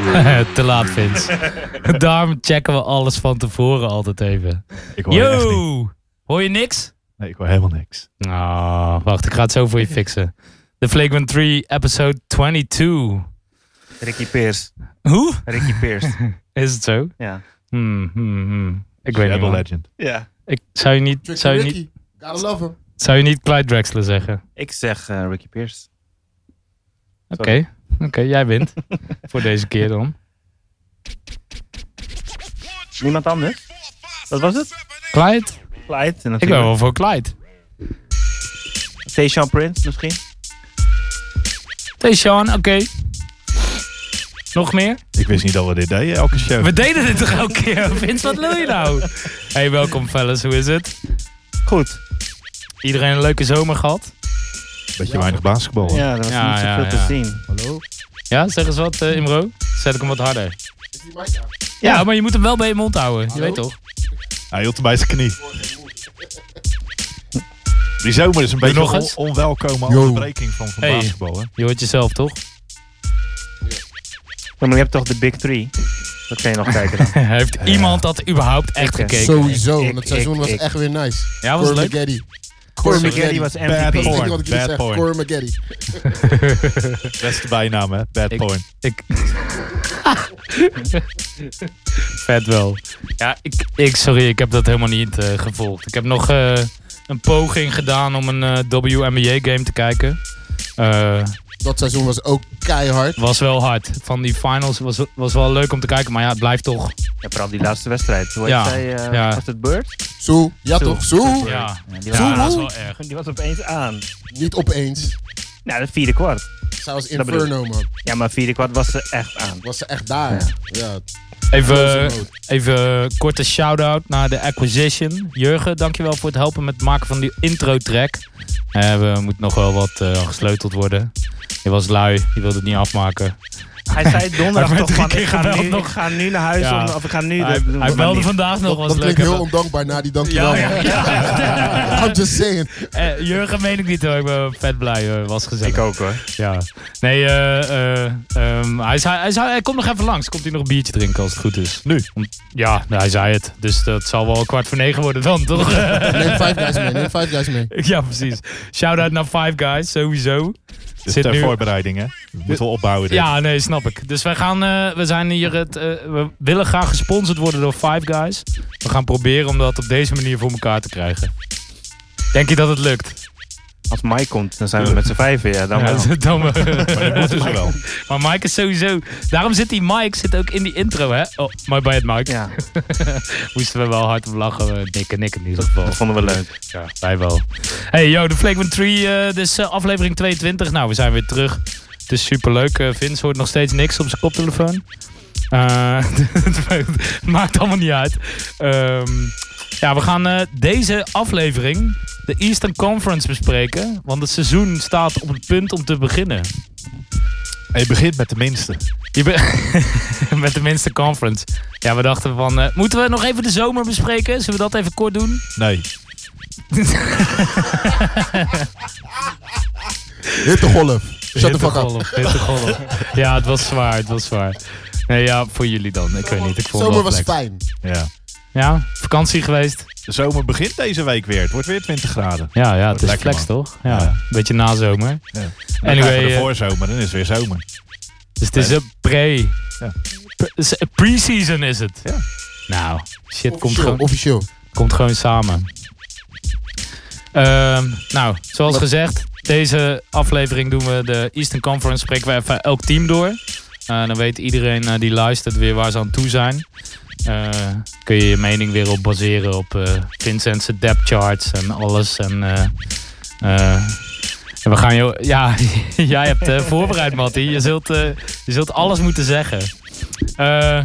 Eh, Te laat, Vince. Daarom checken we alles van tevoren altijd even. Ik hoor je echt niet. Yo! Hoor je niks? Nee, ik hoor helemaal niks. Nou, wacht, ik ga het zo voor je fixen. The Flagrant 3, episode 22. Ricky Peers. Hoe? Ricky Peers. Is het zo? ja. Hmm, hmm, hmm. Ik weet niet. Shadow man. Legend. ja. Ik zou je niet, Tricky zou je Ricky. niet, Gotta love him. zou je niet Clyde Drexler zeggen. Ik zeg eh, Ricky Peers. Oké, oké, jij wint. voor deze keer dan. Niemand anders? Wat was het? Clyde? Clyde. natuurlijk. Ik ben wel voor Clyde. Station Prince misschien? Hey Sean, oké. Nog meer? Ik wist niet dat we dit deden, elke show. We deden dit toch elke keer? Vince, wat wil je nou? Hey, welkom fellas, hoe is het? Goed. Iedereen een leuke zomer gehad? Beetje weinig basketbal. Ja, er was Ja, niet ja, zoveel ja. te zien. Hallo? Ja, zeg eens wat eh, Imro. Zet ik hem wat harder. Is die mic aan? Ja, maar je moet hem wel bij je mond houden. Je Hallo? weet toch? Hij hield hem bij zijn knie. Die zomer is een beetje nog een eens? on onwelkome Yo. onderbreking van, van Hey. basketbal. Hè? Je hoort jezelf toch? Ja, maar je hebt toch de Big Three? Dat kan je nog kijken dan. Heeft iemand dat überhaupt echt Ik, eh, gekeken? Sowieso, ik- want het seizoen ik- was ik- echt weer nice. Ja, was het leuk? Cormageddon. Spaghetti was Bad Dat is MVP. het enige porn. wat ik jullie zeg. Bad porn. Cormageddon. Beste bijnaam, hè? Bad Ik- porn. Ik... Vet wel. Ja, ik, ik, sorry, ik heb dat helemaal niet eh, gevolgd. Ik heb nog eh, een poging gedaan om een eh, WNBA-game te kijken. Eh, Dat seizoen was ook keihard. was wel hard. Van die finals was, was wel leuk om te kijken, maar ja, het blijft toch. Ja, vooral die laatste wedstrijd. Hoe Ja, heet zij? eh, ja. Was het Bird? Zo, ja Zo. toch? Zo. Ja, Ja, die, was, ja dat is wel erg. die was opeens aan. Niet opeens. Nou, dat vierde kwart. Zij was Dat bedoel ik. Inferno, man. Ja, maar vierde kwart was ze echt aan. Was ze echt daar. Ja. Even, even een korte shout-out naar de Acquisition. Jurgen, dankjewel voor het helpen met het maken van die intro-track. Eh, we moeten nog wel wat eh, gesleuteld worden. Je was lui, je wilde het niet afmaken. Hij zei donderdag Hij werd toch drie van, keer ik ga, gebeld nu, nog. ik ga nu naar huis, Ja. om, of ik ga nu... hij dat doen we hij maar belde niet. vandaag nog, Dat, was dat leuk. klinkt heel ondankbaar na die dankjewel. Ja, ja, ja. I'm just saying. Eh, Jurgen meen ik niet hoor, ik ben vet blij hoor. was gezellig. Ik ook hoor. Ja. Nee, eh, eh, ehm, hij, zei, hij, zei, hij komt nog even langs. Komt hij nog een biertje drinken als het goed is? Nu. Om- Ja, nou, hij zei het. Dus dat zal wel kwart voor negen worden dan, toch? Neem Five Guys mee. Neem Five Guys mee. ja, precies. Shout-out naar Five Guys, sowieso. Dus zit ter nu- voorbereiding, hè? We moeten wel opbouwen. dit. Ja, nee, snap ik. Dus wij gaan, eh, we zijn hier, het, eh, we willen graag gesponsord worden door Five Guys. We gaan proberen om dat op deze manier voor elkaar te krijgen. Denk je dat het lukt? Als Mike komt, dan zijn we met z'n vijven, ja. Dan wel. Ja, dan wel. Maar dat dus- moeten ze wel. maar Mike is sowieso... Daarom zit die Mike zit ook in die intro, hè? Oh, my bad, Mike. Ja, Moesten we wel hard om lachen. eh, Nick en ik in ieder geval. dat vonden we leuk. Ja, wij wel. Hey, yo, de Flagrant 3, eh dus eh, aflevering 22. Nou, we zijn weer terug. Het is superleuk. Eh, Vince hoort nog steeds niks op zijn koptelefoon. Eh, het maakt allemaal niet uit. Ehm, ja, we gaan eh, deze aflevering, de Eastern Conference, bespreken. Want het seizoen staat op het punt om te beginnen. En je begint met de minste. Je be- Met de minste conference. Ja, we dachten van, eh, moeten we nog even de zomer bespreken? Zullen we dat even kort doen? Nee. Hit de golf. Shut the fuck up. Hittegolf, hittegolf. ja, het was zwaar, het was zwaar. Nee, ja, voor jullie dan. Ik weet niet, ik vond het Zomer wel was flex. fijn. Ja. Ja, vakantie geweest. De zomer begint deze week weer. Het wordt weer 20 graden. Ja, ja het Wordt is lekker, flex toch? Ja, Ja. een beetje na zomer. Ja. En dan Anyway, krijgen we de eh, voorzomer, dan is het weer zomer. Dus het is een pre. Ja. Pre- is- Pre-season is het. Ja. Nou, shit komt Officieel. gewoon, Officieel. komt gewoon samen. Ehm, nou, zoals gezegd, deze aflevering doen we de Eastern Conference. Spreken we even elk team door. Eh, dan weet iedereen eh, die luistert weer waar ze aan toe zijn. Eh, kun je je mening weer op baseren op eh Vincent's depth charts en alles. En, eh, eh, en we gaan jou, ja, jij hebt eh, voorbereid, Mattie. Je zult, eh, je zult alles moeten zeggen. Eh, eh,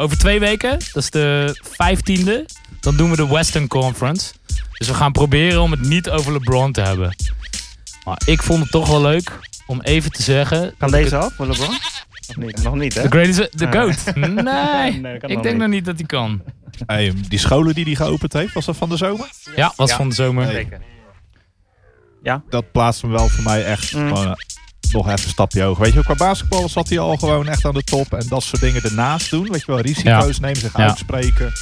over twee weken, dat is de 15e, dan doen we de Western Conference. Dus we gaan proberen om het niet over LeBron te hebben. Maar ik vond het toch wel leuk om even te zeggen Kan deze af, voor LeBron? Of niet? Nog niet, hè? The greatest, the Ah. goat. Nee, Nee, dat kan nog ik denk niet. nog niet dat hij kan. Hey, die scholen die hij geopend heeft, was dat van de zomer? Ja, was Ja. van de zomer. Nee. Zeker. Dat plaatst hem wel voor mij echt Mm. gewoon, eh, nog even een stapje hoger. Weet je, qua basketbal zat hij al gewoon echt aan de top. En dat soort dingen ernaast doen. Weet je wel, risico's nemen, zich Ja. uitspreken.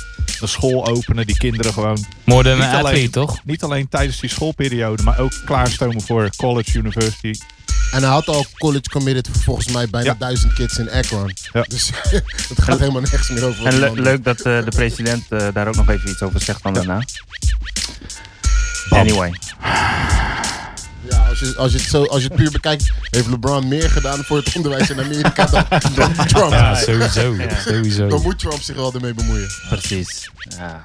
De school openen, die kinderen gewoon. More than Niet an athlete, alleen. toch? Niet alleen tijdens die schoolperiode, maar ook klaarstomen voor college, university. En hij had al college committed voor volgens mij bijna Ja. duizend kids in Akron. Ja. Dus het gaat helemaal nergens meer over. wat En die le- man doet. leuk dat eh, de president eh, daar ook nog even iets over zegt dan daarna. Bam. Anyway. Ja, als je, als, je het zo, als je het puur bekijkt, heeft LeBron meer gedaan voor het onderwijs in Amerika dan, dan Trump. Ja, sowieso. sowieso. Dan moet Trump zich wel ermee bemoeien. Precies. Ja.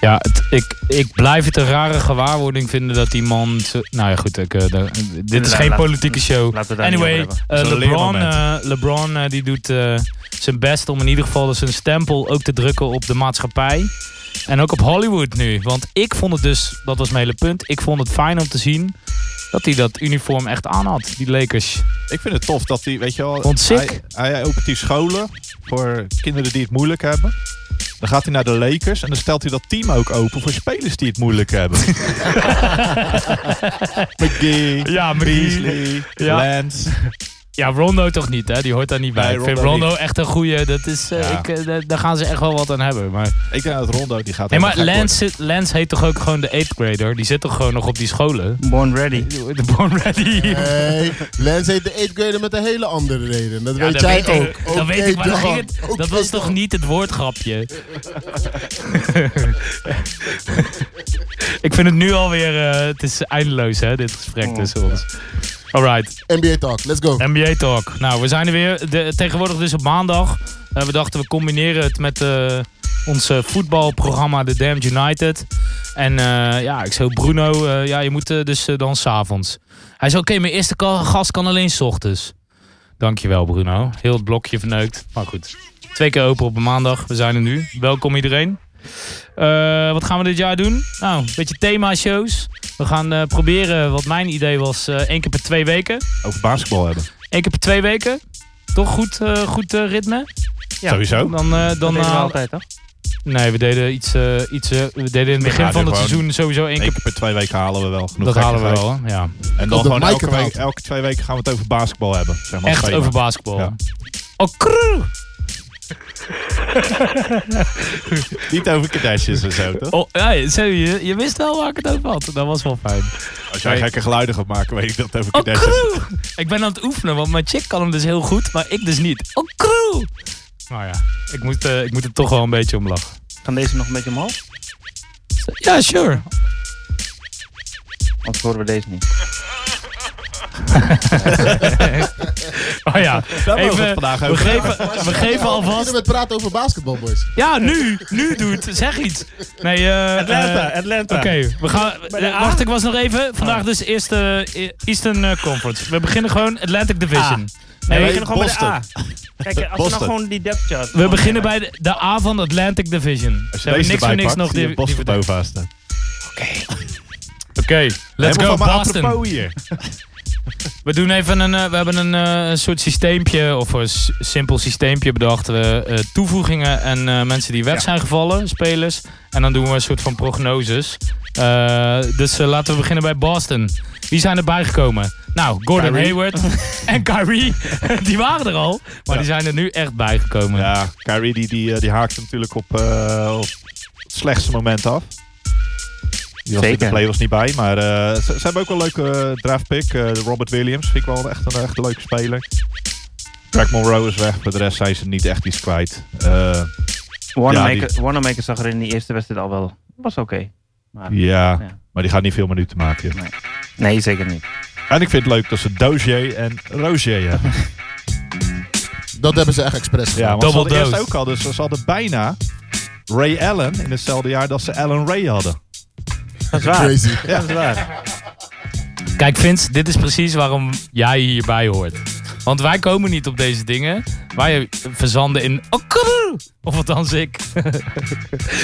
Ja, het- ik, ik blijf het een rare gewaarwording vinden dat die man... zo- nou ja, goed, ik, eh, daar- dit is Laat- geen laat- politieke show. Laten we daar niet Anyway, over hebben. eh, is een LeBron, leermoment. eh, LeBron eh, die doet eh, zijn best om in ieder geval dus zijn stempel ook te drukken op de maatschappij. En ook op Hollywood nu. Want ik vond het dus, dat was mijn hele punt, ik vond het fijn om te zien dat hij dat uniform echt aan had. Die Lakers. Ik vind het tof dat hij, weet je wel... Vond hij, sick. hij opent die scholen voor kinderen die het moeilijk hebben. Dan gaat hij naar de Lakers en dan stelt hij dat team ook open voor spelers die het moeilijk hebben. McGee, Ja, Beasley, Ja. Lance. Ja, Rondo toch niet, hè? Die hoort daar niet bij. Nee, ik vind Rondo Rondo echt een goeie. Dat is, eh, Ja. ik, eh, daar- daar gaan ze echt wel wat aan hebben. Maar, Ik denk dat Rondo die gaat hey, maar helemaal gek Lance, zit- Lance heet toch ook gewoon de 8th grader? Die zit toch gewoon nog op die scholen? Born ready. De Born Ready. Nee, Lens heet de 8th grader met een hele andere reden. Dat Ja, weet dat jij weet ook. ik. Dat Oké weet ik, maar dan dan. ging het- Oké Dat was toch dan. niet het woordgrapje? ik vind het nu alweer... eh, het is eindeloos, hè, dit Oh. gesprek tussen ons. Alright, NBA Talk, let's go. NBA Talk. Nou, we zijn er weer. De, tegenwoordig dus op maandag. Eh, we dachten, we combineren het met eh, ons eh, voetbalprogramma The Damned United. En eh, ja, ik zei, Bruno, eh, ja, je moet eh, dus eh, dan s'avonds. Hij zei, oké, mijn eerste ka- gast kan alleen s ochtends. Dankjewel, Bruno. Heel het blokje verneukt. Maar goed, twee keer open op een maandag. We zijn er nu. Welkom iedereen. Eh, wat gaan we dit jaar doen? Nou, een beetje thema-shows. We gaan eh, proberen, wat mijn idee was, eh, één keer per twee weken. Over basketbal hebben. Eén keer per twee weken. Toch goed, eh, goed eh, ritme? Ja. Sowieso. Dan, eh, Dat dan deden we eh, altijd, hè? Nee, we deden iets. eh, iets eh, we deden in het begin Ja, van dit het gewoon- seizoen sowieso één Eén keer. keer per twee weken halen we wel genoeg. Dat halen we gekkigheid. wel, hè? Ja. En Op dan de gewoon elke, microfoon. week, elke twee weken gaan we het over basketbal hebben. Zeg maar als Echt thema. over basketbal. Ja. Oh, krrr. Niet over kadetjes en zo, toch? Oh, ja, zo, je, je wist wel waar ik het over had. Dat was wel fijn. Als jij Nee. gekke geluiden gaat maken, weet ik dat het over Oh, kadetjes is. krrr. Ik ben aan het oefenen, want mijn chick kan hem dus heel goed, maar ik dus niet. Oh, krrr. Nou ja, ik moet, eh, ik moet er toch wel een beetje om lachen. Kan deze nog een beetje omhoog? Ja, sure. Anders horen we deze niet. Oh ja, Daar mogen we het even, vandaag we over geven, we geven We alvast beginnen met praten over basketbal, boys. Ja, nu. Nu doet. Zeg iets. Nee, eh, eh, Atlanta. Oké, we gaan. eh, wacht, ik was nog even. Vandaag dus eerste eh, Eastern eh, Conference. We beginnen gewoon Atlantic Division. Nee, Nee, we we, beginnen gewoon bij de Boston. A. Kijk, als we nou Boston. gewoon die depth chart... we beginnen bij de, de A van de Atlantic Division. Als Ze je hebben deze niks erbij voor niks pakt, nog zie je die. die- Boston Oké, bovenaan staan. Oké, let's Helemaal go van mijn Boston. apropos hier. We doen even een, eh, we hebben een eh, een soort systeempje of een s- simpel systeempje bedacht. We, eh, toevoegingen en eh, mensen die weg zijn gevallen, spelers. En dan doen we een soort van prognoses. Eh, dus eh, laten we beginnen bij Boston. Wie zijn erbij gekomen? Nou, Gordon Kyrie. Hayward en Kyrie. die waren er al, maar Ja. die zijn er nu echt bij gekomen. Ja, Kyrie die, die, eh, die haakt natuurlijk op, eh, op het slechtste moment af. Die was in de Zeker. playoffs niet bij, maar eh, ze, ze hebben ook wel een leuke eh, draftpick. Eh, Robert Williams vind ik wel echt een echt leuke speler. Drake Monroe is weg, voor de rest zijn ze niet echt iets kwijt. Eh, Ja, Wanamaker Wanamaker zag er in die eerste wedstrijd al wel... Was oké. Maar- ja, Ja. maar die gaat niet veel minuten maken. Nee, zeker niet. En ik vind het leuk dat ze Dozier en Rozier hebben. Dat hebben ze echt expres Ja, gedaan. want ze Double hadden eerst dose. ook al, dus ze hadden bijna Ray Allen in hetzelfde jaar dat ze Allen Ray hadden. Dat is waar. Crazy. Ja, dat is waar. Kijk Vince, dit is precies waarom jij hierbij hoort. Want wij komen niet op deze dingen. Wij eh, verzanden in... Of althans ik. Snap je?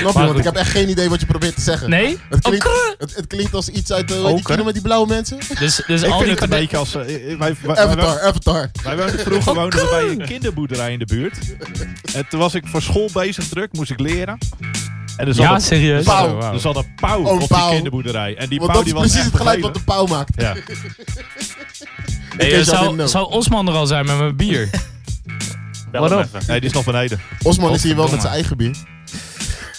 Maar Want goed. ik heb echt geen idee wat je probeert te zeggen. Nee? Oh, Het klinkt, Oké. het, het klinkt als iets uit eh, hoe heet die Oker. film met die blauwe mensen. Dus, dus Ik al die vind het een kade- beetje als... eh, eh, wij, wij, wij, wij, Avatar, Oh, Avatar. wij woonden vroeger woonden we bij een kinderboerderij in de buurt. En toen was ik voor school bezig druk, moest ik leren. En er zat Ja, een, serieus. Pauw. Oh, wauw. er zat een pauw Oh, een op pauw. die kinderboerderij. En die Want dat pauw is die was precies echt het geluid wat vervelend. de pauw maakt. Ja. Nee, Ik eh, eet jou in zou, nood. zou Osman er al zijn met mijn bier? Bel hem Waarom? even. Nee, die is nog beneden. Osman is hier wel Godverdomme. met zijn eigen bier.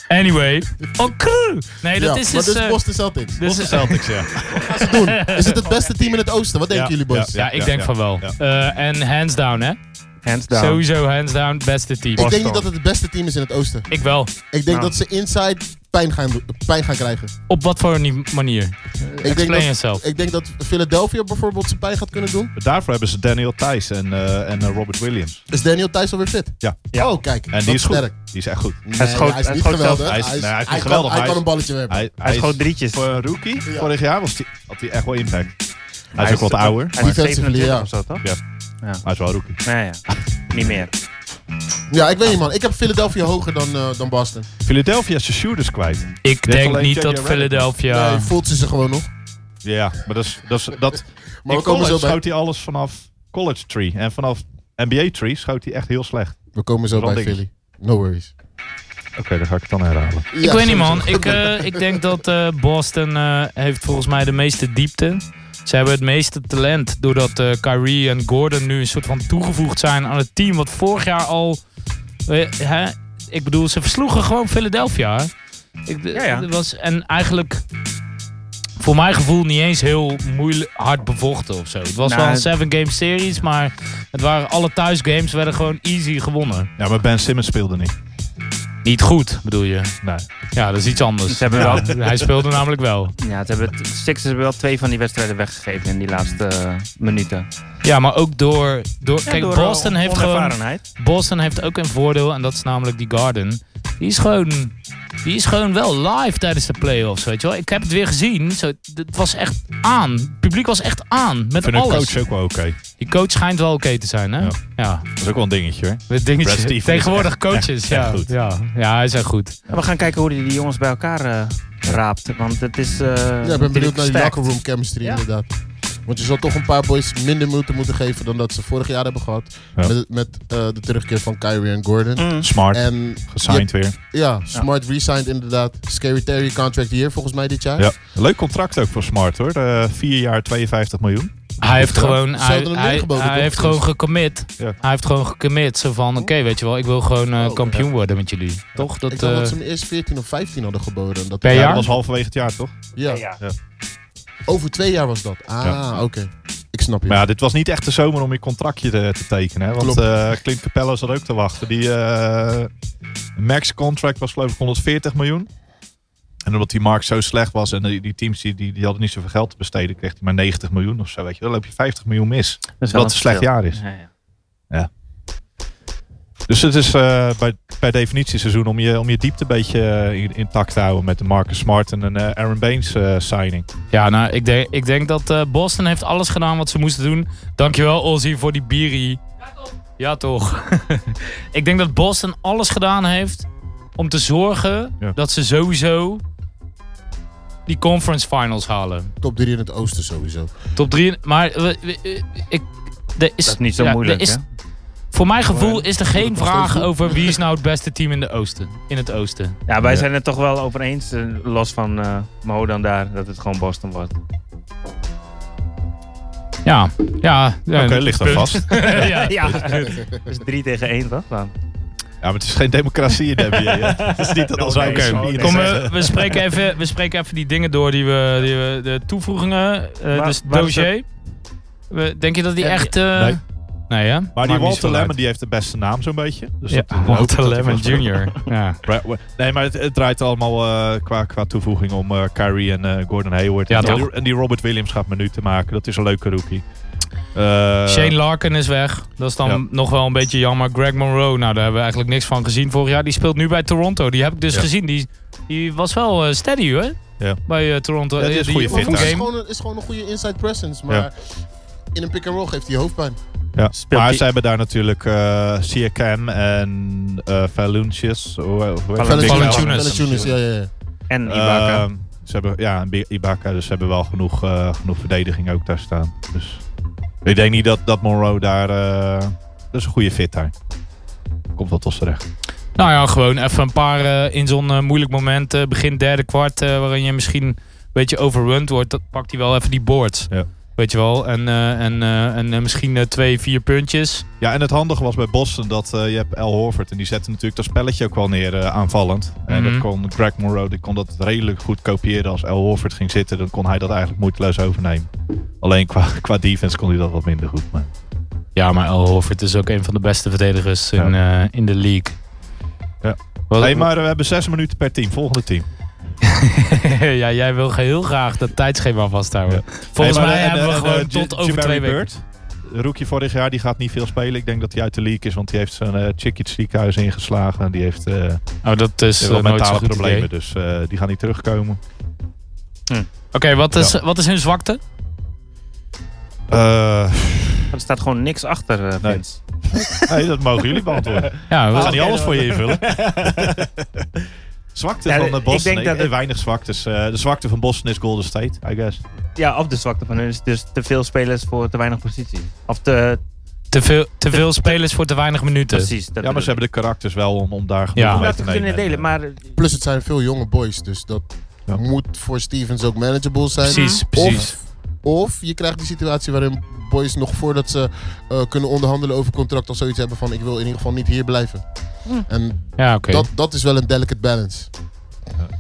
Anyway. Oh, crew. Nee, dat ja, is maar dus... dit eh, is Boston Celtics. dit is- Boston Celtics, ja. Wat ze doen? Is het het beste team in het oosten? Wat denken Ja, jullie, boys? ja, ik Ja, denk ja, van wel. ja. Eh, En hands down, hè? Hands down. Sowieso hands down, beste team. Ik denk Boston. niet dat het het beste team is in het oosten. Ik wel. Ik denk Ja. dat ze inside pijn gaan, do- pijn gaan krijgen. Op wat voor nie- manier? Ik denk, Explain dat, yourself. ik denk dat Philadelphia bijvoorbeeld zijn pijn gaat kunnen doen. Maar Daarvoor hebben ze Daniel Thijs en, eh, en eh, Robert Williams. Is Daniel Thijs alweer fit? Ja. Oh, kijk. En die is goed. sterk. Die is echt goed. Nee, Hij schoot- hij is hij niet schoot geweldig. zelf- hij is- nee, hij is niet kan- geweldig, Hij hij kan is- een balletje werpen. Hij schoot drietjes. Voor een rookie Ja. vorig jaar was die, had hij echt wel impact. Hij, is ook wat eh, ouder, Hij is Maar- 27 ja. of zo, toch? maar hij is wel rookie. Nee, ja. Niet meer. Ja, ik weet niet, man. Ik heb Philadelphia hoger dan, eh, dan Boston. Philadelphia is zijn shooters kwijt. Ik hebt denk alleen niet JJ dat Redick. Philadelphia... Nee, voelt ze ze gewoon nog. Ja, maar dat is... Dat is dat, Maar in we komen, college zo bij, schoot hij alles vanaf college tree. En vanaf NBA tree schoot hij echt heel slecht. we komen zo bij Ronding. Philly. No worries. Oké, dan ga ik het dan herhalen. Ik weet niet, man. Ik, eh, ik denk dat eh, Boston eh, heeft volgens mij de meeste diepte. Ze hebben het meeste talent. Doordat eh, Kyrie en Gordon nu een soort van toegevoegd zijn aan het team. Wat vorig jaar al... eh, hè? Ik bedoel, ze versloegen gewoon Philadelphia. hè? Ik, Ja, ja. dat Was, en eigenlijk... Voor mijn gevoel niet eens heel moeilijk hard bevochten of zo. Het was Nou, wel een het- seven game series, maar het waren alle thuisgames werden gewoon easy gewonnen. Ja, maar Ben Simmons speelde niet. Niet goed, bedoel je? Nee. Ja, dat is iets anders. Ze hebben Ja, wel- Hij speelde namelijk wel. Ja, het hebben, de Sixers hebben wel twee van die wedstrijden weggegeven in die laatste eh, minuten. Ja, maar ook door... door Ja, kijk, door, eh, Boston, on- heeft gewoon, onervarenheid. Boston heeft ook een voordeel. En dat is namelijk die Garden. Die is gewoon... Die is gewoon wel live tijdens de playoffs, weet je wel. Ik heb het weer gezien. Zo, het was echt aan. Het publiek was echt aan. Met Vind een alles. coach ook wel oké. Die coach schijnt wel oké te zijn, hè? Ja. Ja. Dat is ook wel een dingetje hoor. Het Brad dingetje. Stevens is Tegenwoordig echt- coaches, echt- ja. echt goed. ja. Ja, hij is echt goed. Ja, we gaan kijken hoe die, die jongens bij elkaar eh, raapt. Want het is. eh Ja, ik ben benieuwd naar die stacked. locker room chemistry, Ja. inderdaad. Want je zal toch een paar boys minder moeten moeten geven dan dat ze vorig jaar hebben gehad. Ja. Met, met eh, de terugkeer van Kyrie en Gordon. Mm. Smart, En gesigned weer. ja, Smart resigned inderdaad. Scary Terry contract hier volgens mij dit jaar. Ja. Leuk contract ook voor Smart hoor. Eh, vier jaar 52 miljoen. Hij heeft Ja, gewoon, ze hadden hij, hem hij, neergeboden, hij toch? heeft Dus- gewoon gecommit. Ja. Hij heeft gewoon gecommit. Zo van, oké, weet je wel, ik wil gewoon eh, Oh, kampioen worden met jullie. Toch? Dat, ik dacht eh, dat ze hem eerst 14 of 15 hadden geboden. Dat Per ja, Ja, jaar? dat was halverwege het jaar toch? Ja, Ja. over twee jaar was dat. Ah, Ja. oké. Ik snap je. Maar ja, dit was niet echt de zomer om je contractje te, te tekenen. Hè? Want Klopt. eh Clint Capella zat ook te wachten. Die eh, max contract was geloof ik 140 miljoen. En omdat die markt zo slecht was en die, die teams die, die, die hadden niet zoveel geld te besteden, kreeg hij maar 90 miljoen of zo. Weet je. Dan loop je 50 miljoen mis. Dat is wel Wat een slecht verschil. jaar is. Ja, ja. Dus het is eh, bij, bij definitie seizoen om je, om je diepte een beetje eh, in- intact te houden met de Marcus Smart en een eh, Aaron Baines eh, signing. ja, nou, ik denk, ik denk dat eh, Boston heeft alles gedaan wat ze moesten doen. Dankjewel, Ozzy, voor die bierie. Ja, toch. ik denk dat Boston alles gedaan heeft om te zorgen Ja. dat ze sowieso die conference finals halen. Top 3 in het oosten sowieso. Top drie. Maar we- we- eh, ik, er is, Dat is niet zo ja, er moeilijk. is hè? Voor mijn gevoel is er geen dat was vraag goed. over wie is nou het beste team in, de oosten, in het oosten. Ja, wij Ja. zijn het toch wel over eens, eh, los van eh Mo dan daar, dat het gewoon Boston wordt. Ja, ja. ja Oké, ligt er punt. vast. Ja, ja. Ja, dus 3 tegen 1 toch dan? maar het is geen democratie in de NBA. hè. Het is niet dat als wij Oké, met z'n drieën Kom, eh, zeggen- we, we, spreken even, we spreken even die dingen door die we, die we de toevoegingen, eh, Waar- dus het waar is dossier. We- Denk je dat die Ja, echt... eh, Nee. Nee, hè? Maar die Walter Lemon Lemon. die heeft de beste naam zo'n beetje. Dus Ja, dat- dan hoop ik Walter dat hij Lemon vast- Jr. Ja, Bra- Nee, maar het, het draait allemaal eh, qua, qua toevoeging om eh, Kyrie en eh, Gordon Hayward. Ja, en, die, toch? en die Robert Williams gaat minuten maken. Dat is een leuke rookie. Eh, Shane Larkin is weg. Dat is dan Ja. nog wel een beetje jammer. Greg Monroe, nou daar hebben we eigenlijk niks van gezien vorig jaar. Die speelt nu bij Toronto. Die heb ik dus Ja. gezien. Die, die was wel eh, steady hoor. Ja. Bij eh, Toronto. Ja, die is Eh, een goede Maar fit oefengame. Moes is daar. gewoon, een, is gewoon een goede inside presence. Maar Ja. in een pick-and-roll geeft hij hoofdpijn. ja. Speelt Maar die- ze hebben daar natuurlijk eh Siakam en eh Valanciunas. Hoe- hoe heet die? Valanciunas. Valanciunas. Valanciunas, ja, ja, ja. En Eh, Ibaka. ze hebben, ja, en Bi- Ibaka. Dus ze hebben wel genoeg, eh, genoeg verdediging ook daar staan. Dus ik denk niet dat, dat Monroe daar... eh, dat is een goede fit daar. Komt wel tot z'n recht. Nou ja, gewoon even een paar eh, in zo'n eh, moeilijk moment. eh, begin derde kwart, eh, waarin je misschien een beetje overrund wordt. Dat pakt hij wel even die boards. Ja. Weet je wel. En, eh, en, eh, en eh, misschien eh, twee, vier puntjes. Ja, en het handige was bij Boston dat eh, je hebt Al Horford. En die zette natuurlijk dat spelletje ook wel neer eh, aanvallend. En dat Mhm. kon Greg Monroe die kon dat redelijk goed kopiëren. Als Al Horford ging zitten, dan kon hij dat eigenlijk moeiteloos overnemen. Alleen qua, qua defense kon hij dat wat minder goed. Maar Ja, maar Al Horford is ook een van de beste verdedigers in, eh, in de league. Ja. Wat- hey, maar we hebben zes minuten per team. Volgende team. ja, jij wil heel graag dat tijdschema vasthouden. Volgens Hey, maar mij en, hebben we en, gewoon eh, tot J- over Jabari twee weken. Bird, de rookie vorig jaar, die gaat niet veel spelen. Ik denk dat hij uit de league is, want die heeft zijn uh, Chickit ziekenhuis ingeslagen. En die heeft, eh, die heeft Oh, dat is eh, wel nooit zo'n mentale goed problemen, idee. dus eh, die gaan niet terugkomen. Oké, wat, is, wat is hun zwakte? Eh, Er staat gewoon niks achter, eh Nee. Vince. nee, dat mogen jullie beantwoorden. Ja, We wat- gaan niet oké, alles dan- voor je invullen. zwakte Ja, van de ik Boston. denk Ik dat eh, het- weinig zwaktes. eh, de zwakte van Boston is Golden State, I guess. Ja, of de zwakte van hun is dus te veel spelers voor te weinig positie. Of te... te, veel, te veel spelers voor te weinig minuten. Precies. dat Ja, maar ze bedoel ik. hebben de karakters wel om, om daar Ja. genoeg Om mee Dat te te nemen. kunnen delen, maar... Plus het zijn veel jonge boys, dus dat Ja. moet voor Stevens ook manageable zijn. Precies, Of- precies. Of je krijgt die situatie waarin boys nog voordat ze eh, kunnen onderhandelen over contract of zoiets hebben van ik wil in ieder geval niet hier blijven. En Ja, oké. dat, dat is wel een delicate balance.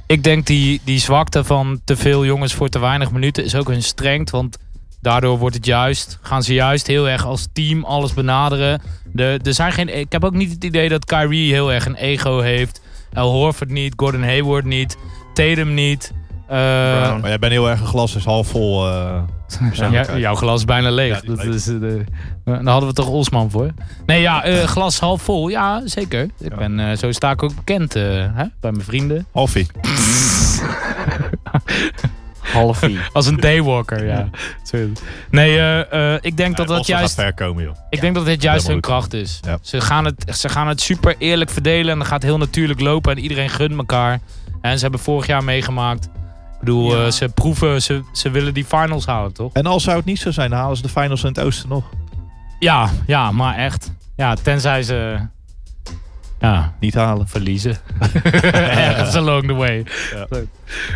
Ik denk die, die zwakte van te veel jongens voor te weinig minuten is ook hun strength. Want daardoor wordt het juist, gaan ze juist heel erg als team alles benaderen. De, er zijn geen, ik heb ook niet het idee dat Kyrie heel erg een ego heeft. Al Horford niet, Gordon Hayward niet, Tatum niet. Eh, Brown. Maar jij bent heel erg een glas is half vol. eh, persoonlijkheid. ja, jouw glas is bijna leeg. Ja, die is dat leeg. is, eh, de- daar hadden we toch Osman voor? Nee, ja, eh, glas half vol. Ja, zeker. Ik Ja. Ben, eh, zo sta ik ook bekend eh, hè, bij mijn vrienden. Halfie. Half vier. Als een daywalker, ja. Sorry. Nee, eh, eh, ik denk dat Ja, dat Boston juist... gaat ver komen, joh. Ik denk dat dit juist hun Helemaal kracht is. Ja. Ze, gaan het, ze gaan het super eerlijk verdelen en dan gaat het heel natuurlijk lopen en iedereen gunt elkaar. En ze hebben vorig jaar meegemaakt. Ik bedoel, Ja. eh, ze proeven, ze, ze willen die finals halen, toch? En al zou het niet zo zijn, dan halen ze de finals in het oosten nog. Ja, ja, maar echt. Ja, tenzij ze ja, Niet halen. verliezen. Ergens along the way. Ja.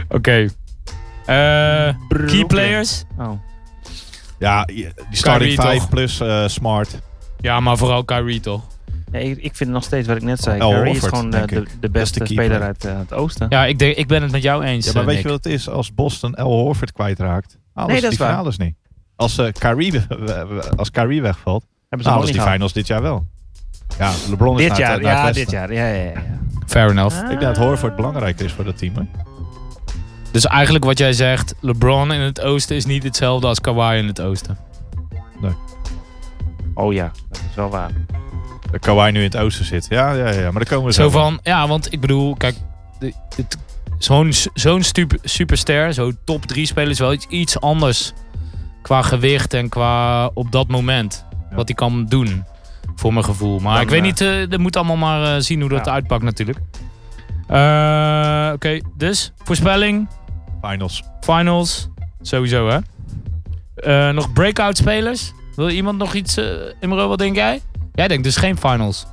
Oké. Eh, key players. Oh. Ja, die starting Kyrie 5 toch? plus eh, Smart. Ja, maar vooral Kyrie toch? Ja, ik, ik vind nog steeds wat ik net zei. Al Curry is Oh, Horford, gewoon eh, denk de, ik. de Dat is beste de key speler player. uit eh, het oosten. Ja, ik, denk, ik ben het met jou eens. Ja, maar eh, weet Nick. je wat het is? Als Boston L. Horford kwijtraakt, halen Nee, ze dat die is waar. finals niet. Als, eh Kyrie, we- we- we- als Kyrie wegvalt, Hebben ze nog niet halen ze Nou, die gehad. finals dit jaar wel. Ja, LeBron is Dit naar het- jaar, naar het ja, westen. dit jaar. Ja, ja, ja. ja. Fair enough. Ik denk dat Ah. Horford belangrijker is voor dat team. Hè? Dus eigenlijk wat jij zegt, LeBron in het oosten is niet hetzelfde als Kawhi in het oosten. Oh ja, dat is wel waar. Oh, Dat Kawhi nu in het oosten zit. Ja, ja, ja, maar daar komen we zo. Zo wel. van, ja, want ik bedoel, kijk, de- het- zo'n zo'n stup- superster, zo'n top 3 speler is wel iets, iets anders qua gewicht en qua op dat moment Ja. wat hij kan doen, voor mijn gevoel. Maar Dan, ik weet eh, niet, eh, dat moet allemaal maar eh, zien hoe dat Ja. uitpakt natuurlijk. Eh, Oké, dus voorspelling, Finals. finals, sowieso hè. Eh, nog breakout spelers? Wil iemand nog iets, eh Imro, wat denk jij? Jij denkt dus geen finals.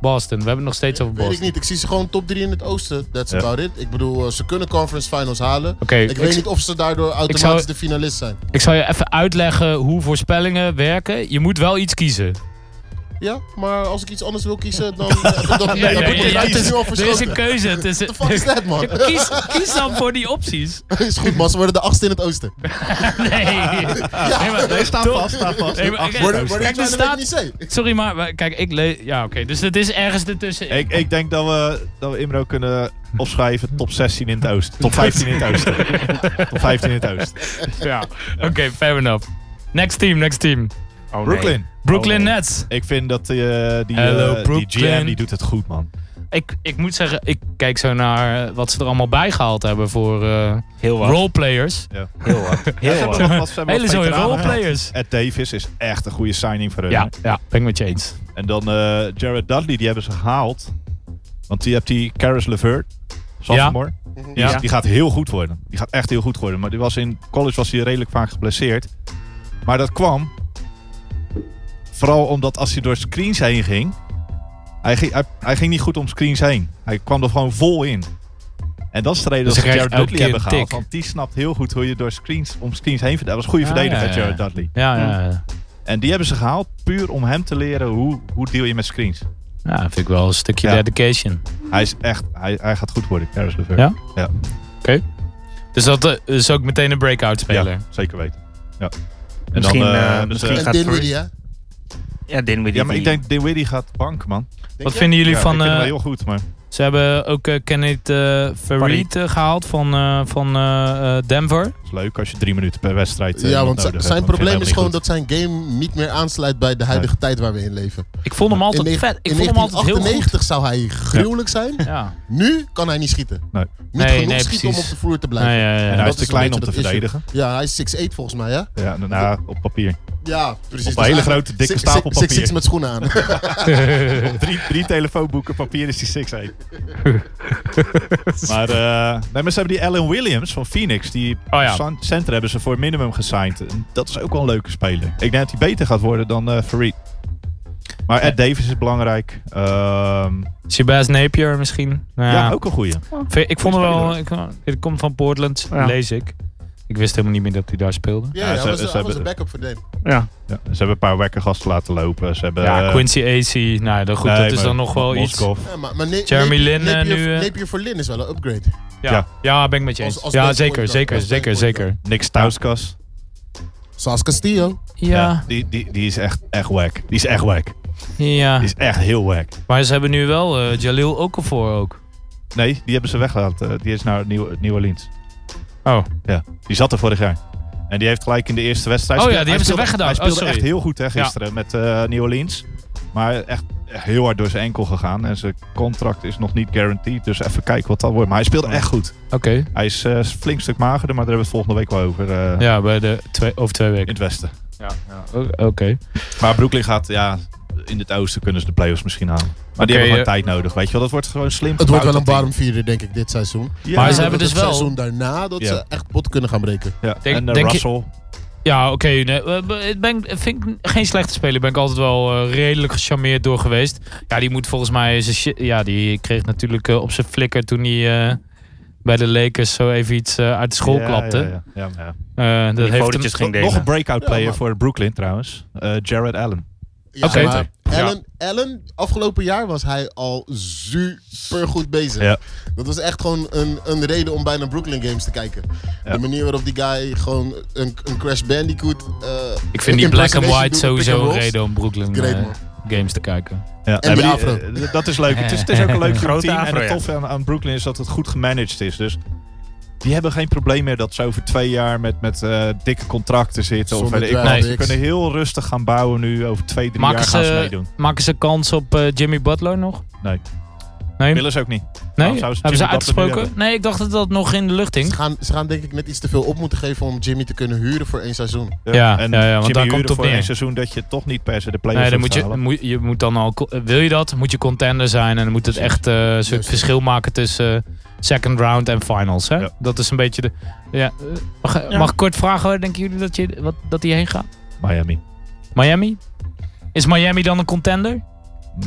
Boston, we hebben het nog steeds over Weet Boston. ik niet, ik zie ze gewoon top 3 in het oosten. That's Ja. about it. Ik bedoel, eh, ze kunnen conference finals halen. Oké, Ik, ik, weet niet of ze daardoor automatisch zou- de finalist zijn. ik zal je even uitleggen hoe voorspellingen werken. Je moet wel iets kiezen. Ja, maar als ik iets anders wil kiezen, dan... dan, dan Nee, nee, dan wordt nee, de het lijst is- nu al er is een verschoten. keuze tussen... The fuck is that, man? Kies, kies dan voor die opties. is goed, man. Ze worden de achtste in het oosten. Nee. Nee, maar- Nee, staan Toch? vast, staan vast. Nee, maar- Achter- Worden, worden Kijk, die er kleine staat- weet ik niet Sorry, maar maar kijk, ik le- Ja, oké, dus het is ergens ertussen. Ik, ik denk dat we, dat we Imro kunnen opschrijven top 16 in het oosten. Top 15 in het oosten. top 15 in het oosten. Ja. Oké, fair enough. Next team, next team. Oh, nee. Brooklyn. Brooklyn Oh, nee. Nets. Ik vind dat eh, die, eh, Hello, die GM Brooklyn. die doet het goed, man. Ik, ik moet zeggen, ik kijk zo naar eh, wat ze er allemaal bij gehaald hebben voor eh Heel wat. roleplayers. Heel wat. Ja, ze Heel hebben wat. wat- wat- ze hebben Hele wat zooi veteranen roleplayers. Ed Davis is echt een goede signing voor hun. Ja, ja, ben ik met je eens. En dan eh, Jared Dudley, die hebben ze gehaald. Want die hebt die Caris LeVert, sophomore. Mhm. Die, is- Ja. die gaat heel goed worden. Die gaat echt heel goed worden. Maar die was in college was hij redelijk vaak geblesseerd. Maar dat kwam vooral omdat als hij door screens heen ging... Hij ging, hij, hij ging niet goed om screens heen. Hij kwam er gewoon vol in. En dat is de reden Dus dat ze hij krijgt Jared Dudley elke keer hebben een gehaald. tik. Want die snapt heel goed hoe je door screens, om screens heen verdedigen. Dat was een goede Ah, verdediger, ja, ja, Jared ja. Dudley. Ja, eh, ja, ja. En die hebben ze gehaald puur om hem te leren hoe, hoe deal je met screens. ja, vind ik wel een stukje Ja. dedication. Hij is echt, hij, hij gaat goed worden, Karis LeVert. Ja? Dus dat eh, is ook meteen een breakout speler. Ja, zeker weten. Ja. En Misschien, eh, eh, met, misschien eh, gaat- En Dinwiddie, hè? Ja, Dinwiddie. ja, maar ik die- denk Dinwiddie gaat bank, man. Wat vinden jullie ja, ik van... vind hem wel eh, heel goed, maar ze hebben ook eh, Kenneth eh Farid Farid. eh, gehaald van, eh, van eh, eh, Denver. het is leuk als je drie minuten per wedstrijd eh, Ja, iemand want zi- nodig zijn hebt, want ik vind probleem hem is gewoon niet dat zijn game niet meer aansluit bij de huidige tijd waar we in leven. Ik vond hem altijd in negen- vet. Ik in vond hem altijd heel goed. 1998 zou hij gruwelijk zijn. Ja. Nu kan hij niet schieten. Nee. Niet Nee, genoeg nee, schieten om op precies. de vloer te blijven. Ja, ja, goed. ja. En dat hij is is te een klein beetje om te dat issue. verdedigen. Ja, hij is 6'8 volgens mij, hè? Ja, nou, nou, op papier. Ja, precies. Dus Op een hele grote, dikke stapel papier. 6'6 met schoenen aan. Op drie, drie telefoonboeken papier is die 6 1 maar, eh, nee, maar ze hebben die Alan Williams van Phoenix. Die Oh ja. cent- center hebben ze voor minimum gesigned. En dat is ook wel een leuke speler. Ik denk dat hij beter gaat worden dan eh Farid. Maar Ed Davis is belangrijk. Ehm, Shabazz Napier misschien. Nou ja. Ja, ook een goeie. Vind- Ik vond hem Goeie wel... Ik, het komt van Portland, Ja. lees ik. Ik wist helemaal niet meer dat hij daar speelde. Ja, Ja, ja, ze- hij was, ze hij hebben- was een backup voor Dame. Ja. Ja, ze hebben een paar wekker gasten laten lopen. Ze hebben, ja, eh, Quincy AC. Nou, ja, dan goed, nee, dat is maar dan nog wel iets. Moskov. Ja, maar, maar Ne- Jeremy Ne- Lin, eh, Napier, nu, eh, Napier voor Lin is wel een upgrade. Ja, ja ben ik met je eens. Als- als ja, backup zeker, point zeker, guard. zeker, Als zeker. Nick Stauskas. Sas Castillo. Ja, die, die, die is echt, echt wack. Die is echt wack. ja. Die Ah. is echt heel wack. Maar ze hebben nu wel eh, Jalil Okafor ook. Nee, die hebben ze weggelaten. Die is naar Nieuw, New Orleans. Oh. Ja, die zat er vorig jaar. En die heeft gelijk in de eerste wedstrijd... Oh ja, speelde- die hebben hij ze weggedaan. speelde- Hij Oh, speelde sorry. echt heel goed hè, gisteren met eh New Orleans. Maar echt heel hard door zijn enkel gegaan. En zijn contract is nog niet guaranteed. Dus even kijken wat dat wordt. Maar hij speelde echt goed. Oké. Hij is eh, flink stuk magerder, maar daar hebben we het volgende week wel over. eh, Ja, bij de twee, over twee In weken. het westen. Ja, oké. Maar Brooklyn gaat, ja, in het oosten kunnen ze de playoffs misschien halen. Maar Oké, die hebben eh, gewoon tijd nodig, weet je wel. Dat wordt gewoon slim Het wordt gebouwd, wel een dat warm vierder, denk ik, dit seizoen. team. Ja, Maar Ik ze denk dat hebben dus het wel- seizoen daarna dat Ja. ze echt pot kunnen gaan breken. ja. Denk- en eh, denk je- Russell. Ja, oké. nee, eh, eh, ik ben, vind ik geen slechte speler. Ben ik altijd wel eh, redelijk gecharmeerd door geweest. Ja, die moet volgens mij. zijn shi- Ja, die kreeg natuurlijk eh, op zijn flikker toen hij eh, bij de Lakers zo even iets eh, uit de school Ja, klapte. ja, ja. Ja, maar ja. Eh, dat Die heeft hem- fotootjes ging Nog- Nog delen. een breakout Ja, player maar- voor Brooklyn trouwens. Eh, Jared Allen. Ja, Oké. maar Ja. Allen, Allen, afgelopen jaar was hij al super goed bezig. Ja. Dat was echt gewoon een, een reden om bijna Brooklyn Games te kijken. Ja. De manier waarop die guy gewoon een, een Crash Bandicoot... eh, ik vind die black and impersonation white doet op pick and sowieso een rolls. reden om Brooklyn Great, eh, man. games te kijken. Ja, En die maar afro. eh, dat is leuk. Het is, het is ook een leuk team. Grote en afro, het ja. toffe aan, aan Brooklyn is dat het goed gemanaged is. Dus die hebben geen probleem meer dat ze over twee jaar met, met eh, dikke contracten zitten. of Zonder weet ik wat. draft Ze picks. kunnen heel rustig gaan bouwen nu. Over twee, drie Maken jaar gaan ze ze, meedoen. maken ze kans op eh, Jimmy Butler nog? Nee. Nee? Willen ze ook niet. nee? waarom Nou, zouden ze Hebben ze Jimmy Butler nu uitgesproken? Nee, ik dacht dat dat nog in de lucht Ze hing. gaan, ze gaan denk ik net iets te veel op moeten geven om Jimmy te kunnen huren voor één seizoen. Ja, en ja, ja, want Jimmy daar komt Huren het op voor neer. een seizoen dat je toch niet per se de play-offs Nee, dan hoeft moet te je, halen. moet, je moet dan al. eh, Wil je dat? Moet je contender zijn en dan moet het echt eh een soort Juist. verschil maken tussen eh, second round en finals. Hè? Ja. Dat is een beetje de. Ja, eh, mag, Ja. mag ik kort vragen, hoor, denken jullie dat, je, wat, dat die heen gaat? Miami. Miami? Is Miami dan een contender?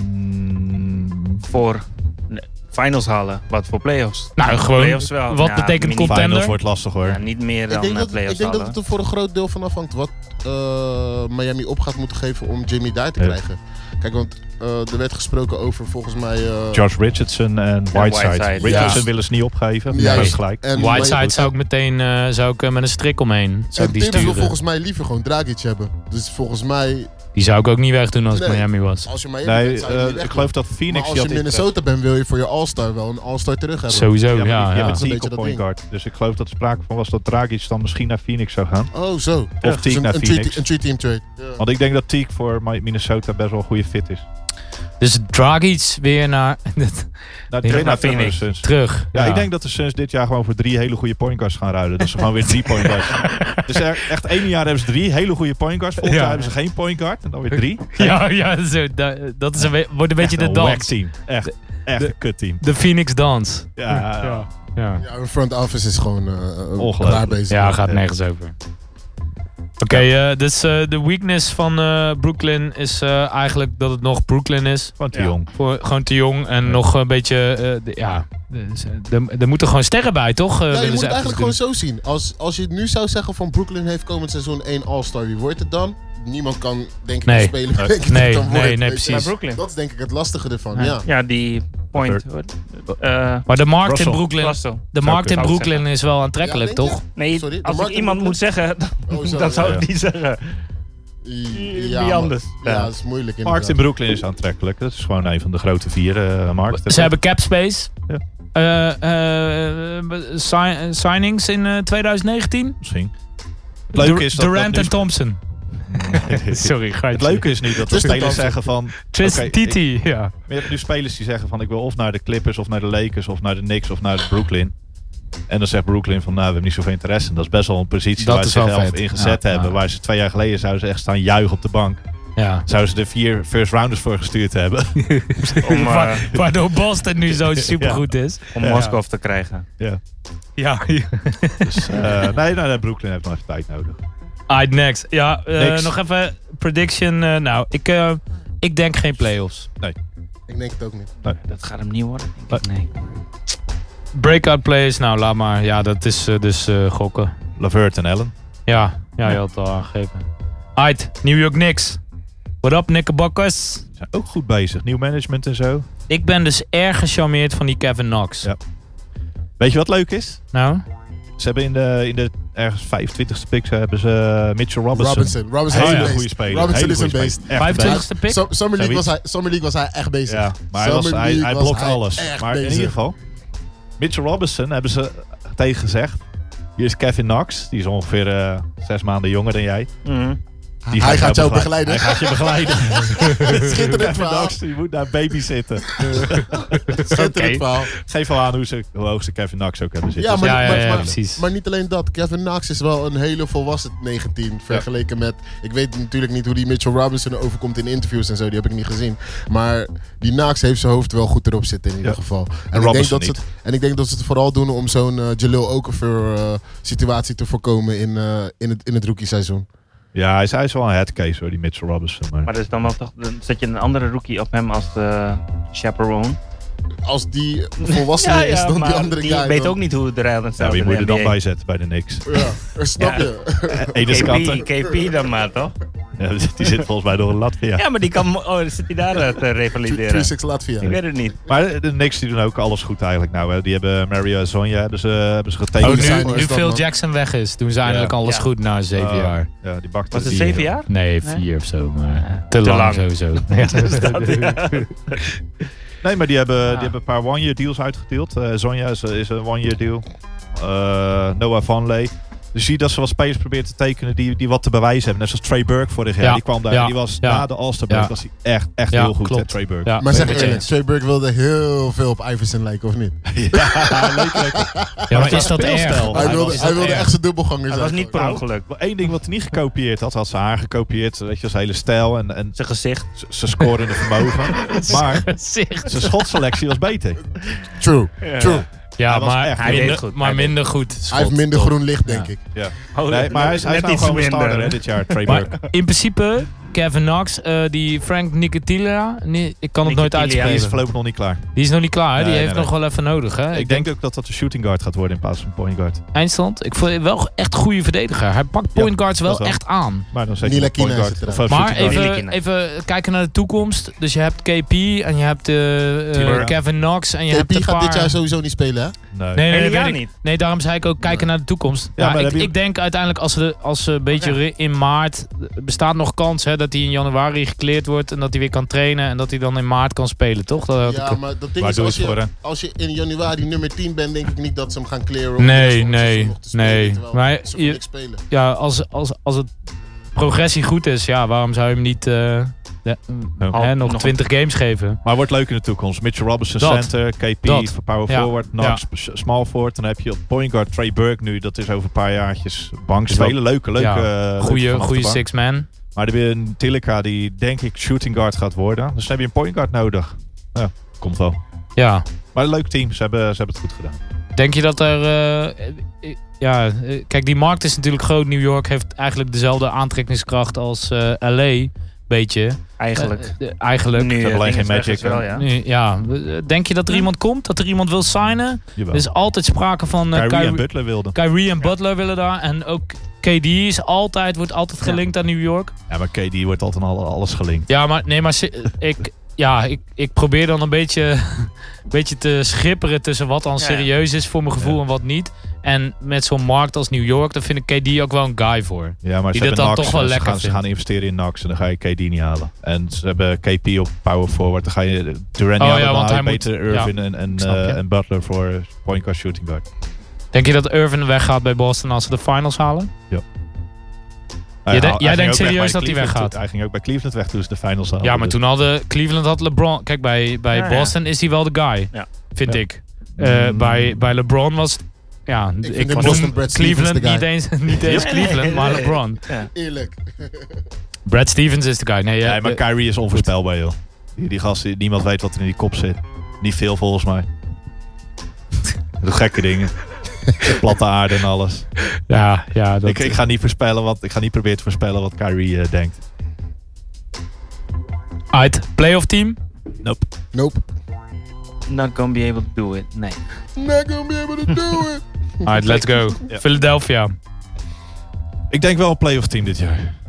Mm, Voor nee, finals halen. Wat voor playoffs? Nou, gewoon, Playoffs wel. wat Ja, betekent mini- content? Contender? Mm, finals wordt lastig hoor. Ja, niet meer ik dan denk, eh, dat, het- ik playoffs denk dat halen. het er voor een groot deel van afhangt wat eh, Miami op gaat moeten geven om Jimmy daar te Ja. krijgen. Kijk, want eh, er werd gesproken over volgens mij... eh, George Richardson en Whiteside. Whiteside, Richardson ja. willen ze niet opgeven. Juist. Ja, dat is gelijk. en Whiteside Miami- zou ik meteen eh, zou ik, eh, met een strik omheen. Zou En ik die Tibbs wil sturen. volgens mij liever gewoon Dragic hebben. Dus volgens mij, Die zou ik ook niet wegdoen als ik Nee. Miami was. als je Miami Nee, bent, zou je eh, niet weg ik geloof doen. dat Phoenix... Maar die als had je Minnesota bent, wil je voor je All-Star wel een All-Star terug hebben. Sowieso, Ja, maar Oh, ja. die- ja, die hebben Dat is een Teague beetje op dat point ding. guard. Dus ik geloof dat er sprake van was dat Dragic dan misschien naar Phoenix zou gaan. Oh, zo. Of Dus Teague een, naar een, three, Phoenix. een three-team trade. Ja. Want ik denk dat Teague voor Mi- Minnesota best wel een goede fit is. Nou, Dus Dragic weer naar Naar, Ja, naar naar Phoenix. Phoenix. Suns. terug. Ja, ik denk dat de Suns dit jaar gewoon voor drie hele goede point guards gaan ruilen. Dat ze gewoon weer drie point guards. Dus er- echt één jaar hebben ze drie hele goede point guards. Volgend Ja. jaar hebben ze geen point guard. En dan weer drie. Ja, ja zo, da- dat is een, we- wordt een beetje de Echt een whack dans. team. Echt, echt de- een kut team. De Phoenix dans. Ja, Ja, Ja. hun front office is gewoon eh, eh Ongelooflijk. klaar bezig. Ja, gaat nergens over. Oké, eh, dus eh, de weakness van eh, Brooklyn is eh, eigenlijk dat het nog Brooklyn is. gewoon te Ja. jong. Voor, gewoon te jong en nog een beetje, eh, de- ja, Dus, eh, er, er moeten gewoon sterren bij, toch? Eh, Ja, je willen moet ze het eigenlijk gewoon eventjes zo zien. Als, als je het nu zou zeggen van Brooklyn heeft komend seizoen één All-Star, wie wordt het dan? Niemand kan, denk ik, Nee. spelen. wie Nee. denk ik Nee, het dan nee, wordt, nee, weet je. precies. Bij Is- Brooklyn. Dat is denk ik het lastige ervan, Ja. ja. ja, die point. Eh doen. Maar de markt Russell. in Brooklyn, Russell. de Zou markt in kunnen. Brooklyn is wel aantrekkelijk, Ja, denk toch? Nee, Sorry, de als ik markt in iemand Brooklyn? moet zeggen, dan, Oh, zo, dan zou ja. ik die zeggen. Ja, Wie maar- anders? Ja, Ja. dat is moeilijk Markt inderdaad. in Brooklyn is aantrekkelijk. Dat is gewoon een van de grote vier eh, markten. Ze hebben cap space. Ja. Eh, eh, si- signings in eh, 2019. Misschien. Het leuke Dur- is dat Durant dat en Thompson. nu- Sorry, ga je Het leuke is niet dat er Tristan spelers Thompson. zeggen van... Tristan oké, ik- Titi, ja. Maar je hebt nu spelers die zeggen van ik wil of naar de Clippers of naar de Lakers of naar de Knicks of naar de Brooklyn. En dan zegt Brooklyn van nou we hebben niet zoveel interesse. En dat is best wel een positie Dat waar ze is wel zichzelf vet. in gezet Ja, hebben. ja. Waar ze twee jaar geleden zouden ze echt staan juichen op de bank. ja. Zouden ze er vier first rounders voor gestuurd hebben. Om, eh, Wa- waardoor Boston nu zo supergoed is. om Ja. Moskou te krijgen. Ja. dus, eh, nee, nee, nee, Brooklyn heeft nog even tijd nodig. Alright, next. Ja, eh, Next. nog even prediction. eh, nou, ik, eh, ik denk geen playoffs. Ik denk het ook niet. Dat gaat hem niet worden. denk ik. Nee. Breakout plays, nou laat maar. Ja, dat is eh, dus eh, gokken. Lavert en Allen. Ja, ja, je had het al aangegeven. Alright, New York Knicks. What up, Knickerbockers? Zijn ook goed bezig. Nieuw management en zo. Ik ben dus erg gecharmeerd van die Kevin Knox. Ja. Weet je wat leuk is? Nou, Ze hebben in de, in de ergens 25ste pick ze hebben ze eh, Mitchell Robinson. Robinson. Robinson is Hele een beest. goede speler. Robinson Hele is een goede beest. speler. Echt een beest. 25ste pick. Sum- Summer League, Zoiets. was hij, Summer League was hij echt bezig. Ja, maar hij, was, Summer hij, League hij was blokt hij alles. echt Maar in bezig. ieder geval, Mitchell Robinson hebben ze tegen gezegd. Hier is Kevin Knox, die is ongeveer eh, zes maanden jonger dan jij. Mhm. Die hij gaat jou begelei- begeleiden. Hij gaat je begeleiden. Schitterend Kevin verhaal. Knox, die moet naar baby zitten. Schitterend verhaal. Geef al aan hoe, ze, hoe hoog ze Kevin Knox ook hebben zitten. Ja, maar, Ja, ja, maar, ja, maar- precies. maar niet alleen dat. Kevin Knox is wel een hele volwassen 19 vergeleken met... Ik weet natuurlijk niet hoe die Mitchell Robinson overkomt in interviews en zo. Die heb ik niet gezien. Maar die Knox heeft zijn hoofd wel goed erop zitten in ieder Ja. geval. En ik, denk Robinson dat ze het, en ik denk dat ze het vooral doen om zo'n eh, Jaleel Okafor eh, situatie te voorkomen in, eh, in het, in het rookie seizoen. ja hij, is, hij is wel een headcase hoor, die Mitchell Robinson. Maar, Maar dat is dan wel toch, dan zet je een andere rookie op hem als de chaperone. Als die volwassener is dan die andere guy. weet dan- ook niet hoe de rijden staat. nou, wie in moet de je er dan NBA. bij zetten bij de Knicks? Ja, eh, snap Ja. dus je? Edens KP, Kanter. KP dan maar toch? Ja, die zit volgens mij door een Latvia. Ja, maar die kan, oh, zit hij daar eh, te revalideren? 3-6 Latvia. Ik weet het niet. Maar de Knicks die doen ook alles goed eigenlijk nou. Hè. Die hebben Mario en Sonja hebben ze, hebben ze getekend. oh, nu, zijn nu is dat, Phil man. Jackson weg is, doen ze eindelijk alles Ja. goed na zeven Oh, jaar. Ja, die bakte Was het die- eh, zeven jaar? Nee, Nee? vier of zo, maar te, Te lang, lang. sowieso. Nee, maar die hebben, Ah. Ja. die hebben een paar one-year deals uitgedeeld. Eh Zonja is, is een one-year deal. Eh, Noah Vanley. Dus zie dat ze wat spelers proberen te tekenen die, die wat te bewijzen hebben. Net zoals Trey Burke vorig jaar. Ja, Die kwam daar. ja, die was ja. na de All-Star break Ja. was hij echt, echt Ja, heel goed. Hè, klopt. Trey Burke. Ja, Maar zeg ben ik eerlijk, eens. Trey Burke wilde heel veel op Iverson lijken, of niet? Ja, leuk, leuk. Ja, maar is dat speelstijl. erg? Hij Hij wilde, was- hij wilde erg? echt zijn dubbelganger Dat zijn. was niet per Nou, ongeluk. Maar één ding wat hij niet gekopieerd had, had zijn haar gekopieerd. Weet je, zijn hele stijl en, en Zijn gezicht. z- zijn scorende vermogen. Maar Gezicht. zijn schotselectie was beter. True, Ja. true. Ja, Hij was maar, echt- Hij minder, deed goed. maar Hij deed minder goed. Hij heeft schot, minder toch? groen licht, denk Ja. ik. Ja. Oh, Nee, maar hij is, hij net is nou iets gewoon een minder. starter hè, dit jaar, Trey Maar Burke. in principe, Kevin Knox, eh, die Frank Nicotilla, nee, ik kan het nooit Nicotilia. Die is uitspreken. voorlopig nog niet klaar. Die is nog niet klaar, hè? die Nee, heeft nee, nog wel even nodig. Hè? Ik denk ook dat dat een shooting guard gaat worden in plaats van een point guard. Eindstand, ik vond hem wel echt goede verdediger. Hij pakt Ja, point guards wel dat wel. echt aan. Maar dan zet je Nila een point Kina is guard het of een Maar shooting guard. even, even kijken naar de toekomst. Dus je hebt KP en je hebt eh, eh, Burke. Kevin Knox en je hebt KP een gaat paar... dit jaar sowieso niet spelen, hè? Nee. Nee, nee, Hele nee, jaar weet ik. niet. nee, daarom zei ik ook kijken naar de toekomst. Ja, Ja, maar ik, heb je- ik denk uiteindelijk als ze, als ze een beetje Oké. re- in maart... bestaat nog kans hè, dat hij in januari gekleerd wordt... en dat hij weer kan trainen en dat hij dan in maart kan spelen, toch? Dat had ik- Ja, maar dat ding Waar is, doe je als het voor, je, hè? als je in januari nummer 10 bent, denk ik niet dat ze hem gaan clearen. om de rest Nee, van het seizoen nee, nog te spelen, nee. terwijl Maar ze je- niks spelen. ja, als, als, als het progressie goed is, ja, waarom zou je hem niet eh, de- Oh, hè, nog nog 20 games geven? Maar wordt leuk in de toekomst. Mitchell Robinson Dat. center, KP Dat. voor power Ja. forward, Knox s- small forward. Dan heb je op point guard Trey Burke nu. Dat is over een paar jaartjes bank Is wel- spelen. Leuke, leuke. Ja. eh, leuke Goeie, vanaf de goeie bank. six-man. Maar dan heb je een Tillica die denk ik shooting guard gaat worden. Dus dan heb je een point guard nodig. Ja, komt wel. Ja. Maar een leuk team. Ze hebben, ze hebben het goed gedaan. Denk je dat er... eh, eh, eh, ja, eh, kijk, die markt is natuurlijk groot. New York heeft eigenlijk dezelfde aantrekkingskracht als eh, LA. Beetje. Eigenlijk. Eh, eh, eigenlijk. nu, hebben eh, alleen geen Dinges weg magic, is wel, hè? ja. Nu, ja. we- eh, Denk je dat er iemand komt? Dat er iemand wil signen? Jawel. Er is altijd sprake van Dus, eh, Kyrie en Kyrie, Butler wilden. Kyrie en Butler willen daar. En ook KD is altijd, wordt altijd Ja. gelinkt aan New York. Ja, maar KD wordt altijd aan alle- alles gelinkt. Ja, maar nee, maar si- ik, ja, ik, ik probeer dan een beetje, een beetje te schipperen tussen wat dan Ja, ja. serieus is voor mijn gevoel Ja. en wat niet. En met zo'n markt als New York, daar vind ik KD ook wel een guy voor. Ja, maar ze Die hebben dat dan Nax, toch wel ze lekker gaan, ze vindt. gaan investeren in Nax en dan ga je KD niet halen. En ze hebben KP op power forward. Dan ga je Durant niet halen. Oh, ja, dan want haal je hij moet- beter Irving en, en, snap eh, je. en Butler voor point guard shooting guard. Nou Denk je dat Irvin weggaat bij Boston als ze de finals halen? Hij- de- hij- jij hij ging denkt ook weg serieus bij dat hij Cleveland weggaat? toe. Hij ging ook bij Cleveland weg toen ze de finals Dus- haalden. ja, maar toen hadden Cleveland had LeBron. Kijk, bij, bij Ja, ja. Boston is hij wel de guy, Ja. vind Ja. ik. Eh, Mm. bij, bij LeBron was het- ja, d- vind ik, in noem Boston Brad Stevens Cleveland de guy. niet eens, niet eens Cleveland, maar LeBron. Ja. Eerlijk. Brad Stevens is de guy. Nee, Dus, ja, eh, nee, maar de- Kyrie is onvoorspelbaar, joh. Die, die gast, die- niemand weet wat er in die kop zit. Niet veel volgens mij. Hij Doet gekke dingen. Platte aarde en alles. ja, ja, dat, Ik, ik ga niet voorspellen wat, ik ga niet proberen te voorspellen wat Kyrie eh, denkt. Uit, playoff team. Nope. Nope. Not gonna be able to do it. Nee. Not gonna be able to do it. Alright, let's go. Ja. Philadelphia. Ik denk wel een playoff team dit jaar.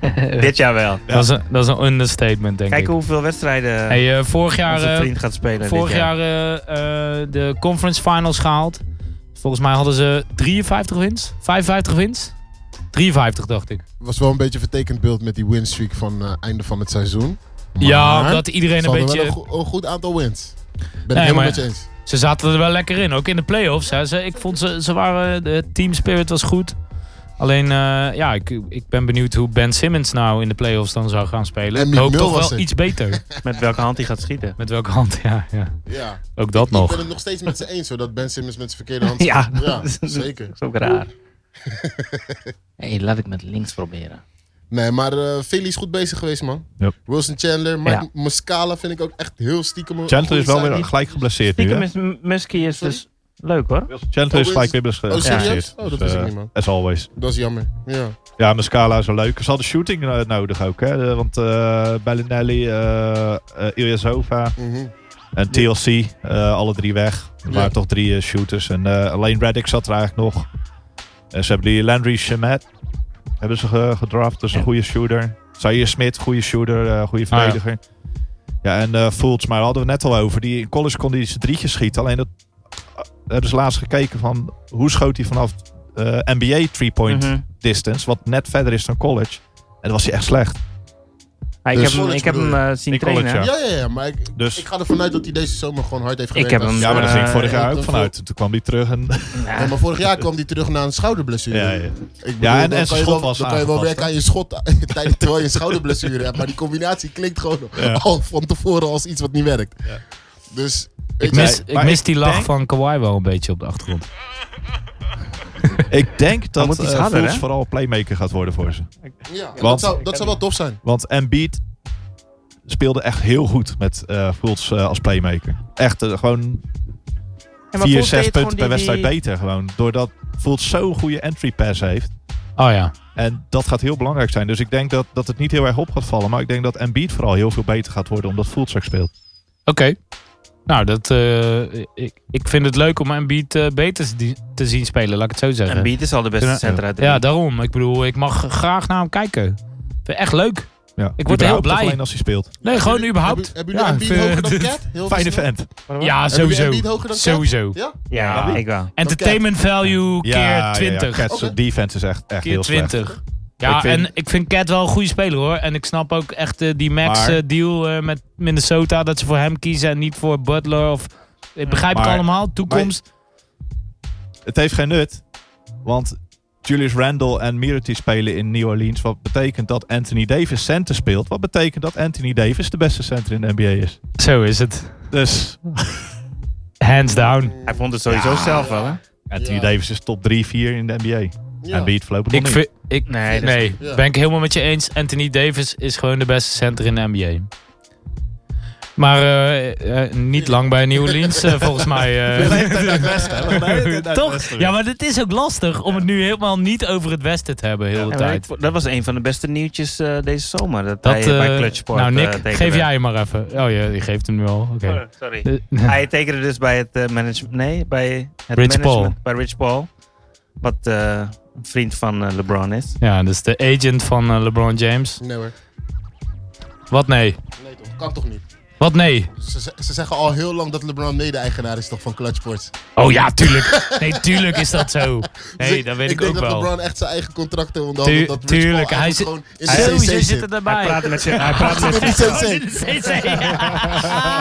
Eh, Dit jaar wel. Dat, is een, dat is een understatement, denk Kijken ik. hoeveel wedstrijden Hey, eh, vorig jaar, onze eh, vriend gaat spelen. vorig dit jaar eh, eh, de conference finals gehaald. Volgens mij hadden ze 53 wins. 55 wins. 53, dacht ik. Was wel een beetje een vertekend beeld met die winstreak van eh, einde van het seizoen. ja, Maar omdat iedereen Ze een hadden wel beetje... een, go- een goed aantal wins. Ben Nee, ik helemaal maar- met je eens. Ze zaten er wel lekker in, ook in de playoffs. Hè. Ze, ik vond ze, ze waren, de team spirit was goed. Alleen, eh, ja, ik, ik ben benieuwd hoe Ben Simmons nou in de playoffs dan zou gaan spelen. En ik hoop Mill toch was wel het. iets beter. jaar. Met welke hand hij gaat schieten. Met welke hand, ja. ja. Ja. Ook dat Ik ben nog. het nog steeds met ze eens, hoor, dat Ben Simmons met zijn verkeerde hand... Ja, Ja, dat is- zeker. Dat is ook raar. Hé, hey, laat ik met links proberen. Nee, maar eh Philly is goed bezig geweest, man. Yep. Wilson Chandler, Mike Ja. Muscala vind ik ook echt heel stiekem... een Chandler goede is wel signing. weer gelijk geblesseerd nu, Stiekem hè? is M- Musky is dus leuk hoor. Chandler is Oh, gelijk is- weer bes- Oh, serieus? geblesseerd. Oh, dat Dus, wist ik eh, niet, man. As always. Dat is jammer, ja. Ja, Muscala is wel leuk. Ze hadden shooting eh, nodig ook, hè? Eh, Want eh Bellinelli, eh eh Ilyasova Mhm. en TLC, eh, alle drie weg. Er Ja. waren toch drie eh, shooters. En eh, alleen Reddick zat er eigenlijk nog. En ze hebben die Landry Shamet hebben ze ge- gedraft. Dus een Ja. goede shooter. Zaire Smit, goede shooter, eh goede ja. verdediger. ja. en eh Fultz, maar daar hadden we het net al over. Die in college kon die zijn drietjes schieten. Alleen dat eh, hebben ze laatst gekeken van hoe schoot hij vanaf eh, NBA three-point Mhm. distance, wat net verder is dan college. En dat was hij echt slecht. Ah, ik, Dus- heb hem, ik heb hem eh, zien In college, trainen. Ja. Ja, ja, ja, maar ik, Dus- ik ga ervan uit dat hij deze zomer gewoon hard heeft gewerkt. heb aan hem- zijn- Ja, maar daar Eh, ging ik vorig jaar ik- ook vanuit. Toen kwam hij terug en... Ja. Nee, maar vorig jaar kwam hij terug na een schouderblessure. Ja, ja. Ik bedoel, Ja, en- dan en kan zijn je schot wel, was Dan kan je wel aangepast, werken aan je schot eh, tijdens- terwijl je een schouderblessure hebt. Maar die combinatie klinkt gewoon Ja. al van tevoren als iets wat niet werkt. Ja. Dus Ik weet je, mis, ik maar mis ik die lach denk- van Kawhi wel een beetje op de achtergrond. ik denk dat moet iets eh, harder, Fultz hè? vooral playmaker gaat worden voor ze. ja, dat, Want- zou, dat zou wel tof zijn. Want Embiid speelde echt heel goed met eh Fultz eh, als playmaker. Echt eh, gewoon Ja, maar Fultz 4, deed 6 punten gewoon per die- wedstrijd die- beter. Gewoon. Doordat Fultz zo'n goede entry pass heeft. Oh ja. En dat gaat heel belangrijk zijn. Dus ik denk dat, dat het niet heel erg op gaat vallen. Maar ik denk dat Embiid vooral heel veel beter gaat worden omdat Fultz ook speelt. Oké. Nou, dat, eh, ik, ik vind het leuk om Embiid eh beter te, di- te zien spelen, laat ik het zo zeggen. En Beat is al de beste Ja. center uit de Ja, league. daarom. Ik bedoel, ik mag graag naar hem kijken. Ik vind het echt leuk. Ja. Ik word er heel Überhaupt, blij. of Alleen als hij speelt. Nee, gewoon überhaupt. Hebben jullie hebben jullie Ja, Embiid ik hoger vind- dan Cat? Heel Fijne snel. vent. Ja, Hebben jullie sowieso. Embiid hoger dan Cat? Sowieso. Ja? Ja, Ja. ik wel. Entertainment value keer 20. Cats Oké. defense is echt, echt Keer heel slecht. 20. Ja, Ik vind- en ik vind Cat wel een goede speler hoor. En ik snap ook echt eh, die Maar- Max-deal met Minnesota. Dat ze voor hem kiezen en niet voor Butler. Of, ik begrijp Maar- het allemaal. Toekomst. Het heeft geen nut. Want Julius Randle en Mirity spelen in New Orleans. Wat betekent dat Anthony Davis center speelt. Wat betekent dat Anthony Davis de beste center in de NBA is. Zo is het. Dus Hands down. Hij vond het sowieso zelf wel, hè? Anthony Ja. Davis is top 3, 4 in de NBA. Ja. En beat voorlopig nog Ik niet. vind, ik, Nee, nee, dat is- ja. ben ik helemaal met je eens. Anthony Davis is gewoon de beste center in de NBA. Maar eh, eh, niet lang bij New Orleans, eh, volgens mij. eh. Toch? Ja, maar het is ook lastig om het nu helemaal niet over het Westen te hebben, heel de Ja, maar tijd. ik vo- dat was een van de beste nieuwtjes eh, deze zomer. Dat, Dat, hij bij eh, Clutchport nou, eh, Nick, tekende. geef jij hem maar even. Oh ja, die geeft hem nu al. Oké. Oh, sorry. Eh, Hij tekende dus bij het management. Nee, bij het Rich management. Bij Rich Paul. Wat eh, een vriend van eh, LeBron is. ja, dat is de agent van eh, LeBron James. Nee hoor. Wat nee? Nee toch, kan toch niet. Wat nee? Ze, ze- ze zeggen al heel lang dat LeBron mede-eigenaar is toch van Clutch Sports. Oh ja, tuurlijk. Nee, tuurlijk is dat zo. Dus Nee, dat weet ik, denk ook dat wel. LeBron echt zijn eigen contracten onderhandelt. Tu- Dat Rich Paul tuurlijk, hij eigenlijk zit- gewoon in Hij- de Sowieso CC zit zit. het Hij erbij. praat met zijn... Hij praat met Hij Oh, zit dit in de CC. is CC,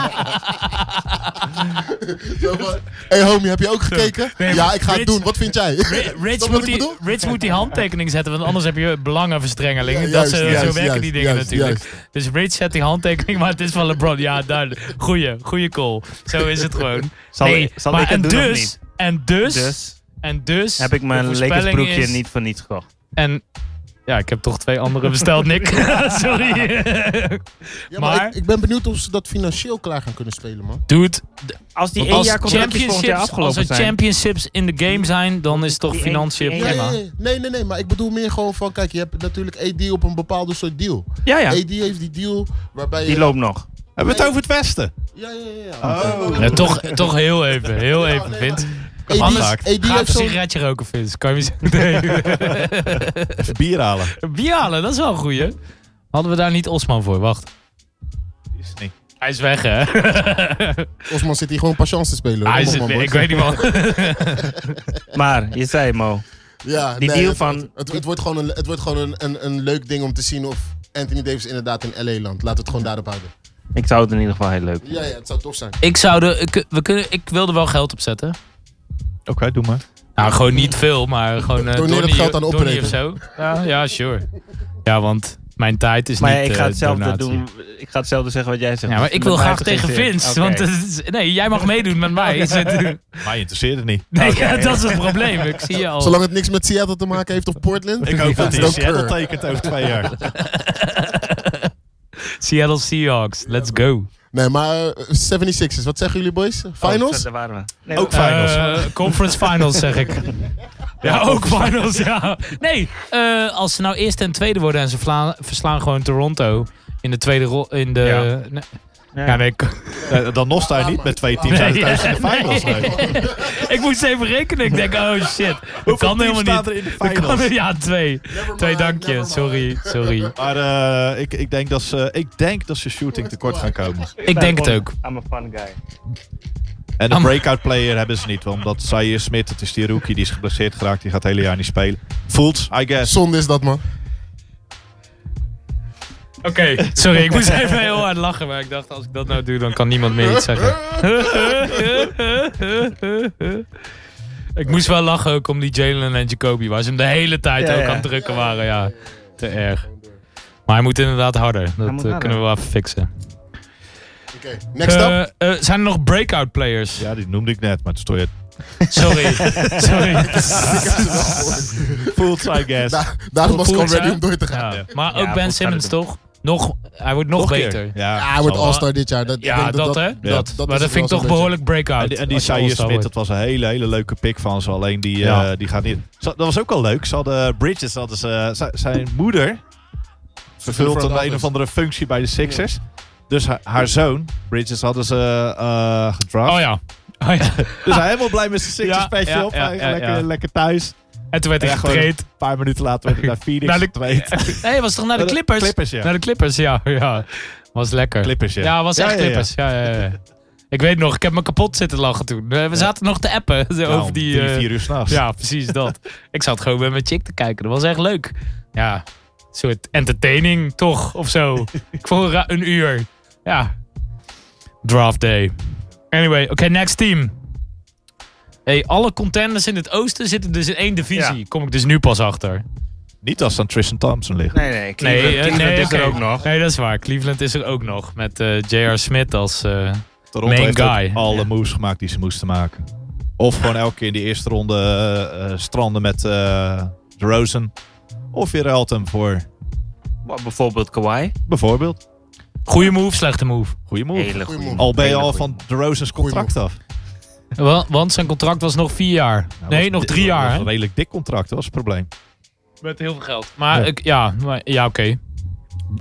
Zo van, Hey homie, heb je ook gekeken? Nee, ja, maar ik ga het Rich- doen. Wat vind jij? Rich wat moet, ik die, bedoel? Rich moet die handtekening zetten, want anders heb je belangenverstrengeling. Ja, dat juist, ze, zo juist, werken die juist, dingen juist, natuurlijk. juist. Dus Rich zet die handtekening, maar het is van LeBron. Ja, duidelijk. Goeie, goeie call. Zo is het gewoon. Zal, Nee, zal maar ik en het doen of dus, niet? En dus, Dus en dus... heb ik de mijn Lakers voorspelling broekje is- niet voor niets gekocht. En ja, ik heb toch twee andere besteld, Nick. Sorry. Ja, maar Maar- ik, ik ben benieuwd of ze dat financieel klaar gaan kunnen spelen, man. Dude, Als die één als jaar contract is volgend jaar championships, als er afgelopen zijn. championships in de game zijn, dan is toch Die één- financiën die één- prima. Nee, nee, nee, nee, maar ik bedoel meer gewoon van, kijk, je hebt natuurlijk AD op een bepaalde soort deal. Ja, ja. AD heeft die deal waarbij je... Die loopt nog. Hebben we het over het Westen? Ja, ja, ja. ja. Oh. Ja, toch, toch heel even, heel even, nee, Vince. AD, Anders AD Ga even heeft een zo'n... sigaretje roken, Vince. Kan je me zeggen? Even bier halen. Nee. Bier halen, dat is wel een goeie. Hadden we daar niet Osman voor? Wacht. Is het niet. Hij is weg, hè? Osman zit hier gewoon patience te spelen. hoor. Hij Kom Ah, is op, man, ik boys. weet niet wat. Maar, je zei Mo. Ja, Die nee, deal het- van- Het, het, het wordt gewoon, een, het wordt gewoon een, een, een leuk ding om te zien of Anthony Davis inderdaad in LA landt. Laat het gewoon daarop houden. Ik zou het in ieder geval heel leuk Ja, ja, het zou tof zijn. Ik zou er, ik, we kunnen, ik wil er wel geld op zetten. Oké, doe maar. Nou, gewoon niet veel, maar gewoon... eh Doneer het Donnie- geld aan Donnie opbreken. of zo. Ja, ja, sure. Ja, want mijn tijd is Maar niet ja, ik eh, ga hetzelfde donatie. doen. Ik ga hetzelfde zeggen wat jij zegt. Dus Ja, maar ik wil Met mij graag tegen gegeven. Vince, Oké. want het is- nee, jij mag meedoen met mij. Mij interesseert het niet. Nee, dat is het probleem. Ik zie je al. Zolang het niks met Seattle te maken heeft of Portland. Ik hoop dat hij Don't Seattle care. tekent over twee jaar. Seattle Seahawks, let's go. Nee, maar eh, 76ers, wat zeggen jullie boys? Oh, Finals? daar waren we. Nee, Ook dat- finals. Eh, conference finals, zeg ik. Ja, ook finals, ja. Nee, eh, als ze nou eerste en tweede worden en ze vla- verslaan gewoon Toronto in de tweede rol in de... Ja. Nee, ja. ja, nee, ik, Eh, Dan nog sta je niet met twee teams Nee, uit thuis in de nee. finals. Nee. ik moest even rekenen. Ik denk, oh shit, dat Hoeveel kan teams helemaal staat niet. er in de Dat finals? kan, ja, twee. Twee dankje, dankjes. sorry, sorry. Maar eh, ik, ik, denk dat ze, ik denk dat ze shooting tekort gaan komen. Ik denk het ook. I'm a fun guy. En Am- een breakout player hebben ze niet. want Omdat Zaire Smit, dat is die rookie, die is geblesseerd geraakt. Die gaat het hele jaar niet spelen. Fools, I guess. Zonde is dat, man. Oké, sorry, ik moest even heel hard lachen, maar ik dacht als ik dat nou doe, dan kan niemand meer iets zeggen. ik moest wel lachen ook om die Jalen en Jacoby, waar ze hem de hele tijd Ja, ook ja. aan het drukken waren. Ja, te erg. Maar hij moet inderdaad harder. Dat moet eh, harder. kunnen we wel even fixen. Oké, next up. Eh, eh, zijn er nog breakout players? Ja, die noemde ik net, maar het is toch weer- Sorry, sorry. Fools, I guess. Da- daarom was ik al Goed, ready hè? om door te gaan. Ja, maar Ja, ook Ben goed, Simmons harder toch? Nog, hij wordt nog Nog een keer. beter. Ja, Ja, hij wordt zal wel. All-Star dit jaar. Dat, ik Ja, denk dat, hè? dat Dat. is maar wel dat vind ik zo'n toch beetje- behoorlijk breakout. En die, en die als je Zaire All-Star Smit, dat wordt. was een hele, hele leuke pick van ze. Alleen die, eh, Ja. die gaat niet... Zo- Dat was ook al leuk. Ze hadden eh, Bridges, hadden ze, zi- zijn moeder vervult front een, een office. of andere functie bij de Sixers. Dus haar, haar zoon, Bridges, hadden ze eh gedraft. Oh ja. Oh ja. Dus hij helemaal blij met zijn Sixers Ja, special. ja, op. ja, Hij is ja, lekker, ja. lekker thuis. En toen werd hij Ja, gewoon- getraind. Een paar minuten later werd hij naar Phoenix Naar de- getweet. Nee, hij was toch naar de Clippers? Clippers, ja. Naar de Clippers, ja. ja. Was lekker. Clippers, ja. Ja, was echt ja, ja. Clippers. Ja. Ja, ja, Ik weet nog, ik heb me kapot zitten lachen toen. Eh, We zaten nog te appen zo, Nou, over om die... drie, eh, vier uur s'nachts. ja, precies dat. ik zat gewoon met mijn chick te kijken. Dat was echt leuk. Ja, een soort entertaining toch, of zo. ik vond ra- een uur. Ja. Draft day. Anyway, oké, next team. Hey, alle contenders in het oosten zitten dus in één divisie. Kom ik dus nu pas achter. Niet als ze aan Tristan Thompson liggen. Nee, nee. Cleveland, eh, Cleveland is oké. er ook nog. Nee, dat is waar. Cleveland is er ook nog. Met eh, J.R. Smith als... eh, Toronto Main heeft ook guy. alle Ja. moves gemaakt die ze moesten maken. Of gewoon elke keer in de eerste ronde eh, eh, stranden met eh DeRozan. Of weer Elton voor eh, Maar Bijvoorbeeld Kawhi. bijvoorbeeld. Goeie move, slechte move. Goeie move. Hele Goeie goede move. Al ben je al van de Rose's contract af. Wa- Want zijn contract was nog vier jaar. Nou, nee, was- nog drie was jaar. hè? Een redelijk dik contract, dat was het probleem. Met heel veel geld. Maar Ja. ik, ja, maar, ja oké. Hij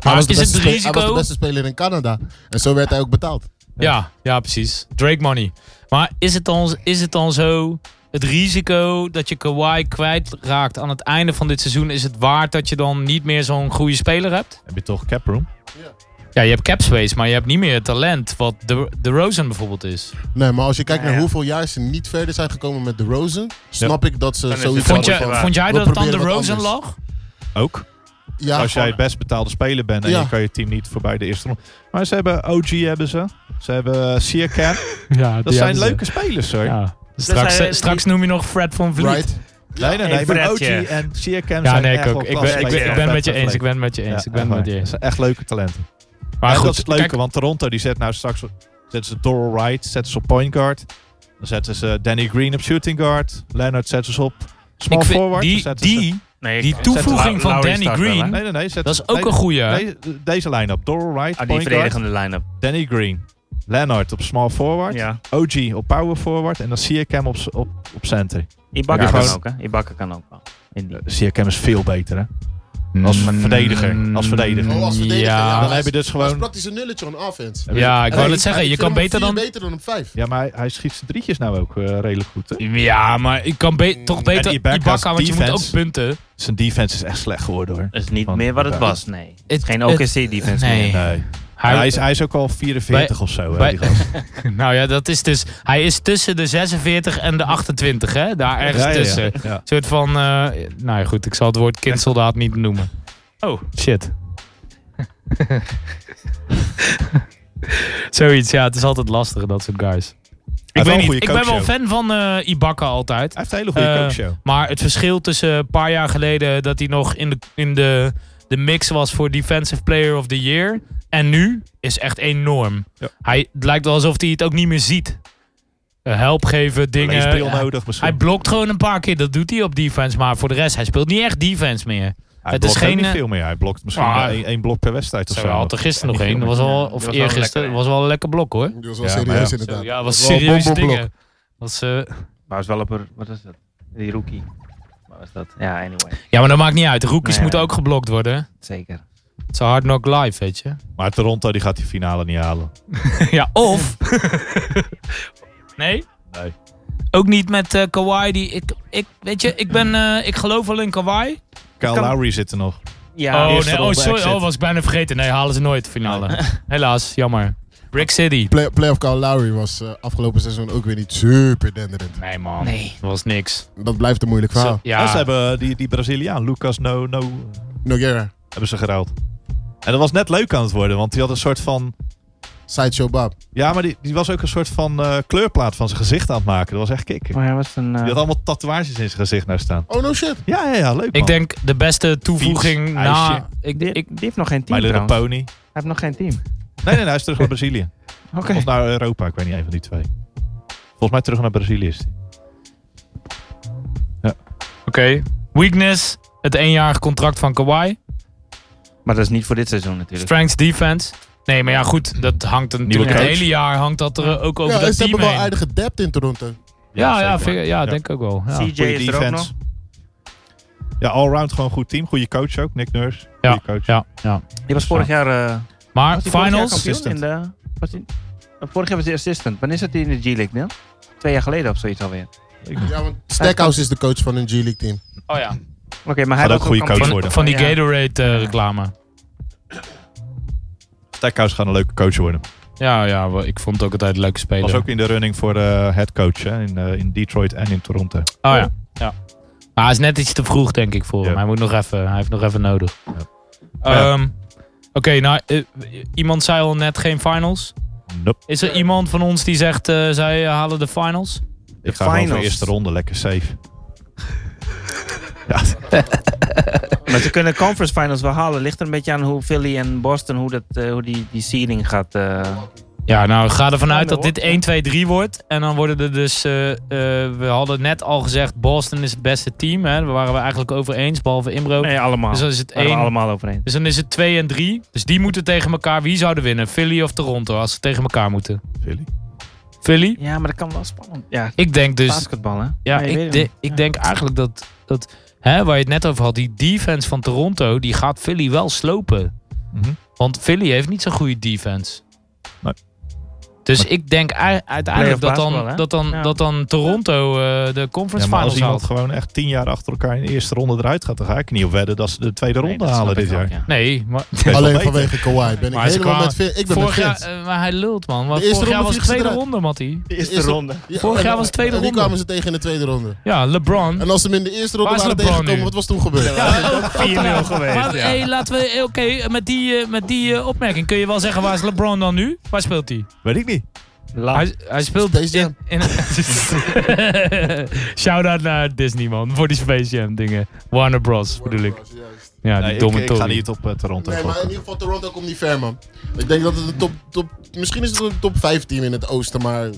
Maar was, is de het beste het spe- hij was de risico? beste speler in Canada. En zo werd hij ook betaald. Ja. Ja, precies. Drake money. Maar is het dan, is het dan zo... Het risico dat je Kawhi kwijtraakt aan het einde van dit seizoen... is het waard dat je dan niet meer zo'n goede speler hebt? Heb je toch caproom? Ja, je hebt cap space, maar je hebt niet meer het talent... wat de, de Rosen bijvoorbeeld is. Nee, maar als je kijkt Ja, naar ja. hoeveel jaar ze niet verder zijn gekomen met de Rosen, snap ik dat ze Dan is het sowieso... Vond, dat je, is waar. vond jij We dat het aan de proberen wat Rosen anders. lag? Ook. Ja, Als jij het best betaalde speler bent en Ja. je kan je team niet voorbij de eerste ronde. Maar ze hebben OG hebben ze. Ze hebben Sierkamp. Ja, Dat zijn leuke spelers hoor. Straks, hij- eh, straks noem je nog Fred van Vliet. right? Nee, nee, nee. Hey, maar OG Fredje. en Sierkamp Ja, zijn nee, echt ik ook. wel Ik ben, ik, ben, klasse. ik ben met je Ja, eens. Ik ben met je eens. Ja, ik ben echt met waar. je Dat eens. zijn echt leuke talenten. Maar en goed, dat is het leuke, kijk, want Toronto die zet nou straks... Zetten ze Doral Wright, zetten ze op point guard. Dan zetten ze Danny Green op shooting guard. Leonard zetten ze op small ik vind forward. Dan die, zetten ze- die Nee, Die toevoeging van Lowry Danny start wel, hè? Green, Nee, nee, nee. zetten dat ze- is ook nee, een goeie. Deze, deze line-up. Doral Wright, Ah, die point guard. verdedigende line-up. Danny Green. Leonard op small forward. Ja. OG op power forward. En dan Siakam op, s- op, op center. Eh, Ibaka Ja, kan gewoon- ook, hè? Ibaka kan ook wel. In die. Siakam is veel beter, hè? Als verdediger. Als verdediger. Mm, Oh, als verdediger, ja. Dan hij is- heb je dus Dat is gewoon... praktisch een nulletje on offense. Ja, ik Hey, wou het zeggen. ik Je vind kan hem op beter vier dan... beter dan op vijf. Ja, maar hij, hij schiet zijn drietjes nou ook eh, redelijk goed, hè? Ja, maar ik kan be- toch beter En Ibaka's Ibaka, want je moet defense. ook punten. Zijn defense is echt slecht geworden, hoor. Dat is niet Van meer wat het Ibaka. was, nee. Het Het- is geen het- OKC-defense nee. meer. Nee. Hij- hij, is, hij is ook al 44 of zo, hè, bij- die gast. nou ja, dat is dus... Hij is tussen de 46 en de 28, hè? Daar ergens Ja, ja, ja. tussen. Een Ja. soort van... eh, nou ja, goed. Ik zal het woord kindsoldaat niet noemen. Oh, shit. Zoiets, ja. Het is altijd lastig, dat soort guys. Ik wel weet een niet. goede Ik ben wel coachshow. fan van eh Ibaka altijd. Hij heeft een hele goede Eh, coachshow. Maar het verschil tussen een paar jaar geleden dat hij nog in de, in de, de mix was voor Defensive Player of the Year en nu is echt enorm. Ja. Hij, het lijkt wel alsof hij het ook niet meer ziet. Eh, Help geven, dingen. Leesbril Hij- nodig misschien. Hij blokt gewoon een paar keer, dat doet hij op defense. Maar voor de rest, hij speelt niet echt defense meer. Hij het is blokt ook geen, niet eh, veel meer. Hij blokt misschien Ah. maar één, één blok per wedstrijd of Zo, zo. we had er gisteren nog één, dat was Ja, al, die was of wel eergisteren, lekker, hè? was wel een lekker blok hoor. Dat was wel Ja, maar serieus ja. Zo, inderdaad. ja, Dat was wel een serieus bonbonblok. dingen. Was, eh, Maar was wel op een, wat is dat? Die rookie. Wat was dat? Ja, anyway. ja, maar dat maakt niet uit. Rookies Nee. moeten ook geblokt worden. Zeker. Het is een hard knock live, weet je. Maar Toronto die gaat die finale niet halen. Ja, of. nee? Nee. Ook niet met eh, Kawhi. Die, ik, ik, weet je, ik, ben, eh, ik geloof wel in Kawhi. Kyle kan- Lowry zit er nog. Ja, oh, eerste nee, oh, ronde sorry. exit. Oh, was ik bijna vergeten. Nee, halen ze nooit de finale. Helaas, jammer. Brick City. Play- Playoff Kyle Lowry was eh, afgelopen seizoen ook weer niet super denderend. Nee, man. Nee. Dat was niks. Dat blijft een moeilijk verhaal. Zo- ja. En Oh, ze hebben die, die Braziliaan, Lucas No, no Noguera, hebben ze geruild. En dat was net leuk aan het worden, want die had een soort van... Sideshow Bob. Ja, maar die, die was ook een soort van eh, kleurplaat van zijn gezicht aan het maken. Dat was echt kicken. maar hij was een... eh, Die had allemaal tatoeages in zijn gezicht nou staan. Oh no shit. Ja, ja, ja, leuk man. ik denk de beste toevoeging Fiets, na... ijsje. Ik, die, ik, die heeft nog geen My team Little trouwens. Hij Pony. heeft nog geen team. Nee, nee, nee, hij is terug naar Brazilië. Oké. Of naar Europa, ik weet niet, een van die twee. Volgens mij terug naar Brazilië is hij. Oké. Weakness. Het eenjarig contract van Kawhi. Maar dat is niet voor dit seizoen natuurlijk. Strengths defense. Nee, maar ja, goed. Dat hangt er natuurlijk het coach. hele jaar hangt dat er eh, ook over Ja, dat ze team hebben wel heen. aardige depth in Toronto. Ja, ja, zeker. vind ik- ja, denk ik ook wel. Ja. CJ Goeie is er ook nog. Ja, allround gewoon goed team. Goede coach ook, Nick Nurse. Goede Ja, coach. ja, ja. Die was vorig jaar... eh, Maar was die vorig jaar finals? kampioen in de... Was die, eh, vorig jaar was hij assistant. Wanneer zat hij in de G-League, Neil? Twee jaar geleden of zoiets alweer. Ja, want Stackhouse is de coach van een G-League team. Oh ja. Oké, maar hij Gaat was ook goede kampioen. coach Van, worden. van die Ja. Gatorade eh, reclame. Stackhouse gaat een leuke coach worden. Ja, ja, wa- ik vond het ook altijd een leuke speler. Was ook in de running voor eh head coach hè, in, eh, in Detroit en in Toronto. Oh ja. ja. Maar hij is net iets te vroeg, denk ik, voor hem. Ja. Hij, moet nog even, hij heeft nog even nodig. Ja. Ehm, Oké, nou, eh, iemand zei al net geen finals. Nope. Is er iemand van ons die zegt, eh, zij eh, halen de finals? Ik ga gewoon voor de finals. eerste ronde. Lekker safe. ja, Maar ze kunnen conference finals wel halen. Ligt er een beetje aan hoe Philly en Boston, hoe, dat, eh, hoe die, die seeding gaat. eh, Ja, nou, ga ervan uit dat dit wordt, ja. 1, 2, 3 wordt. En dan worden er dus... eh, eh, we hadden net al gezegd, Boston is het beste team. Hè? Daar waren we eigenlijk over eens, behalve Imbro. Nee, allemaal. Oh, Dus dan is het Waren we 1... allemaal overeen. Dus dan is het 2 en 3. Dus die moeten tegen elkaar. Wie zouden winnen? Philly of Toronto? Als ze tegen elkaar moeten. Philly. Philly? Ja, maar dat kan wel spannend. Ja, Ik denk dus. basketbal hè? Ja, Nee, je weet ik, het de- niet. ik Ja. denk eigenlijk dat. dat hè, waar je het net over had. Die defense van Toronto. Die gaat Philly wel slopen. Mhm. Want Philly heeft niet zo'n goede defense. Nee. Dus ik denk ui- uiteindelijk dat Playoff dan, basketbal, hè? dat, dan, Ja. dat dan Toronto eh, de Ja, conference maar als finals iemand haalt. gewoon echt tien jaar achter elkaar in de eerste ronde eruit gaat, dan ga ik er niet op wedden dat ze de tweede Nee, ronde dat halen snap dit ik ook, jaar. ja. Nee, maar, wel Alleen beter. vanwege Kawhi ben ik Maar ze helemaal kwamen- met Vin. Ik ben met vorig jaar, Vince. eh, maar hij lult man. Want De eerste vorig jaar ronde was vliegen het ze tweede eruit. ronde, Mattie. Eerste Eerste- ronde. Ja, vorig en- jaar was het tweede en die ronde. kwamen ze tegen in de tweede ronde. Ja, LeBron. En als ze hem in de eerste ronde Waar is waren LeBron tegengekomen, nu? wat was toen gebeurd? Ja, oh. ook 4-0 geweest, Maar eh, ja. hey, laten we, eh, oké, met die, eh, met die eh, opmerking kun je wel zeggen, waar is LeBron dan nu? Waar speelt hij? Weet ik niet. La. Hij, hij speelt Space Jam. in... in Shout-out naar Disney, man, voor die Space Jam dingen. Warner Bros, bedoel ik. Ja, die Nee, ik, domme ik ga Tony. niet op eh, Toronto Nee, maar in gokken. ieder geval Toronto komt niet ver, man. Ik denk dat het een top, top... Misschien is het een top 5 team in het oosten, maar...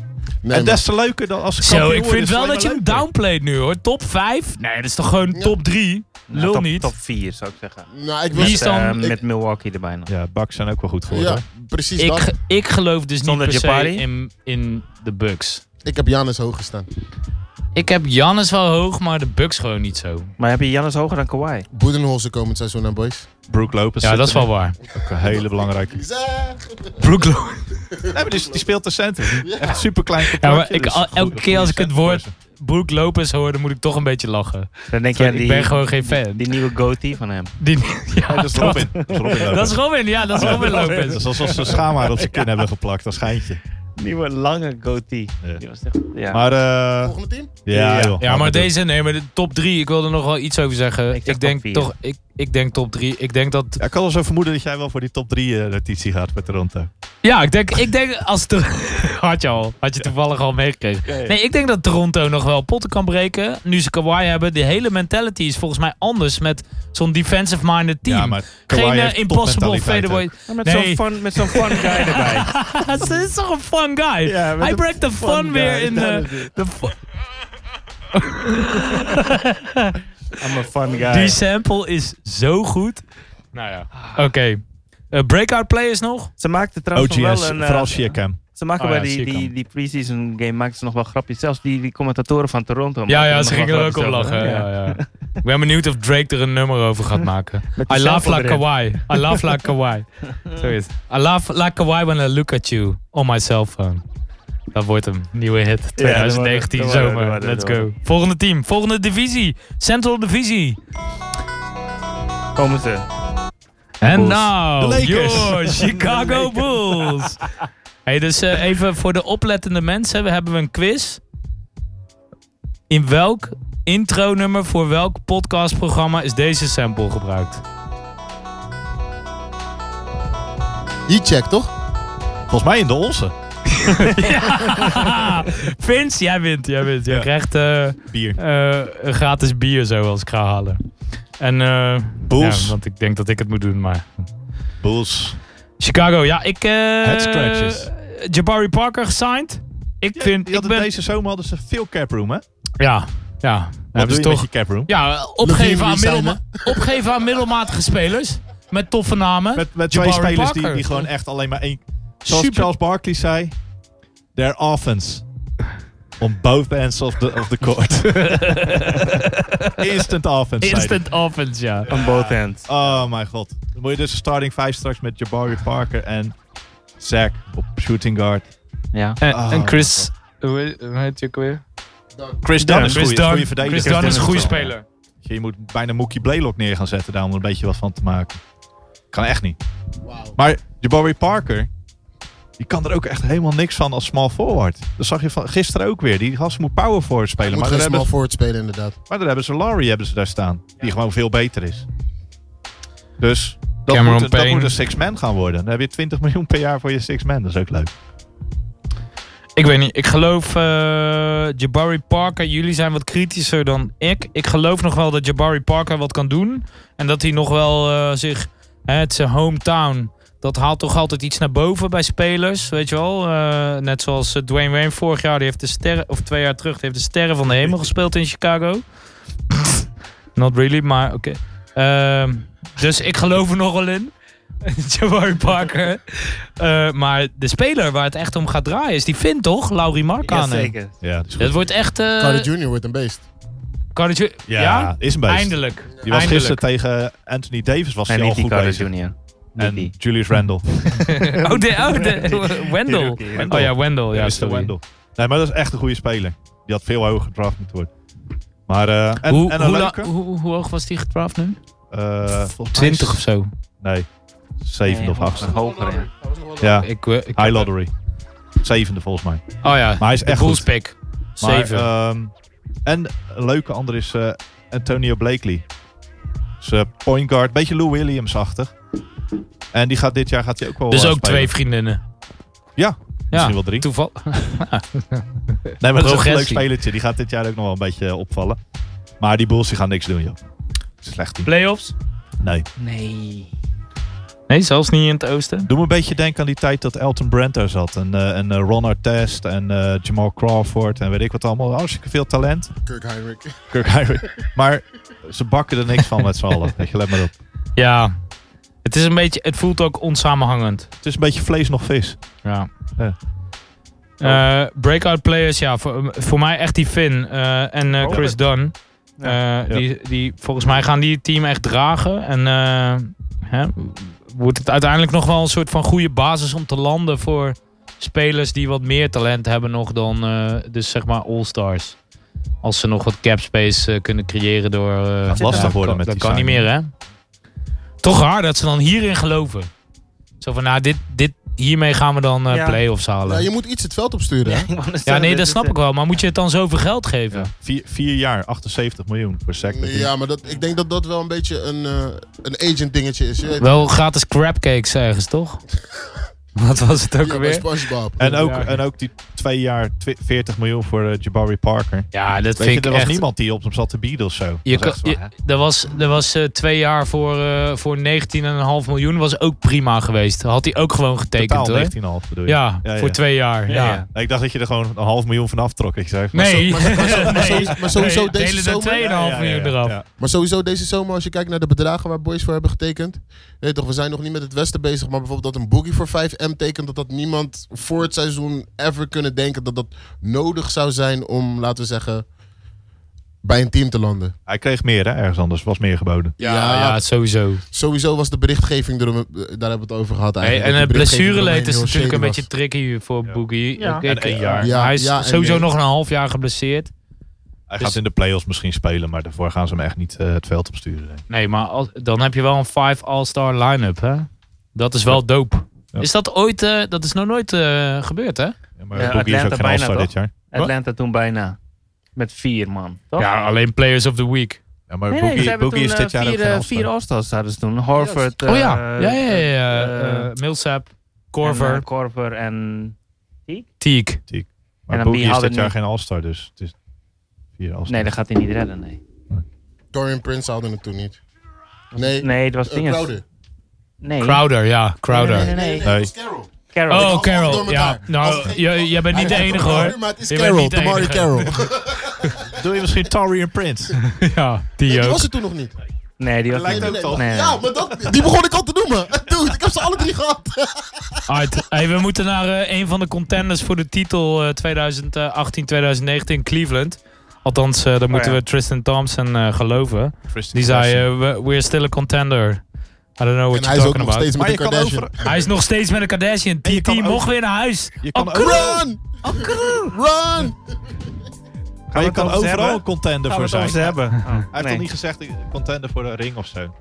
Nee, En des te leuker dan als ze Zo, kampioen ik worden, vind is wel alleen dat je maar hem leuker. downplayt nu, hoor. Top 5? Nee, dat is toch gewoon Ja. top 3? Lul top, niet. Top 4 zou ik zeggen. man. Nou, ik Wie was... is dan- Eh, ik- met Milwaukee erbij nog. Ja, Bucks zijn ook wel goed geworden. Ja, hoor. precies Ik, dat. ge- ik geloof dus niet Zonder per se Jabari? in, in de Bucks. Ik heb Janis hoog gestaan. Ik heb Jannes wel hoog, maar de Bucks gewoon niet zo. Maar heb je Jannis hoger dan Kawhi? Boedenholzer komend seizoen aan, boys. Brooke Lopez. Ja, zit dat is er wel waar. nu. Ook een hele belangrijke. Zeg! Brook Nee, maar die, die speelt de center. Echt dus super klein. Ja, maar ik, al- elke keer als ik het woord Brook Lopez hoor, dan moet ik toch een beetje lachen. Dan denk je, Want die, ik ben gewoon geen fan. die nieuwe goatee van hem. Die, ja, Oh, dat is Robin. Dat is Robin. dat is Robin, ja, Oh, dat is Robin Dat Lopez. is alsof ze een schaamhaar op zijn kin hebben geplakt. Dat schijntje. Nieuwe lange goatee. Ja. Die was echt, ja. Maar eh Volgende team? ja, joh, Ja, maar dit- deze, nee, maar de top 3, ik wil er nog wel iets over zeggen. Ik Ik, zeg top denk vier. toch, ik, ik denk top 3. Ik denk dat. Ja, ik kan al zo vermoeden dat jij wel voor die top 3 eh notitie gaat met Toronto. Ja, ik denk, ik denk als. Tor- Had je al, had je toevallig al meegekregen. Nee, ik denk dat Toronto nog wel potten kan breken. Nu ze Kawhi hebben, de hele mentality is volgens mij anders met zo'n defensive-minded team. Ja, maar Kawhi Geen eh, heeft impossible topmentaliteit fadeaway. Maar met Nee. zo'n fun, met zo'n fun guy erbij. Het is toch een fun guy. Ja, met Hij een brengt de fun, guy. weer in Dat de... is het. de fu- I'm a fun guy. Die sample is zo goed. Nou ja, oké. Eh, breakout players nog? Ze maakten ook. trouwens nog OGS, wel een... eh, vooral Siakam. Ze maken Oh ja, bij die, zie ik die, hem. die preseason game maakten ze nog wel grapjes. Zelfs die, die commentatoren van Toronto. Ja, maakten ja, nog ze wel gingen er ook grapjes op over, lachen. hè? Ja, ja. Ik ben benieuwd of Drake er een nummer over gaat maken. Met die I love sample like erin. Kawhi. I love like Kawhi. Zo is het. I love like Kawhi when I look at you on my cell phone. Dat wordt hem. Nieuwe hit. 2019 dat wordt- dat wordt- zomer. dat wordt- dat Let's wordt- go. Volgende team. Volgende divisie. Central Divisie. Komen ze. En Bulls. nou, De Lakers. your Chicago Bulls. Hey, dus eh, even voor de oplettende mensen, we hebben een quiz. In welk intronummer voor welk podcastprogramma is deze sample gebruikt? Heat check, toch? Volgens mij in de onze. Vince, jij wint, jij wint. Jij Ja. krijgt eh, Bier. eh, een gratis bier zo als ik ga halen. En eh, Bulls. ja, want ik denk dat ik het moet doen, maar... Bulls. Chicago, ja, ik... eh, Head scratches. Jabari Parker gesigned. Ik vind... Die hadden ik ben, Deze zomer hadden ze veel caproom, hè? Ja, ja. Wat Hebben doe ze je met toch je caproom? Ja, Levine opgeven aan, resignen. middelma- opgeven aan middelmatige spelers. Met toffe namen. Met, met twee Jabari spelers die, Parker. die gewoon echt alleen maar één... Zoals Super. Charles Barkley zei, their offense on both ends of the, of the court. Instant offense, zei hij. Instant offense, ja. Aan both ends. Oh mijn god. Dan moet je dus een starting 5 straks met Jabari Parker en Zach op shooting guard. Ja. En, Ah, en Chris... Hoe heet- hoe heet je ook weer? Chris Ja, Dunn is een Chris goeie- Dunn. goeie verdediger. Chris Dunn is een goede wel. speler. Je moet bijna Mookie Blaylock neer gaan zetten daar om er een beetje wat van te maken. Kan echt niet. Wauw. Maar Jabari Parker, die kan er ook echt helemaal niks van als small forward. Dat zag je van, gisteren ook weer. Die gast moet power forward spelen. Moet Maar daar, geen small hebben ze, forward spelen, inderdaad. maar daar hebben ze Larry hebben ze daar staan. Die gewoon veel beter is. Dus dat Cameron moet, een- dat Payne. moet een six-man gaan worden. Dan heb je 20 miljoen per jaar voor je six-man. Dat is ook leuk. Ik weet niet. Ik geloof eh, Jabari Parker. Jullie zijn wat kritischer dan ik. Ik geloof nog wel dat Jabari Parker wat kan doen. En dat hij nog wel eh, zich, hè, het is zijn hometown, dat haalt toch altijd iets naar boven bij spelers, weet je wel. Eh, net zoals eh, Dwayne Wayne vorig jaar, die heeft de sterren, of twee jaar terug, die heeft de sterren van de hemel gespeeld in Chicago. Not really, maar oké. Ehm, dus ik geloof er nog wel in. Jabari Parker. Eh, maar de speler waar het echt om gaat draaien is die Finn toch? Laurie Markkanen. zeker. Ja, dat is goed. Dat wordt echt... eh, Carter Jr. wordt een beest. Carter Ju- Ja, ja, is een beest. eindelijk. Die was Eindelijk. gisteren tegen Anthony Davis was Nee, hij al niet die goed Carter bezig. Jr. Niet En die. Julius Randle. Oh, de, oh de, Wendell. Die rookie. Oh ja, Wendell. Ja, Ja, Mr. sorry. Wendell. Nee, maar dat is echt een goede speler. Die had veel hoger gedraft moeten worden. Maar, eh, en, hoe, en een hoe, la- leuke. hoe, hoe hoog was die gedraft nu? Eh, volgens mij 20 of zo. Nee, zevende Nee, of achtste. Hoger, ja. Ja, Ik, eh, ik- high lottery. Zevende volgens mij. Oh ja, Ah, Maar hij is de Dus echt Bulls goed. pick. Maar, 7. ehm, en een leuke ander is eh, Antonio Blakely. Zijn point guard. Beetje Lou Williams-achtig. En die gaat dit jaar gaat hij ook wel dus eh, ook spelen. twee vriendinnen. Ja, Ja, misschien wel drie. toeval. Nee, maar dat is echt een leuk Progressie. spelertje. Die gaat dit jaar ook nog wel een beetje eh, opvallen. Maar die Bulls die gaan niks doen, joh. Slecht team. Playoffs? Nee. Nee. Nee, zelfs niet in het oosten. Doe me een beetje denken aan die tijd dat Elton Brand daar zat. En, eh, en eh, Ron Artest en eh, Jamal Crawford en weet ik wat allemaal. Hartstikke veel talent. Kirk Heinrich. Kirk Heinrich. Maar ze bakken er niks van met z'n allen. Weet je, let maar op. Ja. Het is een beetje, het voelt ook onsamenhangend. Het is een beetje vlees nog vis. Ja. Ja. Eh, breakout players, ja, voor, eh, voor mij echt die Finn eh, en eh, Oh. Chris Dunn. Eh, Die, die, volgens mij gaan die het team echt dragen. En eh, hè, wordt het uiteindelijk nog wel een soort van goede basis om te landen voor spelers die wat meer talent hebben nog dan eh, dus zeg maar all-stars. Als ze nog wat cap space eh, kunnen creëren door... eh, Gaat lastig worden met dat die kan niet signing. meer, hè? Toch raar dat ze dan hierin geloven. Zo van, nou, dit, dit, hiermee gaan we dan eh Ja. play-offs halen. Ja, Ja, je moet iets het veld opsturen. hè? nee, dat snap ik wel. Maar moet je het dan zoveel geld geven? Vier, vier jaar, 78 miljoen voor Sack. Ja, maar dat, ik denk dat dat wel een beetje een, eh, een agent dingetje is. Je weet, Wel gratis crabcakes ergens, toch? Wat was het ook ja, bij alweer? SpongeBob. En ook, Ja. en ook die twee jaar, twi- 40 miljoen voor eh, Jabari Parker. Ja, dat Weet je, vind er ik was echt... niemand die op hem zat te bieden of zo. Je Dat is echt kan- waar, hè? je- er was, er was eh, twee jaar voor, eh, voor 19,5 miljoen. was ook prima geweest. Had hij ook gewoon getekend, Totaal hoor. 19,5 bedoel je? Ja, Ja, voor ja. twee jaar. Ja. Ja, ja. Nee, Ik dacht dat je er gewoon een half miljoen van aftrok. Ik zei, Nee. Maar zo- maar zo- maar zo- Nee. maar sowieso Nee, deze delen zomer- er 2,5 miljoen eraf. Maar sowieso deze zomer, als je kijkt naar de bedragen waar boys voor hebben getekend. je Weet toch, we zijn nog niet met het Westen bezig. Maar bijvoorbeeld dat een boogie voor 5M tekent. Dat dat niemand voor het seizoen ever kunnen denken. Dat dat nodig zou zijn om, laten we zeggen, bij een team te landen. Hij kreeg meer, hè? Ergens anders was meer geboden. Ja, ja, sowieso. Sowieso was de berichtgeving, erom, daar hebben we het over gehad Hey, eigenlijk. Dat en het die berichtgeving blessureleed eromheen is heel natuurlijk een beetje shady tricky voor Ja. Boogie. Ja. Ik- En ik- één jaar. Ja, hij is ja en sowieso nee. nog een half jaar geblesseerd. Hij Dus- gaat in de play-offs misschien spelen, maar daarvoor gaan ze hem echt niet eh, het veld opsturen. denk ik. Nee, maar als- dan heb je wel een 5 All-Star line-up, hè? Dat is wel dope. Ja. Is dat ooit... eh, dat is nog nooit eh, gebeurd, hè? Ja, maar Ja, Boogie is Atlanta ook geen bijna, all toch? dit jaar. Atlanta toen bijna. Met vier man. Toch? Ja, alleen Players of the Week. Ja, maar Nee, nee, Boogie, ze hebben Boogie toen is dit eh, jaar vier, ook geen eh, all-star. vier All-Stars hadden ze toen. Horford. oh ja, eh, ja, ja, ja. ja. eh, Eh, Millsap, En, Corver, eh, Corver en... Teague. Maar en dan Boogie wie is hadden dit jaar nu- geen all-star, dus het is vier all Nee, dat gaat hij niet redden, nee. was. Dorian Prince hadden het toen niet. Nee, Nee, dat was eh, dinges. Crowder. Nee. Crowder, ja. Crowder. Nee, nee, nee. Nee. het was Carroll. Carroll. Oh, Allemaal Carol. door Ja, elkaar. nou, Als- jij jij bent niet de Hij had enige, hem wel, hoor. Maar het is Je bent Carroll, niet de Tamari enige. Carroll. Doe je misschien Tari en Prince? Ja, die Nee, die ook. was er toen nog niet. Nee, die was Lijkt niet. ook toch? Nee. Oh. Ja, maar dat, die begon ik al te noemen. Dude, ik heb ze alle drie gehad. Alright, hey, we moeten naar eh, een van de contenders voor de titel eh 2018-2019 Cleveland. Althans, eh, daar moeten ja. we Tristan Thompson eh, geloven. Die zei, eh, we- we're still a contender. I don't know what En you're hij is ook talking nog about. steeds met Maar de je kan, Kardashian. over, Hij is nog steeds met een Kardashian. En je TT kan ook- mocht weer naar huis. je Oh, kan ook- Run! Run! maar je kan over ze overal hebben? een contender Gaan we voor het zijn. over ze hebben? Hij heeft toch niet gezegd eh, contender voor de ring of zo?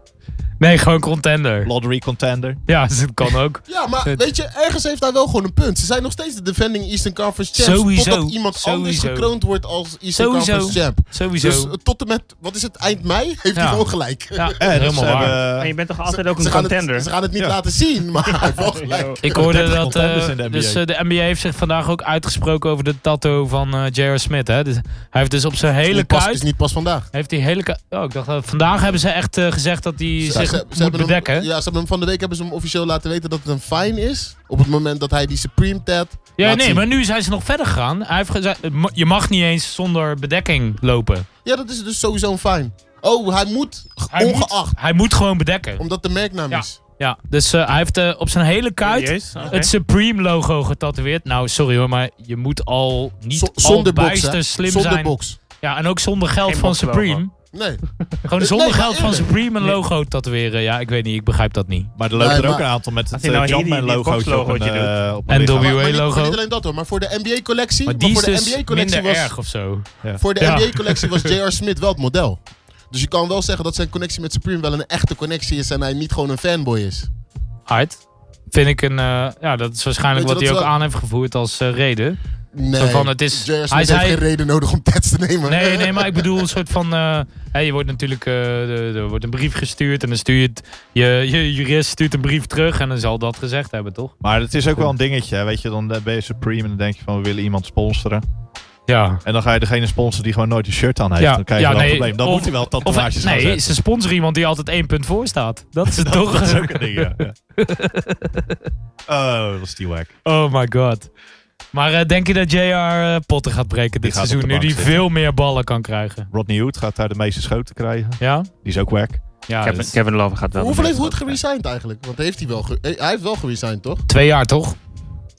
Nee, gewoon contender. Lottery contender. Ja, dat kan ook. Ja, maar Het- weet je, ergens heeft hij wel gewoon een punt. Ze zijn nog steeds de defending Eastern Conference champs. Sowieso, Totdat iemand anders sowieso. gekroond wordt als Eastern Sowieso. Conference champ. Sowieso. Dus eh, tot en met, wat is het, eind mei heeft hij Ja. gewoon gelijk. ja, En helemaal Eh, dus ze waar. hebben, En je bent toch altijd Ze- ook een ze gaan het- contender? ze gaan het niet Ja. laten zien, maar hij heeft wel gelijk. Ik hoorde 30 dat. eh, contenders in de NBA. Dus eh, de NBA heeft zich vandaag ook uitgesproken over de tattoo van eh J.R. Smith. Hè? Dus Hij heeft dus op zijn hele niet pas, kuit... is niet pas vandaag. Heeft die hele ku- oh, ik dacht, eh, vandaag hebben ze echt eh, gezegd dat hij zich moet hebben bedekken. Hem, hè? ja, ze hebben hem van de week hebben ze hem officieel laten weten dat het een fine is. Op het moment dat hij die Supreme Tat. Ja, laat nee, zien. maar nu zijn ze nog verder gegaan. Hij heeft gezegd, eh, ma- je mag niet eens zonder bedekking lopen. Ja, dat is dus sowieso een fine. Oh, hij moet, Hij ongeacht. Moet, hij moet gewoon bedekken. Omdat de merknaam is. Ja, dus eh, hij heeft eh, op zijn hele kuit Serieus? Oké. het Supreme logo getatoeëerd. Nou, sorry hoor, maar je moet al niet Z- al zonder box. bijster hè? slim zonder zijn. box. Ja, en ook zonder geld Geen van box logo. Supreme. Nee. Gewoon Nee, zonder maar geld van eerlijk. Supreme een logo tatoeëren. Ja, ik weet niet, ik begrijp dat niet. Maar er lopen Nee, er ook maar- een aantal met Als het hij nou eh, hier die- die Jumpman-logootje op een, boxlogootje eh, op En een lichaam. WA Maar, maar niet, maar logo. niet alleen dat hoor, maar voor de NBA-collectie. Maar Maar, die voor is de dus NBA-collectie minder was. erg of zo. Voor de Ja. NBA-collectie was J.R. Smith wel het model. Dus je kan wel zeggen dat zijn connectie met Supreme wel een echte connectie is en hij niet gewoon een fanboy is. Hard. Vind ik een... eh, ja, dat is waarschijnlijk Weet je, wat hij dat ook is wel- aan heeft gevoerd als eh, reden. Nee. Zo van, het is- J.R. Smith hij heeft zei- geen reden nodig om tats te nemen. Nee, nee, maar ik bedoel een soort van... eh, hè, je wordt natuurlijk... eh, de- er wordt een brief gestuurd en dan stuurt... Je, je jurist stuurt een brief terug en dan zal dat gezegd hebben, toch? Maar het is ook wel een dingetje, hè, weet je. Dan eh, ben je Supreme en dan denk je van, we willen iemand sponsoren. Ja. En dan ga je degene sponsoren die gewoon nooit een shirt aan heeft. Ja, Dan krijg je ja, wel een nee, probleem. Dan of- moet hij wel Of tatoeages gaan nee, zetten. ze sponsoren iemand die altijd één punt voor staat. Dat is het toch? Dat is ook een ding, ja. ja. Oh, dat is die wack. Oh my god. Maar eh, denk je dat JR eh, potten gaat breken Die dit gaat op seizoen? de Nu bank die zitten. veel meer ballen kan krijgen. Rodney Hood gaat daar de meeste schoten krijgen. Ja? Die is ook wack. Ja. Kevin, dus- Kevin Love gaat wel. Hoeveel de heeft meeste Hood geresigned eigenlijk? Want heeft hij wel ge- hij heeft wel geresigned, toch? Twee jaar toch?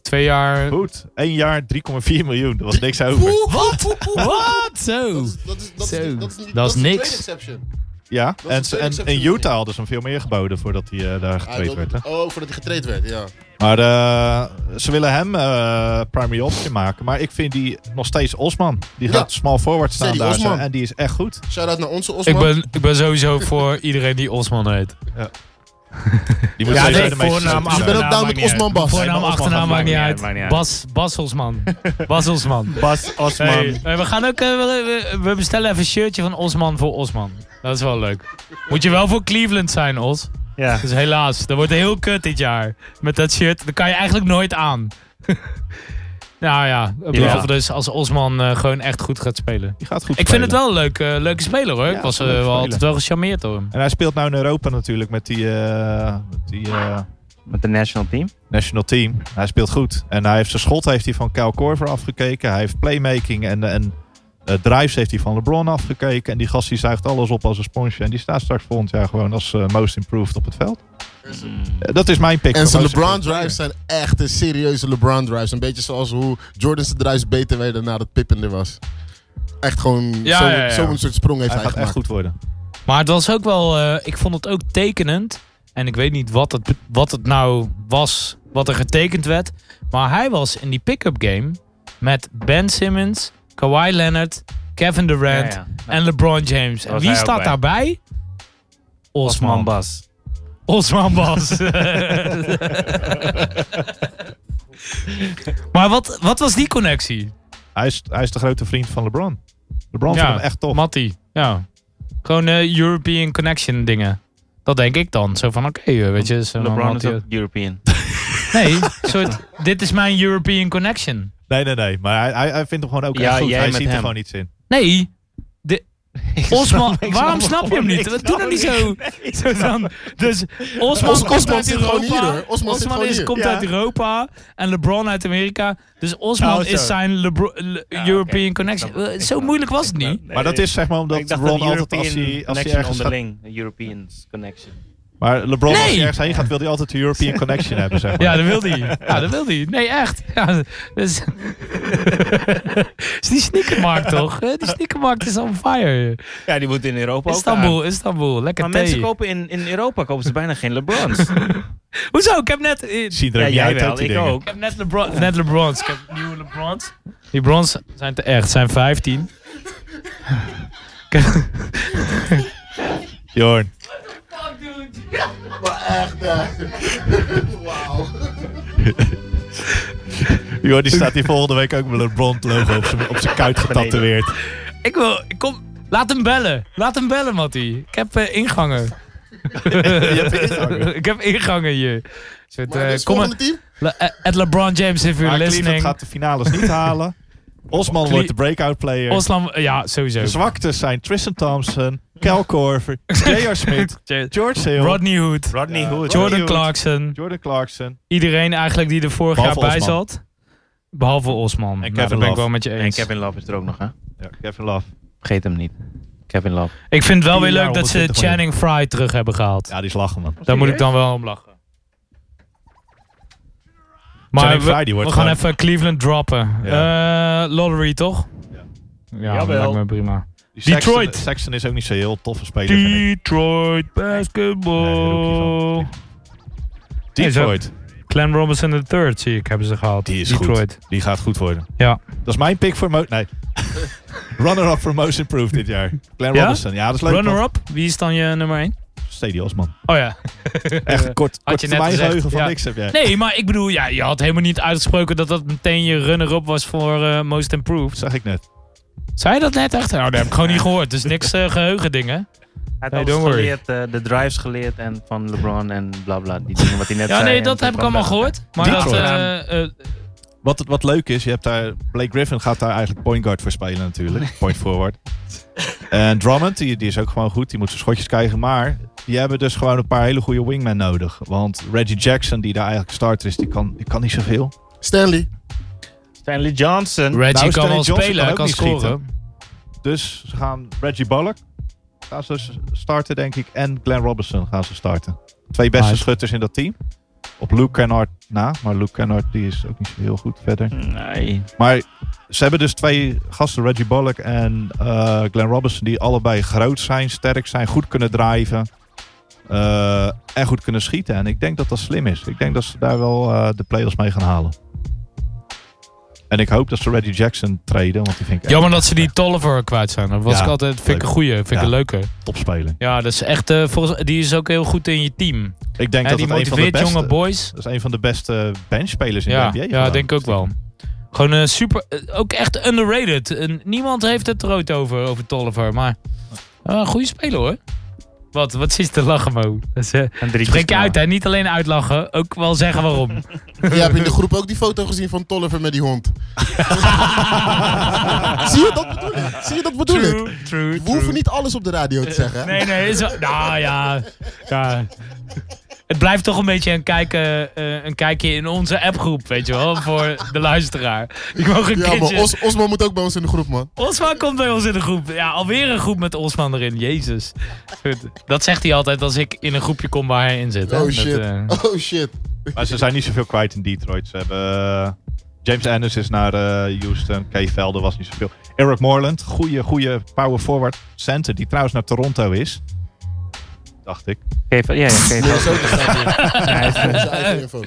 Twee jaar. Goed, één jaar 3,4 miljoen. Er was niks over. Oeh, Wat? Oeh, oeh, oeh. Wat? Zo. Dat is- dat is- dat is Zo. niet- dat is niet- Dat dat is is niks. een trade exception. Ja, is en, de tweede en, exceptie en van de Utah hadden ze hem veel meer geboden voordat hij eh, daar Hij getraind wilde- werd. Hè? Oh, voordat hij getraind werd, ja. Maar eh, ze willen hem eh, primary option maken. Maar ik vind die nog steeds Osman. Die Ja. gaat small forward staan Sadie daar. zo. Osman. En die is echt goed. Shout-out naar onze Osman. Ik ben, ik ben sowieso voor iedereen die Osman heet. Die moet Ja, sowieso nee, de meeste voornaam, dus schoten je achternaam. bent hebben. ook down maakt met niet uit. Osman Bas. Nee, maar Voornaam, Osman nou, achternaam gaat maakt niet maakt uit. niet uit, Bas, Bas Osman. Bas Osman. Bas Osman. Hey, hey, we gaan ook. eh, we, we- we bestellen even een shirtje van Osman voor Osman. Dat is wel leuk. Moet je wel voor Cleveland zijn, Os. Ja. Dus helaas, dat wordt heel kut dit jaar. Met dat shirt, dat kan je eigenlijk nooit aan. nou ja, behalve dus als Osman eh, gewoon echt goed gaat spelen. Die gaat goed Ik vind spelen. het wel een leuk, eh, leuke speler hoor. Ja, ik was een eh, leuke wel speler. altijd wel gecharmeerd door hem. En hij speelt nou in Europa natuurlijk met die, eh, met die eh, Met de national team. national team. Hij speelt goed. En hij heeft zijn schot heeft hij van Kyle Korver afgekeken. Hij heeft playmaking en, en eh, drives heeft hij van LeBron afgekeken. En die gast die zuigt alles op als een sponsje. En die staat straks volgend jaar gewoon als eh, most improved op het veld. Mm. Eh, dat is mijn pick. En voor zijn most LeBron improved drives zijn echt een serieuze LeBron drives. Een beetje zoals hoe Jordan's drives beter werden nadat Pippen er was. Echt gewoon Ja, zo'n ja, ja. zo'n soort sprong heeft player. hij, Hij gaat echt gemaakt. goed worden. Maar het was ook wel, eh, ik vond het ook tekenend. En ik weet niet wat het, wat het nou was, wat er getekend werd. Maar hij was in die pick-up game met Ben Simmons, Kawhi Leonard, Kevin Durant Ja, ja. en LeBron James. En was wie hij ook staat bij. daarbij? Osman Osman Bas. Bas. Osman Bas. maar wat, wat was die connectie? Hij is, hij is de grote vriend van LeBron. LeBron Ja, vindt hem echt tof. Matty, ja. Gewoon eh, European Connection dingen. Dat denk ik dan. Zo van, oké, eh, weet je. Zo van, LeBron is Matty- ook European. Nee, een soort, dit is mijn European Connection. Nee, nee, nee. Maar hij, hij, hij vindt hem gewoon ook Ja, echt goed. jij Hij met ziet er hem. gewoon iets in. Nee, Osman, snap- ik waarom snap snap je hem gewoon niet? niks. Dat Doe dan niet zo. zo dan. Dus Osman, Os- komt Osman uit zit Europa. gewoon hier, hoor. Osman zit gewoon is, hier. komt Ja. uit Europa en LeBron uit Amerika. Dus Osman Oh, zo. is zijn Lebro- Le- European oké. Connection. Ik snap het. Eh, Ik zo snap moeilijk was het niet. Nee, Maar dat nee. is zeg maar omdat Ik dacht LeBron een altijd European als hij, als hij connection ergens gaat, onderling. Een Europeans connection. Maar LeBron, als Nee! hij ergens heen gaat, wil hij altijd de European Connection hebben, zeg maar. Ja, dat wil hij. Ja, dat wil hij. Nee, echt. Ja, dus... is die sneakermarkt toch? Eh, Die sneakermarkt is on fire. Ja, die moet in Europa Istanbul, Istanbul. Lekker Maar thee. mensen kopen in, in Europa kopen ze bijna geen LeBrons. Hoezo? Ik heb net... eh, Zien er ja, ook niet jij uit, ook wel, die ik dingen. ook. Ik heb net, Lebron, net LeBrons. Ik heb nieuwe LeBrons. Die Brons zijn te echt. Zijn 15. Ik heb- Jorn. Maar echt, eh, wauw. Jorn, die staat hier volgende week ook met een LeBron logo op zijn, op zijn kuit getatoeëerd. ik wil... Ik kom, laat hem bellen. Laat hem bellen, Matty. Ik heb eh, ingangen. ik heb ingangen hier. Een Soort, Maar eh, dus comment- volgende team? Le- eh, at LeBron James, if you're Maar Cleveland listening. gaat de finales niet halen. Osman wordt de breakout player. Oslan, ja, sowieso. de zwaktes zijn Tristan Thompson, Kel Korver, J.R. Smith, George Hill, Rodney Hood, Rodney Ja. Hood. Rodney Jordan Hood. Clarkson. Jordan Clarkson Iedereen eigenlijk die er vorig Behalve jaar bij Osman. zat. Behalve Osman. Nou, Kevin dat ben ik Love. wel met je En eens. Kevin Love is er ook nog, hè? ja, Kevin Love. Vergeet hem niet. Kevin Love. Ik vind het wel weer Vier leuk jaar dat ze 120 Channing Fry terug hebben gehaald. Ja, die is lachen, man. Daar moet ik dan wel om lachen. Maar Channing we, Fry, die wordt we gaan gewoon- even Cleveland droppen. Eh, lottery toch? Ja. Ja, dat Jawel. lijkt me prima. Die Detroit. Sexton, Sexton is ook niet zo heel toffe speler, vind ik. Detroit Nee, daar roep basketball. je Detroit. Clan Robinson III zie ik hebben ze gehaald. Die is Detroit. goed. Die gaat goed worden. Ja. Dat is mijn pick voor... Mo nee. Runner-up voor Most Improved dit jaar. Glenn Ja? Robinson. Ja, dat is leuk. man. Runner-up, wie is dan je nummer 1? Stady Osman. Oh ja. Echt kort, Had kort je net termijn gezegd, geheugen van ja. niks heb jij. Nee, maar ik bedoel, ja, je had helemaal niet uitgesproken dat dat meteen je runner-up was voor eh, Most Improved. Dat zag ik net. Zei je dat net echt? Nou, dat heb ik gewoon niet gehoord. Dus niks eh, geheugendingen. Hij heeft Hey, alles don't worry. geleerd, eh, de drives geleerd en van LeBron en bla bla. Die dingen wat hij net Ja, zei. nee, en dat toen heb ik kwam allemaal dat- gehoord. Maar dat, Detroit. eh, eh, Wat, wat leuk is, je hebt daar... Blake Griffin gaat daar eigenlijk point guard voor spelen natuurlijk. Point forward. En Drummond, die, die is ook gewoon goed. Die moet zijn schotjes krijgen. Maar die hebben dus gewoon een paar hele goede wingmen nodig. Want Reggie Jackson, die daar eigenlijk starter is, die kan, die kan niet zoveel. Stanley. Stanley Johnson. Reggie Nou, kan Stanley wel Johnson spelen, kan hij ook kan niet scoren. schieten. Dus ze gaan Reggie Bullock gaan ze s- starten, denk ik. En Glenn Robinson gaan ze starten. Twee beste Nice. schutters in dat team. Op Luke Kennard na. Maar Luke Kennard die is ook niet zo heel goed verder. Nee. Maar ze hebben dus twee gasten, Reggie Bullock en eh Glenn Robinson, die allebei groot zijn, sterk zijn, goed kunnen drijven. eh, en goed kunnen schieten. En ik denk dat dat slim is. Ik denk dat ze daar wel eh, de play-offs mee gaan halen. En ik hoop dat ze Reggie Jackson treden, want die vind ik echt jammer dat ze die Tolliver kwijt zijn. Dat was Ja, ik altijd, vind ik leuk. een goeie, vind ik Ja. een leuke. een topspeler. Ja, dat is echt, eh, volgens, die is ook heel goed in je team. Ik denk En dat die het een van de motiveert beste, jonge boys. dat is een van de beste benchspelers in Ja, de NBA. ja gewoon. denk ik ook wel. Gewoon eh, super, eh, ook echt underrated. En niemand heeft het er ooit over, over Tolliver. Maar eh goede speler hoor. Wat, wat zit je te lachen, Mo? Dat is, eh, En drie spreek je uit, hè? Niet alleen uitlachen, ook wel zeggen waarom. Jij hebt in de groep ook die foto gezien van Tolliver met die hond. Zie je dat bedoel ik? Zie je dat bedoel ik? true, true. We hoeven niet alles op de radio te zeggen. hè? Nee, nee, is wel- Nou ja, ja. Het blijft toch een beetje een, kijken, eh, een kijkje in onze appgroep, weet je wel, voor de luisteraar. Ik mag een Ja, kindje... maar Os Osman moet ook bij ons in de groep, man. Osman komt bij ons in de groep. Ja, alweer een groep met Osman erin. Jezus. Goed. Dat zegt hij altijd als ik in een groepje kom waar hij in zit. hè. Oh Dat, shit. eh, Oh shit. Maar ze zijn niet zoveel kwijt in Detroit. Ze hebben eh, James Ennis is naar eh, Houston. Kay Velden was niet zoveel. Eric Moreland, goede, goede power forward center. Die trouwens naar Toronto is. Dacht ik. Geef, ja, ja, geef. Nee, zo te staan. Hij is- Zijn eigen info.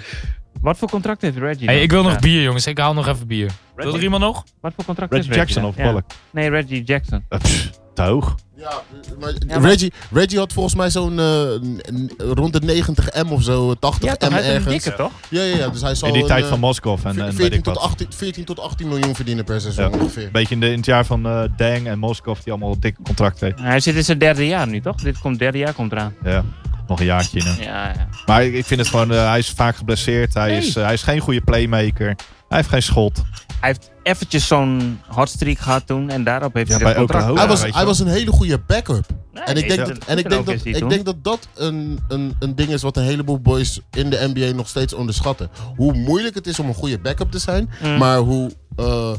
Wat voor contract heeft Reggie? hey, dan? ik wil nog Ja. bier, jongens. Ik haal nog even bier. Wil er iemand nog? Wat voor contract Reggie heeft Reggie Jackson dan? of Ja. Bullock. Nee, Reggie Jackson. Eh, pff, te hoog. Ja, maar maar- Reggie, Reggie had volgens mij zo'n eh, n- n- rond de 90 M of zo, 80 Ja, M toch? Hij is een ergens. dikke, toch? Ja, ja, ja. Dus hij zal In die een, tijd eh, van Moskov en, ve- en weet 14, ik tot wat. 18, 14 tot 18 miljoen verdienen per seizoen Ja. ongeveer. Beetje in, de, in het jaar van eh Deng en Moskov die allemaal dikke contracten heeft. Hij zit in zijn derde jaar nu, toch? Dit komt derde jaar komt eraan. Ja, nog een jaartje. in. eh. Ja, ja. Maar ik ik vind het gewoon, eh, hij is vaak geblesseerd. Hij, is, eh, hij is geen goede playmaker. Hij heeft geen schot. Hij heeft eventjes zo'n hot streak gehad toen en daarop heeft Ja, hij dit bij contract. Oklahoma. hij ja, was, weet je hij wel. was een hele goede backup. Nee, en ik denk, ja. dat, en ik denk, dat, ik denk dat dat een, een, een ding is wat een heleboel boys in de NBA nog steeds onderschatten. Hoe moeilijk het is om een goede backup te zijn, Mm. maar hoe eh,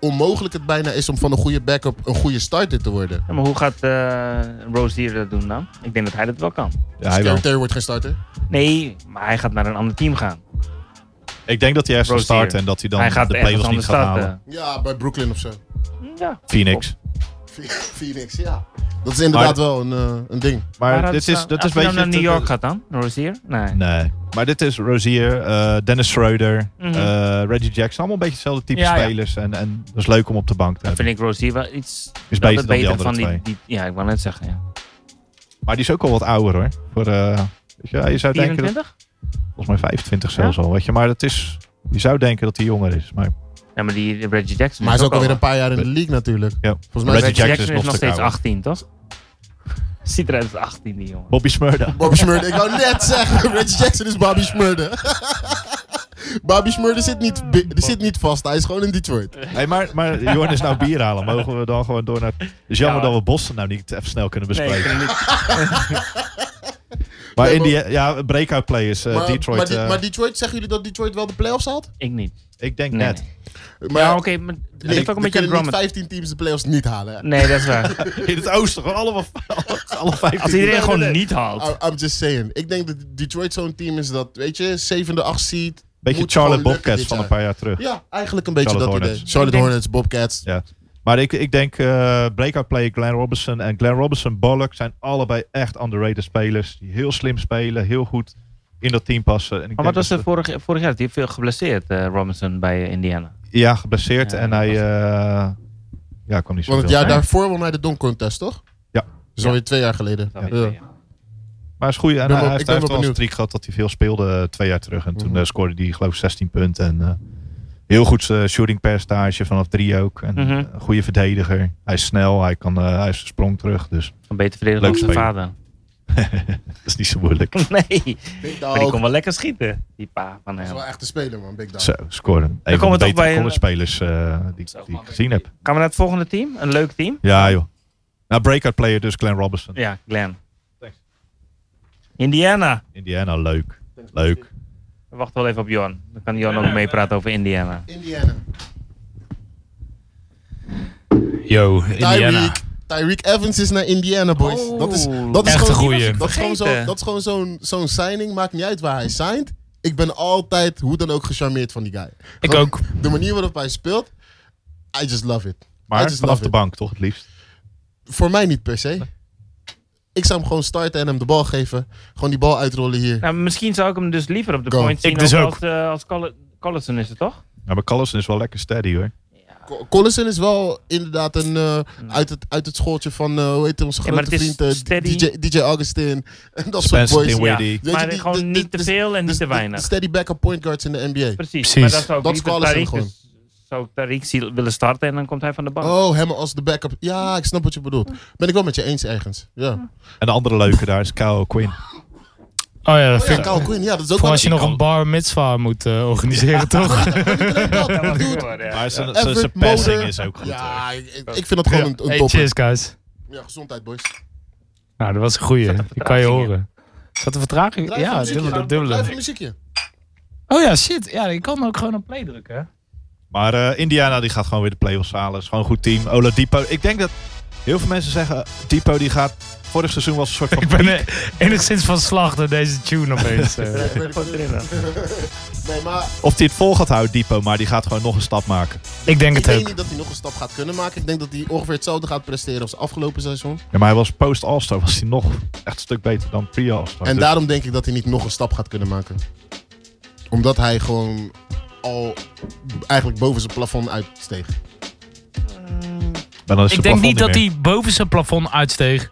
onmogelijk het bijna is om van een goede backup een goede starter te worden. Ja, maar hoe gaat eh Rozier dat doen dan? Ik denk dat hij dat wel kan. Ja, hij wel. Terry Terry wordt geen starter. Nee, maar hij gaat naar een ander team gaan. Ik denk dat hij eerst gaat Rozier. starten en dat hij dan hij gaat de ergens playoffs niet anders gaat halen. starten. Ja, bij Brooklyn of zo. Ja. Phoenix. Phoenix, ja. Dat is inderdaad wel een, eh, een ding. Maar, dat dit is, dan- dat als is hij beetje... dan naar te- New York gaat dan? Rozier? Nee. Nee. Maar dit is Rozier, eh, Dennis Schroeder, Mhm. eh, Reggie Jackson. Allemaal een beetje hetzelfde type Ja, ja. spelers. En, en dat is leuk om op de bank te Dan hebben. vind ik Rozier wel iets Is wel beter dan die andere van twee. die, die... Ja, ik wou net zeggen, ja. Maar die is ook al wat ouder hoor. Voor, eh, weet je, je zou denken dat... 24? Volgens mij 25 zelfs al. Weet je, maar dat is... Je zou denken dat hij jonger is. Maar Ja, maar die Reggie Jackson Maar hij is ook alweer wel- een paar jaar in de league natuurlijk. ja. Volgens mij Reggie zijn Jackson, Jackson, is nog, is nog steeds achter. 18, toch? Ziet eruit als 18, die jongen. Bobby Smurda. Bobby Schmurden. Ik wou net zeggen, Reggie Jackson is Bobby Schmurden. Bobby Smurder zit niet, bi- die zit niet vast. Hij is gewoon in Detroit. Hey, maar, maar Jorn is nou bier halen. Mogen we dan gewoon door naar... Het is jammer Ja, dat we Boston nou niet even snel kunnen Nee, ik bespreken. vind het niet. maar Nee, in maar- die... Ja, breakout play is eh, maar, Detroit. maar, die- eh, maar Detroit, zeggen jullie dat Detroit wel de playoffs haalt? Ik niet. ik denk Nee, net. Maar Maar ja, oké, maar het nee, ligt er ook een beetje aan kunnen niet Drummond. 15 teams de playoffs niet halen. hè? Nee, dat is waar. In het oosten. Gewoon allemaal... Alle vijf. Als iedereen Nee, nee, gewoon nee. niet haalt. I- I'm just saying. Ik denk dat Detroit zo'n team is dat, weet je, zevende, acht seed. Beetje Moet Charlotte gewoon lukken Bobcats dit van een jaar. paar jaar terug. Ja, eigenlijk een beetje Charlotte dat idee. Hornets. Charlotte Ik denk- Hornets, Bobcats. Ja. Maar ik, ik denk eh breakout play Glenn Robinson en Glenn Robinson Bullock zijn allebei echt underrated spelers. Die heel slim spelen, heel goed in dat team passen. En Maar ik denk wat was dat er vorig, vorig jaar? Die heeft veel geblesseerd, eh, Robinson, bij eh, Indiana. ze- Ja, geblesseerd Ja, en dat hij was- eh, ja, kwam niet zo Want het veel. jaar bij. daarvoor won hij de Don Contest, toch? Ja. Dat is alweer twee jaar geleden. Dat weet Ja. je, ja. Maar is goed. En ben hij wel- heeft, ik ben hij wel heeft wel een benieuwd. streak gehad dat hij veel speelde eh, twee jaar terug. En toen Mhm. eh, scoorde hij geloof ik 16 punten. En eh, heel goed eh, shooting percentage vanaf drie ook. En eh, Mhm. een goede verdediger. Hij is snel, hij, kan, eh, hij is een sprong terug. Dus Een beter verdediger Leuk dan zijn speler. vader. dat is niet zo moeilijk. Nee, Big maar die Dog. kon wel lekker schieten, die pa van Dat is hem. wel echt een speler, man. Big Dog. Zo, scoren. Een van komen de we toch betere bij- college-spelers eh, die, die ik gezien heb. Gaan we naar het volgende team? Een leuk team? Ja, joh. Nou, breakout player dus Glenn Robinson. Ja, Glenn. Thanks. Indiana. Indiana, leuk. Leuk. We wachten wel even op Jon. Dan kan Jon ook meepraten over Indiana. Indiana. Yo, Indiana. Tyreek. Tyreek Evans is naar Indiana, boys. Oh, dat is, dat is echt gewoon, een goeie. Dat is gewoon, zo, Vergeten. dat is gewoon zo'n, zo'n signing. Maakt niet uit waar hij signed. Ik ben altijd, hoe dan ook, gecharmeerd van die guy. Ik Gewoon ook. De manier waarop hij speelt, I just love it. I Maar just vanaf love de it. bank toch het liefst. Voor mij niet per se. Ik zou hem gewoon starten en hem de bal geven. Gewoon die bal uitrollen hier. Nou, misschien zou ik hem dus liever op de Go. point zien Ik dus als- ook. als, eh, als Coll- Collison is het toch? Ja, maar Collison is wel lekker steady hoor. Co- Collison is wel inderdaad een, eh, uit, het, uit het schooltje van, eh, hoe heet onze Ja, maar grote het is vriend, eh, steady. DJ, DJ Augustin. En dat soort Spencer boys. Dinwiddie. Dinwiddie. Weet je, maar die- gewoon die- niet die- te dus- veel en dus niet te de- weinig. De steady backup point guards in de NBA. Precies. Precies. Maar dat zou ik Dat dat is liever Collison Tariq, gewoon. dus zou ik Tariq zie- willen starten en dan komt hij van de bank. Oh, hem als de backup. Ja, ik snap wat je bedoelt. Ben ik wel met je eens ergens. Ja. Oh En de andere leuke daar is Kyle Quinn. Oh ja, dat Oh ja, vind ik. Kyle Quinn. Ja, dat is ook Voor wel... als je nog een bar mitzwa moet eh, organiseren, toch? Niet alleen dat, Dat was ik dude. voor, ja. Maar zijn, zijn, Everett zijn passing Moder. is ook goed. hoor. Ja, ik, ik ik vind dat gewoon een, een Hey, topper. cheers, guys. Ja, gezondheid, boys. Nou, dat was een goeie. Die kan je horen. Zat de vertraging? Draai Ja, even muziekje. dubbele, Draai even dubbele. muziekje. Oh ja, shit. Ja, ik kan ook gewoon op play drukken, hè? Maar eh, Indiana die gaat gewoon weer de playoffs halen. Is gewoon een goed team. Oladipo. Ik denk dat heel veel mensen zeggen... Depot die gaat... Vorig seizoen was een soort van... Ik ben eh, enigszins van slag door deze tune opeens. eh. Ik weet het niet. Nee, maar Of hij het vol gaat houden, Depot. Maar die gaat gewoon nog een stap maken. ik denk ik het denk ook. niet dat hij nog een stap gaat kunnen maken. Ik denk dat hij ongeveer hetzelfde gaat presteren als afgelopen seizoen. Oh, Ja, maar hij was post-All-Star. Was hij nog echt een stuk beter dan pre-All-Star. En Dus- daarom denk ik dat hij niet nog een stap gaat kunnen maken. Omdat hij gewoon al eigenlijk boven zijn plafond uitsteeg. Maar dan is Ik zijn denk plafond niet dat meer. hij boven zijn plafond uitsteeg.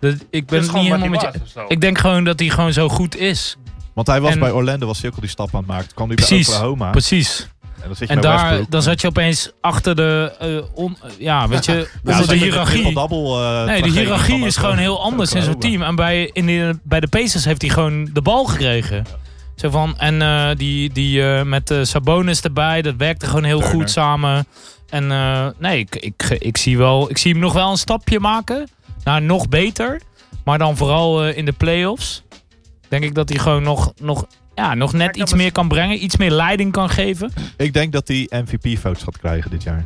Dat- ik ben Dat is het gewoon niet wat helemaal met hij je. was of zo. Ik denk gewoon dat hij gewoon zo goed is. Want hij was En- bij Orlando, was hij ook al die stap aan het maken. Toen kwam hij Precies. bij Oklahoma. Precies. En dan zit je En bij daar, Westbrook. dan zat je opeens achter de. eh, on- ja, weet je. Ja, onder dan de zit je met hiërarchie. triple-double, eh, Nee, de tragedie hiërarchie van is gewoon heel anders in zo'n Oklahoma. team. En bij, in de, bij de Pacers heeft hij gewoon de bal gekregen. Zo van, en eh, die, die eh, met eh, Sabonis erbij, dat werkte gewoon heel Turner. goed samen. En eh, nee, ik, ik, ik, zie wel, ik zie hem nog wel een stapje maken naar nog beter. Maar dan vooral eh, in de playoffs. Denk ik dat hij gewoon nog, nog, ja, nog net kan iets best- meer kan brengen. Iets meer leiding kan geven. Ik denk dat hij MVP-votes gaat krijgen dit jaar.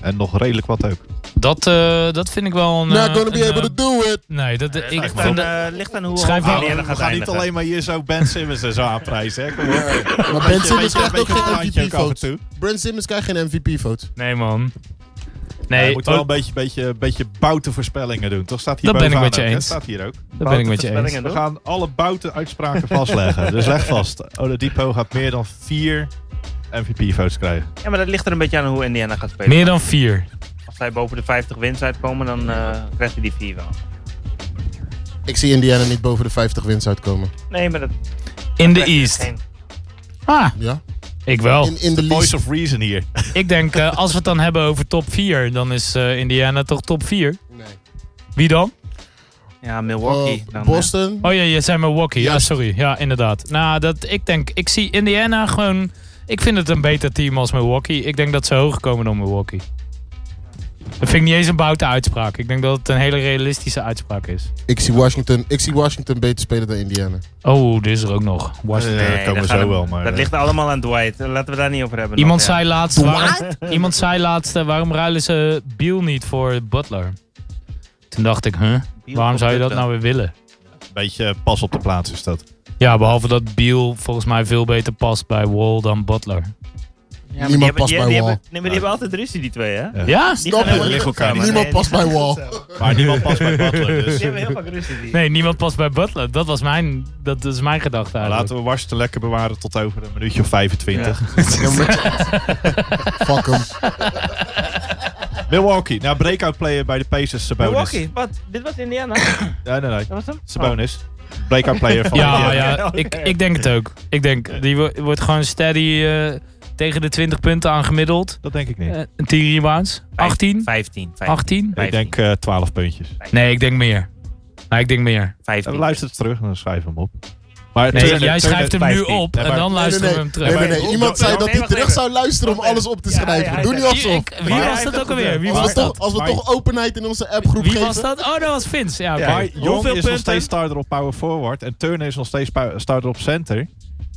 En nog redelijk wat ook. Dat, eh, dat vind ik wel een... Nou, eh, Not gonna een, be able eh, to do it! Nee, dat, ik, ik maar vind dat... Eh, ligt aan hoe Schrijf hoog wel- Indiana Ah, we gaan gaat eindigen. niet alleen maar hier zo Ben Simmons en zo aanprijzen. Hè? Kom op. Maar Beetje- Ben Simmons beetje- krijgt ook beetje een geen randje ook af en MVP-vote. toe. Ben Simmons krijgt geen MVP-vote. Nee, man. Ja, Nee, je moet wel oh, een beetje, beetje, beetje bouten voorspellingen doen. Toch staat hier Dat ben ik bovenaan met je ook, hè? eens. staat hier ook. dat ben ik met je eens. Voorspellingen We doen. gaan alle bouten uitspraken vastleggen. dus leg vast. Oladipo gaat meer dan vier MVP-votes krijgen. Ja, maar dat ligt er een beetje aan hoe Indiana gaat spelen. Meer dan vier. Als zij boven de 50 wins uitkomen, dan eh krijgt hij die 4 wel. Ik zie Indiana niet boven de 50 wins uitkomen. Nee, maar dat... In de dat is East. geen- Ah, Ja? ik wel. In, in de The voice least. of reason hier. Ik denk, eh, als we het dan hebben over top 4, dan is eh, Indiana toch top 4. Nee. Wie dan? Ja, Milwaukee. Eh, dan, eh. Boston. Oh ja, je zei Milwaukee. Ja, Juist. sorry. Ja, inderdaad. Nou, dat, ik denk, ik zie Indiana gewoon Ik vind het een beter team als Milwaukee. Ik denk dat ze hoger komen dan Milwaukee. Dat vind ik niet eens een boute uitspraak. Ik denk dat het een hele realistische uitspraak is. Ik zie Washington, ik zie Washington beter spelen dan Indiana. Oh, dit is er ook nog. Washington. Ja, dat Eh, komen we dat gaat zo hem- wel. Maar, Dat eh, ligt allemaal aan Dwight. Eh, Laten we daar niet over hebben. Iemand nog, ja. zei laatst, waarom, iemand zei laatst eh, waarom ruilen ze Beal niet voor Butler? Toen dacht ik, huh, waarom zou je dat nou weer willen? Een beetje eh, pas op de plaats is dat. Ja, behalve dat Beal volgens mij veel beter past bij Wall dan Butler. Ja, maar die Niemand hebben- past die- bij die Wall. hebben- Nee, maar die hebben altijd ruzie, die twee, hè? Die Ja. Ja? Snap gaan je? helemaal niet Liggen elkaar samen. niet. Nee, Niemand die past gaan bij niet Wall. samen. Maar niemand past bij Butler. Dus Die hebben heel vaak ruzie. die. Nee, niemand past bij Butler. Dat was mijn, dat is mijn gedachte eigenlijk. Nou, laten we Washington lekker bewaren tot over een minuutje of 25. Ja, maar- Fuck hem. Milwaukee. Nou, breakout player bij de Pacers. Sabonis. dus- Milwaukee, wat? Dit was Indiana. Nee, nee, nee. Dat was hem? Sabonis. Breakout player van Oh. Ja, de ja, Oké, oké. Ik, ik denk het ook. Ik denk, die wo- wordt gewoon steady eh, tegen de 20 punten aangemiddeld. Dat denk ik niet. Eh 10 rebounds. 18? 15. 18? ik denk eh 12 puntjes. Nee, ik denk meer. Nee, ik denk meer. Ja, 15. luister het terug en dan schrijf hem op. Maar Nee, Turner- jij schrijft hem nu 15. op Nee, en maar- dan Nee, nee, luisteren nee. we hem Nee, terug. nee, nee. Maar- Iemand zei dat Nee, hij wacht terug even. zou luisteren om Wacht alles even. op te Ja, ja, schrijven. ja, Doe niet ja. Wie, alsof. ik- wie Maar- was dat ook alweer? Wie Maar- was Als we, dat? toch, als we toch openheid in onze appgroep Wie geven. was dat? Oh, dat was Vince. Ja, Ja, oké. maar Jong is punten? nog steeds starter op power forward. En Turner is nog steeds pow- starter op center.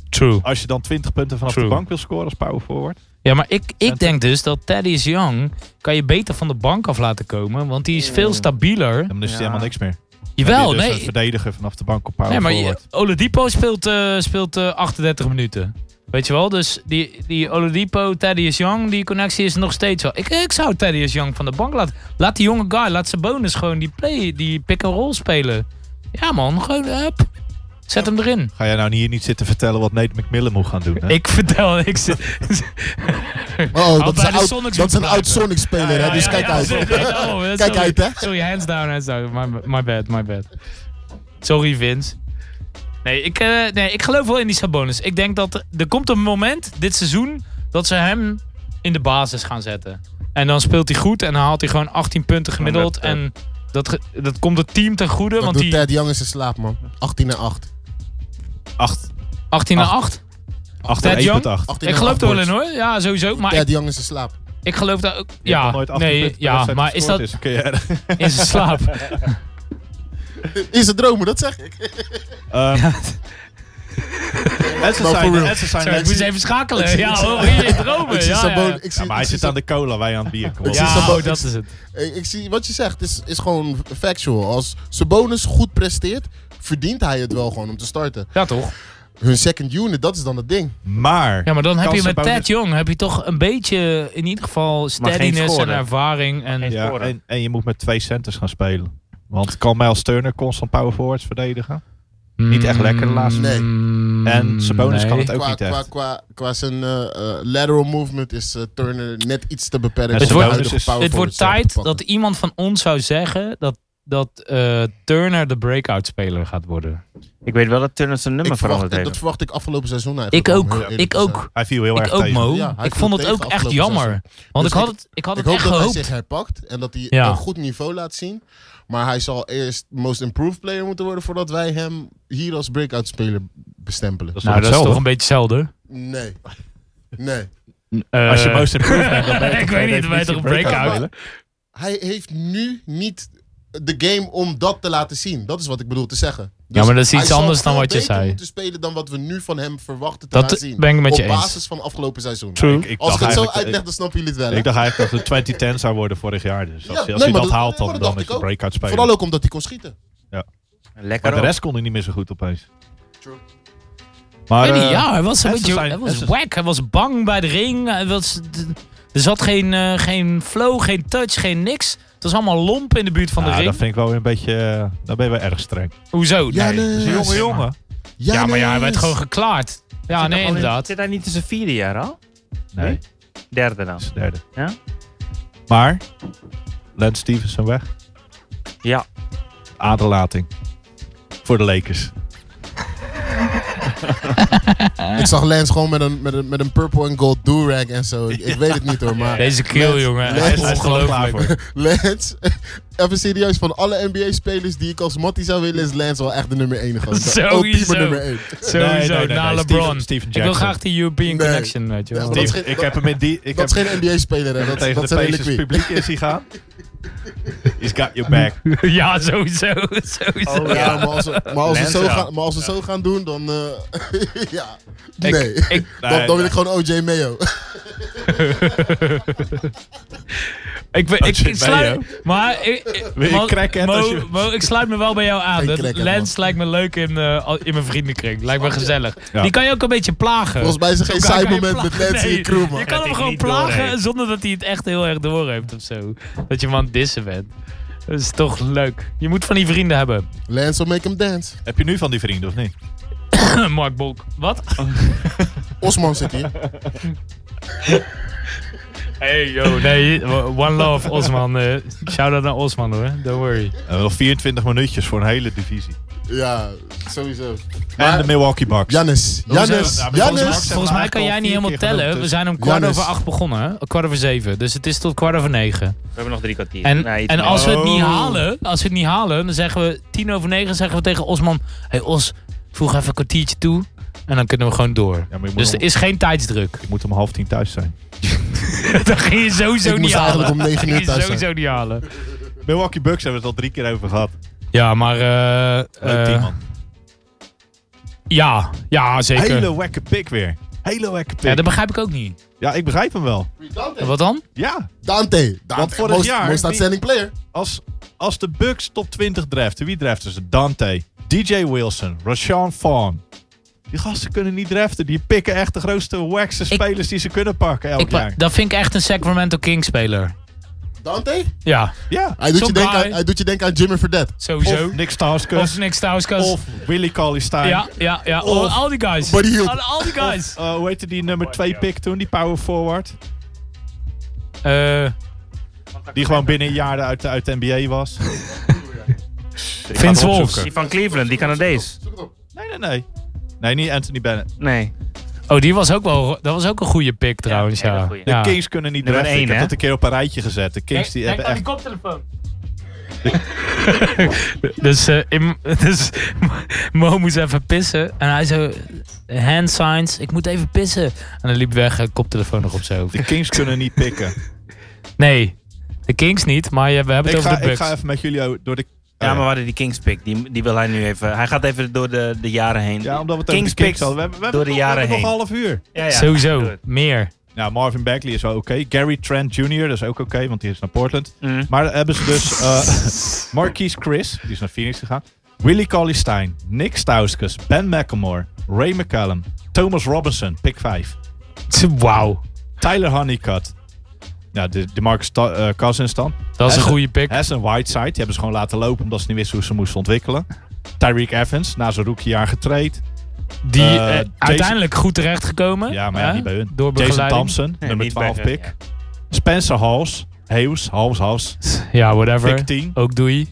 True. Als je dan 20 punten vanaf True. de bank wil scoren als power forward. Ja, maar ik, ik denk dus dat Thaddeus Young kan je beter van de bank af laten komen, want die is veel stabieler. Dan is hij Ja. helemaal niks meer. Jawel, Dan ben je dus nee. een verdediger vanaf de bank op power Nee, maar je- forward. Oladipo speelt, eh, speelt eh, 38 minuten. Weet je wel? Dus die, die Oladipo, Thaddeus Young, die connectie is nog steeds wel. Ik, ik zou Thaddeus Young van de bank laten. Laat die jonge guy, laat zijn bonus gewoon die play, die pick-and-roll spelen. Ja man, gewoon up. Zet hem erin. Ga jij nou hier niet zitten vertellen wat Nate McMillan moet gaan doen? Hè? Ik vertel niks. Oh, Had dat bij is een de oud- Sonics dat is een moeten oud Sonic speler, hè? Dus kijk uit. Kijk Kijk uit, hè? Oh, Sorry, hands down, hands down. My, my bad, my bad. Sorry, Vince. Nee ik, eh, nee, ik geloof wel in die Sabonis. Ik denk dat er- er komt een moment dit seizoen dat ze hem in de basis gaan zetten. En dan speelt hij goed en dan haalt hij gewoon 18 punten gemiddeld. Maar En dat, ge- dat komt het team ten goede, Dat want doet die Ted Young in zijn slaap, man. 18 en 8. 8. 18 naar 8. Ted Young? 8. 18 Ik en geloof 8 er wel boys. in hoor. Ja, sowieso. Maar ik, Ted Young in zijn slaap. ik geloof daar ook. Ja, nee, ja maar is dat in zijn slaap? In zijn dromen, dat zeg ik. Ehm, En ze Maar zijn, for real. en ze zijn Sorry, ik mensen- moest even schakelen. zie- Ja, ik zie- hoor, in je dromen. Ik zie ja, Sabonis- ja. ik zie- Ja, maar hij ik zie zit aan de cola, wij aan het bier. Kom op. Ik Ja, zie Sabonis. dat is het. Eh, Ik, ik zie wat je zegt, is, is gewoon factual. Als Sabonis goed presteert, verdient hij het wel gewoon om te starten. Ja, toch? Hun second unit, dat is dan het ding. Maar, Ja, maar dan heb Kan je met Sabonis- Ted Jong heb je toch een beetje, in ieder geval, steadiness en scoren. ervaring. En, geen- ja, scoren. en, en je moet met twee centers gaan spelen. Want kan Miles Turner constant power forwards verdedigen? niet echt lekker de Mm, laatste- Nee. En Sabonis kan het ook Qua, niet echt. qua, qua, qua zijn eh, eh, lateral movement is eh, Turner net iets te beperkt. Het om wordt- de huidige het power Het forward wordt zelf te tijd pakken. dat iemand van ons zou zeggen dat, dat eh, Turner de breakout speler gaat worden. Ik weet wel dat Turner zijn nummer ik verwacht, veranderd dat, heeft. verwacht ik afgelopen seizoen eigenlijk. Ik om ook, heel eerlijk ik te zijn. ook. Hij viel heel Ik erg ook, tegen. Mo. Ja, hij ik viel vond het tegen ook echt afgelopen jammer. Want Dus ik had ik- het, ik had Ik het hoop dat echt hij eh, gehoopt. zich herpakt en dat hij Ja. een goed niveau laat zien. Maar hij zal eerst most improved player moeten worden voordat wij hem hier als breakout speler bestempelen. Dat is Nou, toch dat is toch een hetzelfde? beetje hetzelfde. Nee. Nee. Als je Eh, most improved bent, dan ben je Ik toch weet per niet, dan ben je toch definitie breakout? hè? Hij heeft nu niet de game om dat te laten zien. Dat is wat ik bedoel te zeggen. Dus Ja, maar dat is hij iets zal anders dan veel wat je beter zei. moeten spelen dan wat we nu van hem verwachten te Dat gaan zien. ben ik met je Op eens. basis van afgelopen seizoen. Ik- ik Als ik dacht het zo eigenlijk- uitleg, dan snappen jullie het wel. hè? Ik dacht eigenlijk dat het 2010 zou worden vorig jaar. Dus als, Ja, als nee, hij maar dat dat- haalt, nee, dan, maar dat dan dacht is ik hij ook. breakout speler. Vooral ook omdat hij kon schieten. Lekker Maar de ook. rest kon hij niet meer zo goed opeens. True. Maar, Ik weet niet, eh, ja, hij was een Hessen beetje zijn- hij was Hessen- wack. Hij was bang bij de ring. Hij was, d- er zat geen, eh, geen flow, geen touch, geen niks. Het was allemaal lomp in de buurt van ja, de ring. nou, dat vind ik wel weer een beetje... eh, Daar ben je wel erg streng. Hoezo? Ja, Nee. nee. Dus een jonge zeg maar. jongen. Ja, maar ja, hij werd gewoon geklaard. Ja, Zit Ah, nee, hij al in- inderdaad. Zit hij niet in zijn vierde jaar al? Nee, Derde dan. dat is de derde. Ja? Maar, Lance Stevenson weg. Ja. Aderlating. Voor de Lakers. Ik zag Lens gewoon met een, met een, met een purple en gold do-rag en zo. Ik, ik weet het niet hoor, maar... Deze kill, jongen. Lens Hij is is ongelooflijk. Lens, even serieus, van alle NBA-spelers die ik als Mattie zou willen, is Lens wel echt de nummer 1 gewoon. De Sowieso. ultieme nummer 1. Sowieso, na LeBron. Steven, Steven ik wil Jackson. graag die European Nee. Connection, weet je wel. Dat Steven- is geen- ik heb hem met die. Ik Dat is heb geen NBA-speler, hè. Dat, tegen dat is de een Pacers reliquie. publiek is hij gaan. He's got your back. ja, sowieso. sowieso. Oh, Ja, maar als we, maar als we, Lens, zo, ja. gaan, maar als we zo gaan doen, dan... eh, ja, Ik- nee. ik- dan, dan wil ik gewoon OJ Mayo. Ik, ben- ik, zit ik bij sluit, maar ik, ik- Wil je Mo- crackhead Mo- als je- Mo, ik sluit me wel bij jou aan. Geen Dat crackhead, Lens lijkt me leuk in, eh, al- in mijn vriendenkring. Lijkt me gezellig. Ja. Die kan je ook een beetje plagen. Volgens mij is er geen Elkaar saai kan je moment met plagen. Lens in Nee, je crew, man. Je kan hij hem het gewoon niet plagen doorheeft. zonder dat hij het echt heel erg doorheeft of zo. Dat je hem aan het dissen bent. Dat is toch leuk. Je moet van die vrienden hebben. Lens will make him dance. Heb je nu van die vrienden of niet? Mark Bolk. Wat? Osman zit hier. Hey yo, nee, One Love, Osman. eh shout out naar Osman hoor, don't worry. Eh, nog 24 minuutjes voor een hele divisie. Ja, sowieso. en de Maar, Milwaukee Bucks. Jannis, Jannis, Ja, maar volgens mij- Jannis. Volgens mij kan jij niet helemaal tellen. dus- We zijn om kwart Jannis. over acht begonnen, hè? kwart over zeven. Dus het is tot kwart over negen. We hebben nog drie kwartier. En, Nee, iets en meer. als we het niet Oh. halen, als we het niet halen, dan zeggen we tien over negen zeggen we tegen Osman: Hey Os, voeg even een kwartiertje toe. En dan kunnen we gewoon door. Ja, maar je moet, Dus om, er is geen tijdsdruk. je moet om half tien thuis zijn. dat ging je sowieso Ik niet moest halen. eigenlijk om negen Dat uur ging je thuis zijn. sowieso niet halen. Milwaukee Bucks hebben we het al drie keer over gehad. Ja, maar. eh, Leuk eh, team, man. ja, ja, zeker. Hele wekke pick weer. Hele wekke pick. Ja, Ja, dat begrijp ik ook niet. ik begrijp hem wel. Wat dan? Ja, Dante, Dante. vorig most, jaar- most outstanding player. als, als de Bucks top 20 draften, wie draften ze? Dante, DJ Wilson, Rashawn Fawn. Die gasten kunnen niet draften. Die pikken echt de grootste wackste spelers die ze kunnen pakken elk Ik, jaar. dat vind ik echt een Sacramento Kings speler. Dante? Ja, Ja, Hij doet, je Zo'n denken guy. aan, hij doet je denken aan Jimmy Verdette. Ah, sowieso. of Nick Stauskas. Of Nick Stauskas. Of Willy Cauley-Stein. ja, ja, ja. Al- al die guys. Buddy Hield. Al, al die guys. Eh, hoe heette die nummer 2 pick toen? Die power forward. Eh, Die gewoon binnen een jaar uit de, uit de NBA was. Vince het Wolf. opzoeken. Die van Cleveland, die Canadees. Nee, nee, nee. Nee, niet Anthony Bennett. Nee. Oh, die was ook wel. Dat was ook een goede pick trouwens. hele Ja. goeie. De Ja. Kings kunnen niet Nummer draften. één, Ik heb hè? dat een keer op een rijtje gezet. De Kings die hebben oh, echt... koptelefoon. dus, eh in, dus Mo moest even pissen. En hij zo, hand signs, ik moet even pissen. En hij liep weg, eh, koptelefoon nog op zijn hoofd. De Kings kunnen niet pikken. Nee, de Kings niet, maar je- we hebben ik, het ga, over de ik Bucks. ga even met jullie o- door de... Ja, maar we hadden die Kings pick. Die, die wil hij nu even... Hij gaat even door de, de jaren heen. Ja, omdat we het Kings over de Kings picks hadden. We hebben, we door hebben, de nog, we jaren hebben nog heen. een half uur. Ja, ja. Sowieso, Goed. meer. Nou, Marvin Bagley is wel oké. Gary Trent Jr. dat is ook oké, want die is naar Portland. Mm. Maar dan hebben ze dus eh Marquise Chris, die is naar Phoenix gegaan. Willie Cauley-Stein, Nick Stauskas, Ben McElmore, Ray McCallum, Thomas Robinson, pick 5. Tse, Wauw, Tyler Honeycutt. Ja, de, de Marcus Ta- eh, Cousins dan. dat is een Hassan- goede pick. Hassan Whiteside, die hebben ze gewoon laten lopen omdat ze niet wisten hoe ze moesten ontwikkelen. Tyreek Evans, na zijn rookiejaar getraind. Die eh, eh, Jason- uiteindelijk goed terechtgekomen. Ja, maar ja, hè, niet bij hun. Door Jason begeleiding. Thompson, Nee, nummer niet bij 12 hun, pick. Spencer Hals, Hughes, Hals, Hals, Ja, pick whatever. 10. Ook doei.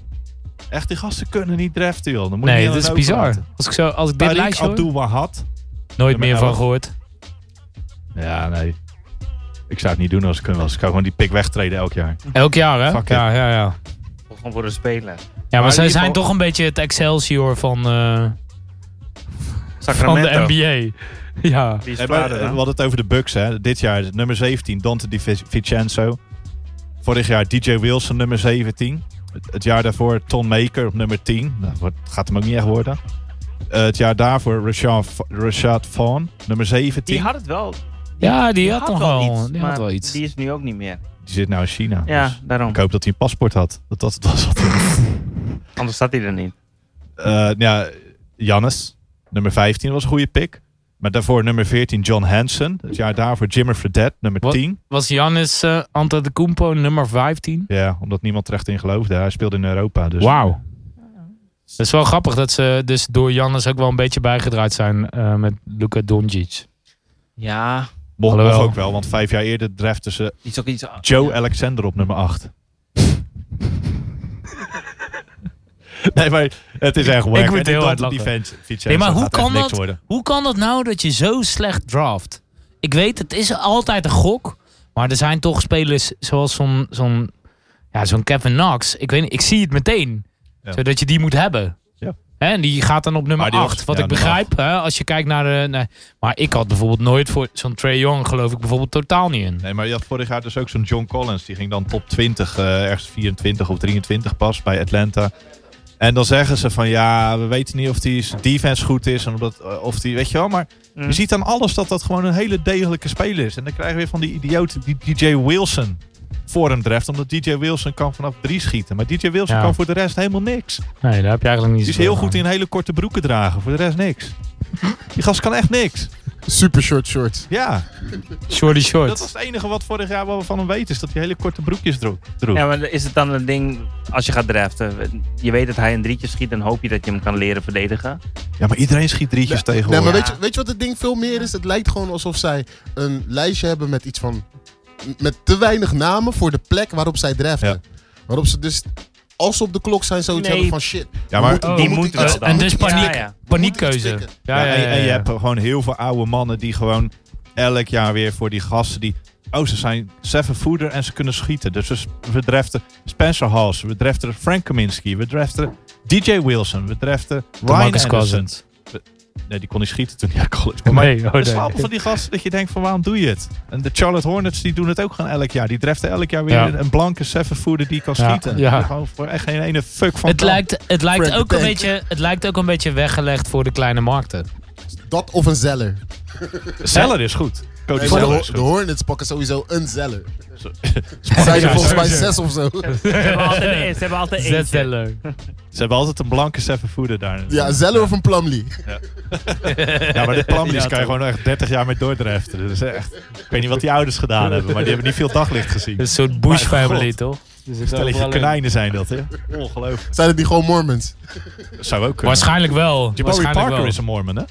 Echt, die gasten kunnen niet draften, joh. Dan moet je Nee, dat niet aan is hun bizar. overlaten. Als ik, zo, als ik dit Tariq lijstje hoor, Abdul-Wahad. nooit meer nummer van 11. gehoord. Ja, nee. Ik zou het niet doen als ik hun was. Ik zou gewoon die pick wegtreden elk jaar. Elk jaar, hè? Fuck it. ja, ja, ja. Gewoon voor de speler. Ja, maar, Maar in zij ieder zijn geval- toch een beetje het Excelsior van, eh, van Sacramento. de NBA. Ja. Die is Hey, maar, zwaarder eh, we dan. hadden het over de Bucks, hè. Dit jaar nummer 17, Dante Di Vic- Vincenzo. Vorig jaar DJ Wilson, nummer 17. Het, het jaar daarvoor Ton Maker op nummer 10. Nou, wat- gaat hem ook niet echt worden. Eh, het jaar daarvoor Rashawn Fa- Rashad Vaughn, nummer 17. Die Die, had het wel. Die Ja, die, had, nog wel, iets, die had maar wel iets. Die is nu ook niet meer. zit nou in China. Ja, Dus daarom. ik hoop dat hij een paspoort had. Dat dat het was wat hij- Anders staat hij er niet. Eh, ja, Jannes, nummer 15 was een goede pick. Maar daarvoor nummer 14 John Hansen. Het jaar daarvoor Jimmer Fredette, nummer Wat? 10. Was Janis eh Antetokounmpo nummer 15? Ja, omdat niemand terecht in geloofde. Hij speelde in Europa. Dus. Wauw. Dat is wel grappig dat ze dus door Janis ook wel een beetje bijgedraaid zijn eh, met Luka Doncic. Ja. Mocht, Hallo. mocht ook wel, want vijf jaar eerder draften ze Die is ook iets... Joe Alexander op nummer 8. nee, maar het is echt wack. moet En heel dat hard op Die lachen. fans, Vincenzo Nee, maar hoe gaat echt kan, niks dat, worden. hoe kan dat nou dat je zo slecht draft? Ik weet, het is altijd een gok. Maar er zijn toch spelers zoals zo'n zo'n ja, zo'n Kevin Knox. Ik, weet, niet, ik zie het meteen. Ja. Zodat je die moet hebben. Ja. Hè, en die gaat dan op nummer Maar die 8. was- Wat ja, ik nummer begrijp. Hè, als je kijkt naar de... Nee. Maar ik had bijvoorbeeld nooit voor... Zo'n Trae Young geloof ik bijvoorbeeld totaal niet in. Nee, maar je had vorig jaar dus ook zo'n John Collins. Die ging dan top 20, eh, ergens 24 of 23 pas bij Atlanta. En dan zeggen ze van ja, we weten niet of die zijn defense goed is. En of, dat, eh, of die, weet je wel. Maar Mm. je ziet aan alles dat dat gewoon een hele degelijke speler is. En dan krijgen we weer van die idioot die DJ Wilson voor hem treft. Omdat DJ Wilson kan vanaf drie schieten. Maar DJ Wilson Ja. kan voor de rest helemaal niks. Nee, daar heb je eigenlijk niet Die is zoveel heel goed aan. in hele korte broeken dragen. Voor de rest niks. Die gast kan echt niks. Super short shorts. Ja, Shorty short. dat was het enige wat vorig jaar wel van hem weten. Is dat hij hele korte broekjes dro- droeg. Ja, maar is het dan een ding als je gaat draften? Je weet dat hij een drietje schiet en hoop je dat je hem kan leren verdedigen. Ja, maar iedereen schiet drietjes Nee, maar tegenwoordig. weet je, weet je wat het ding veel meer is? Het lijkt gewoon alsof zij een lijstje hebben met iets van... Met te weinig namen voor de plek waarop zij draften. Waarop ze dus, als ze op de klok zijn, zoiets Nee. hebben van shit. Ja, maar, moeten- Oh, die moet moet ik- wel als- dan. en dus Ja, paniek. ja. Paniekkeuze. Moet iets ja, en, en je hebt gewoon heel veel oude mannen die gewoon elk jaar weer voor die gasten die... Oh, ze zijn seven footer en ze kunnen schieten. Dus we, s- we draften Spencer Hals, we draften Frank Kaminsky, we draften DJ Wilson, we draften Ryan Marcus Anderson. Cousins. Nee, die kon niet schieten toen hij college kwam. Maar Nee, oh de nee. slapen van die gasten dat je denkt van waarom doe je het? En de Charlotte Hornets die doen het ook gewoon elk jaar. Die draften elk jaar weer Ja. een, een blanke seven footer die kan Ja, schieten. ja. Die Gewoon voor echt geen ene fuck van Het kan. lijkt, het, lijkt Frank ook the een Tank. beetje, het lijkt ook een beetje weggelegd voor de kleine markten. Dat of een zeller. Zeller is goed. Cody Nee, maar Zeller de, is de goed. Hornets pakken sowieso een zeller. Zo- Het zijn er volgens mij sowieso. zes of zo. Ze hebben altijd één. Ze hebben altijd één. Zetzeller. Ze hebben altijd een blanke seven footer daar. Ja, een zeller of een plumlee. Ja, maar de Plumlees Ja, kan je toch. gewoon echt 30 jaar mee doordraften. Dat is echt... Ik weet niet wat die ouders gedaan hebben, maar die hebben niet veel daglicht gezien. Een Dus soort bush Maar god. family, toch? Stelletje konijnen zijn dat, hè? Ongelooflijk. Zijn het niet gewoon Mormons? Dat zou ook kunnen. Waarschijnlijk wel. Jabari Waarschijnlijk Parker wel. is een mormon, hè?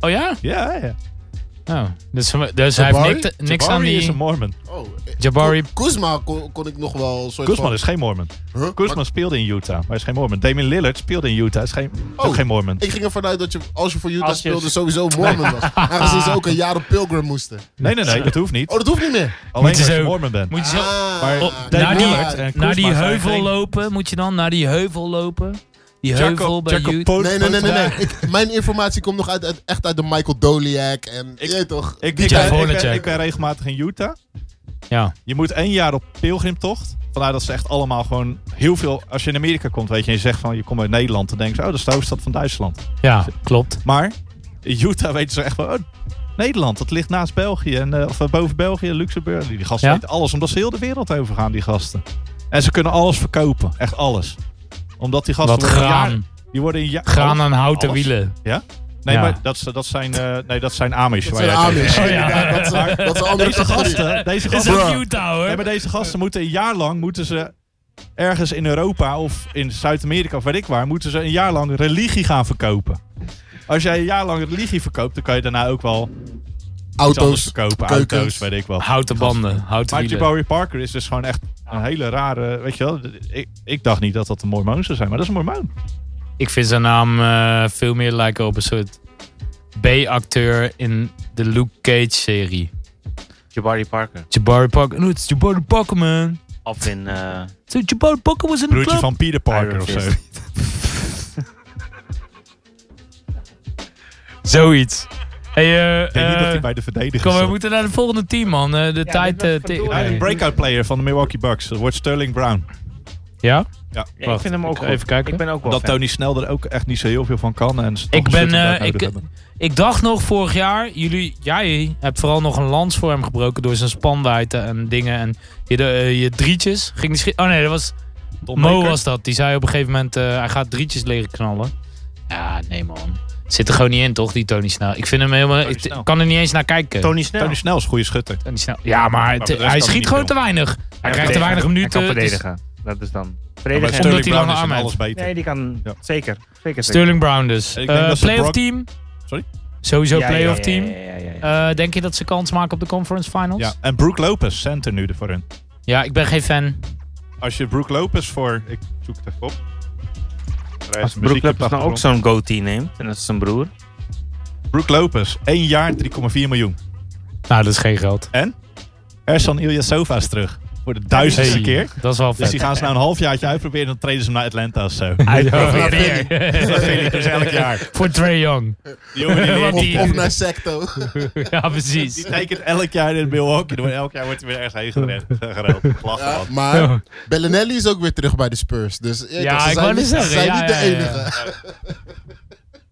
Oh ja? Ja, ja. Oh. Dus, dus hij Jabari? heeft niks, niks aan Jabari die... is een Ah. mormon. Oh, eh, Jabari- Ko- Kuzma kon, kon ik nog wel een soort Koesman van... is geen mormon. Huh? Maar Koesman speelde in Utah, maar is geen mormon. Damian Lillard speelde in Utah, is, geen, is ook Oh. geen mormon. Ik ging ervan uit dat je, als je voor Utah Als je- speelde, sowieso Mormon was. Aangezien ze ook een jaar op Pilgrim moesten. Nee, nee, nee, dat hoeft niet. Oh, dat hoeft niet meer. Alleen Moet je als je zo- mormon bent. Moet je zo... Ah, Maar op- Damian naar die, Lillard en naar die Kuzma zijn heuvel geen- lopen, moet je dan naar die heuvel lopen. Die Jacob- heuvel bij Jacob Utah. Poot- Nee, nee, nee, nee. nee. Poot- Ik- mijn informatie komt nog uit, uit- echt uit de Michael Doliak en je weet toch. Ik, Die ik, ben, ik, Jacob- ben, Jacob. ik ben regelmatig in Utah. Ja. Je moet één jaar op pilgrimtocht. Vandaar dat ze echt allemaal gewoon heel veel... Als je in Amerika komt, weet je, en je zegt van je komt uit Nederland. Dan denken ze, oh, dat is de hoofdstad van Duitsland. ja, klopt. Maar in Utah weten ze echt van, oh, Nederland, dat ligt naast België. En, eh, of eh, boven België, Luxemburg. Die, die gasten Ja? weten alles, omdat ze heel de wereld over gaan, die gasten. En ze kunnen alles verkopen, echt alles. Omdat die gasten... Wat worden een jaar- graan. die worden een jaar... Graan en houten Alles. wielen. Nee, Ja. maar dat, is- dat zijn, eh, nee, dat zijn Amish. Dat waar zijn jij tegen- Amish. Oh, ja. inderdaad. Dat is, dat is een andere Deze categorie. gasten, deze Is gasten, ook Utah, hoor. Nee, maar deze gasten moeten een jaar lang moeten ze ergens in Europa of in Zuid-Amerika of weet ik waar, moeten ze een jaar lang religie gaan verkopen. Als jij een jaar lang religie verkoopt, dan kan je daarna ook wel iets anders Auto's. verkopen. keukens. Auto's, weet ik wel. Houten banden, houten Maar wielen. Jabari Parker is dus gewoon echt een hele rare, weet je wel. Ik, ik dacht niet dat dat een mormoon zou zijn, maar dat is een mormoon. Ik vind zijn naam eh, veel meer lijken op een soort B-acteur in de Luke Cage-serie. Jabari Parker. Jabari Parker. No, it's Jabari Parker, man. Of in... eh, So Jabari Parker was in the Broertje club. van Peter Parker Iron of zo. Fist. Zoiets. Hey, eh, Ik denk niet eh, dat hij bij de verdediging kom, we zat. moeten naar het volgende team, man. Eh, de Ja, tijd... dit was eh, ti- verdorie. Hij is nee. een breakout player van de Milwaukee Bucks. Dat wordt Sterling Brown. Ja? ja, ik Wacht, vind hem ook ik- goed. even kijken. Ik ben ook wel Dat fan. Tony Snell er ook echt niet zo heel veel van kan. En ze toch Ik een ben... shooting guard eh, nodig ik, hebben. ik dacht nog vorig jaar... Jullie, jij hebt vooral nog een lans voor hem gebroken door zijn spanwijdte en dingen. En je, de, eh, je drietjes ging die schi- Oh nee, dat was... Tom Mo Baker. was dat. Die zei op een gegeven moment, eh, hij gaat drietjes leren knallen. Ja, nee man. Zit er gewoon niet in, toch, die Tony Snel. Ik vind hem helemaal... Tony ik Snell. ik kan er niet eens naar kijken. Tony Snell. Tony Snell is een goede schutter. Tony Snell. Ja, maar, het- voor de rest hij kan schiet niet gewoon veel. te weinig. Hij krijgt te verdedigen. weinig minuten. Dus Hij kan Het is- verdedigen. Dat is dan. Maar bij Verdedigen. Omdat Sterling hij Brown lange is in arm alles beter. Nee, die kan... Ja. Zeker. Zeker. zeker. Sterling Brown dus. Ik denk Eh, dat ze playoff Brock- team. Sorry? Sowieso Ja, ja, playoff ja, ja, team. ja, ja, ja. Eh, denk je dat ze kans maken op de conference finals? Ja. En Brook Lopez, center nu voor hun. Ja, ik ben geen fan. Als je Brook Lopez voor... Ik zoek het even op. Hij Als is een muziekje Brook Lopez nou ook achtergrond. zo'n goatee neemt, en dat is zijn broer. Brook Lopez, 1 jaar, 3,4 miljoen. Nou, dat is geen geld. Ersan Ilyasova is terug. Voor de duizendste Hey, keer. Dat is wel Dus vet. die gaan ze nou een halfjaartje uitproberen. Dan treden ze hem naar Atlanta of zo. Uitproberen. Dat vind ik dus elk jaar. Voor Trey Young. Die jongen die leert- Wat die- Of, of naar Secto. ja, Die precies. tekent elk jaar in Milwaukee. Dan wordt- Elk jaar wordt hij weer ergens heen gerend- gereld. Lachen Ja, man. Ja. maar Bellinelli is ook weer terug bij de Spurs. Dus ja, Ja, toch, ze ik zijn, wou net niet, ze zeggen, zijn ja, niet de ja, ja. enige.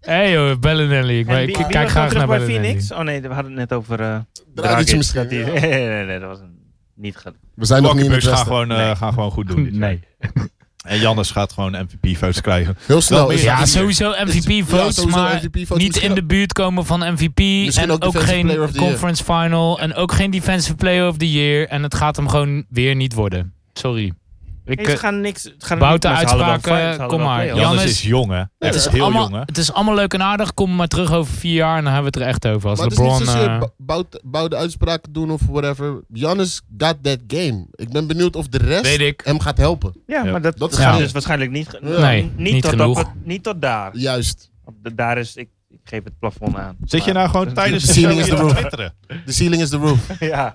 hey joh, Bellinelli. Ik, En ik wie- wie kijk was graag nou naar terug bij Bellinelli. Phoenix? Oh nee, we hadden het net over... eh Dragic Dragic. misschien, Dat die- ja. Nee, nee, nee, dat was een, niet... ge- We zijn nog niet in het Walkenbus gaan westen. gewoon, eh, gaan gewoon goed doen. dit jaar. Nee. En Jannes gaat gewoon MVP-votes krijgen. Heel snel. Wel Oh, is Ja, het hier. sowieso MVP Ja, votes, sowieso maar MVP votes. niet Misschien in de ook- buurt komen van MVP Misschien en ook ook Defensive geen Player of the Year. conference final en ook geen defensive player of the year en het gaat hem gewoon weer niet worden. Sorry. Ik, Nee, ze eh, gaan niks... ze gaan Bouten niks- maar ze hadden wel finals, uitspraken, ze hadden kom wel maar. playoffs. Jan- Jannes Jannes- is jong, hè? het, Echt is heel allemaal, jong, hè? het is allemaal leuk en aardig, kom maar terug over vier jaar en dan hebben we het er echt over. Als Maar LeBron, het is niet zozeer eh, bou- bout- bouwde uitspraken doen of whatever. Giannis got that game. Ik ben benieuwd of de rest Weet ik. hem gaat helpen. Ja, maar dat, Dat is gaat ja. dus waarschijnlijk niet... ge- Ja. Nee, niet, niet tot op genoeg. het- niet tot daar. Juist. Op de- Daar is... Ik, ik geef het plafond aan. Zit je nou gewoon tijdens de ceiling show is hier de te roof. twitteren? The ceiling is the roof. ja.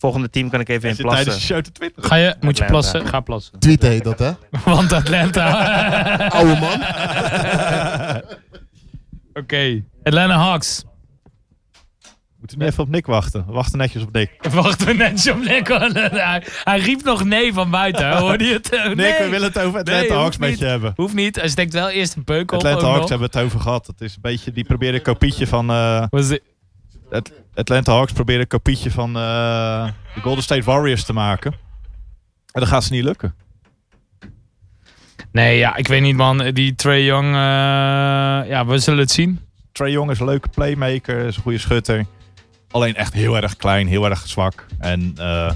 Volgende team kan ik even Hij in zit tijdens de plassen. show te twitteren. Ga je, moet je Atlanta. plassen? Ga plassen. Tweet heet dat, hè? Want Atlanta. Oude man. Oké. Atlanta Hawks. Moeten we nu even op Nick wachten. We wachten netjes op Nick. Wacht we netjes op Nick. want Hij, hij riep nog nee van buiten. hè. Hoorde je het? Nee, Nick, we willen het over Atlanta Nee, hoeft Hawks met niet. je hebben. Hoeft niet. Hij steekt wel eerst een peuk op. Atlanta ook Hawks nog. hebben we het over gehad. Het is een beetje, die proberen een kopietje van... eh, Was het- At- Atlanta Hawks proberen een kopietje van eh, de Golden State Warriors te maken. En dat gaat ze niet lukken. Nee, ja, ik weet niet, man. Die Trey Young, eh, ja, we zullen het zien. Trey Young is een leuke playmaker, is een goede schutter. Alleen echt heel erg klein, heel erg zwak. En eh,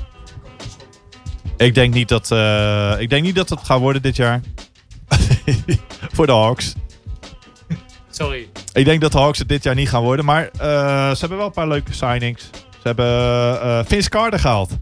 ik, denk niet dat, eh, ik denk niet dat het gaat worden dit jaar. Voor de Hawks. Sorry. Ik denk dat de Hawks het dit jaar niet gaan worden. Maar eh, ze hebben wel een paar leuke signings. Ze hebben eh, Vince Carter gehaald.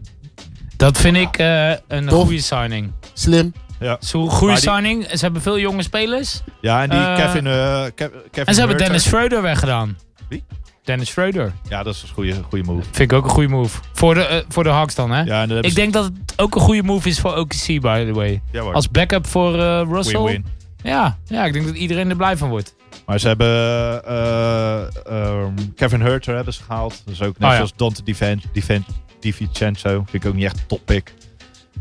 Dat vind ik eh, een Tof. goede signing. Slim. Ja, Zo'n goede Maar die- signing. Ze hebben veel jonge spelers. ja en die Eh, Kevin, eh, Kev- En Kevin ze hebben Huerter. Dennis Schroeder weggedaan. Wie? Dennis Schroeder. Ja, dat is een goede, goede move. Vind ik ook een goede move. Voor de, eh, voor de Hawks dan, hè? Ja, en dan hebben Ik ze- denk dat het ook een goede move is voor OKC, by the way. Ja, hoor. Als backup voor eh, Russell. Win-win. Ja, ja, ik denk dat iedereen er blij van wordt. Maar ze hebben eh, ehm, Kevin Herter hebben ze gehaald. Dat is ook net Oh, ja. zoals Dante Divan- Divan- DiVincenzo. Vind ik ook niet echt een toppick.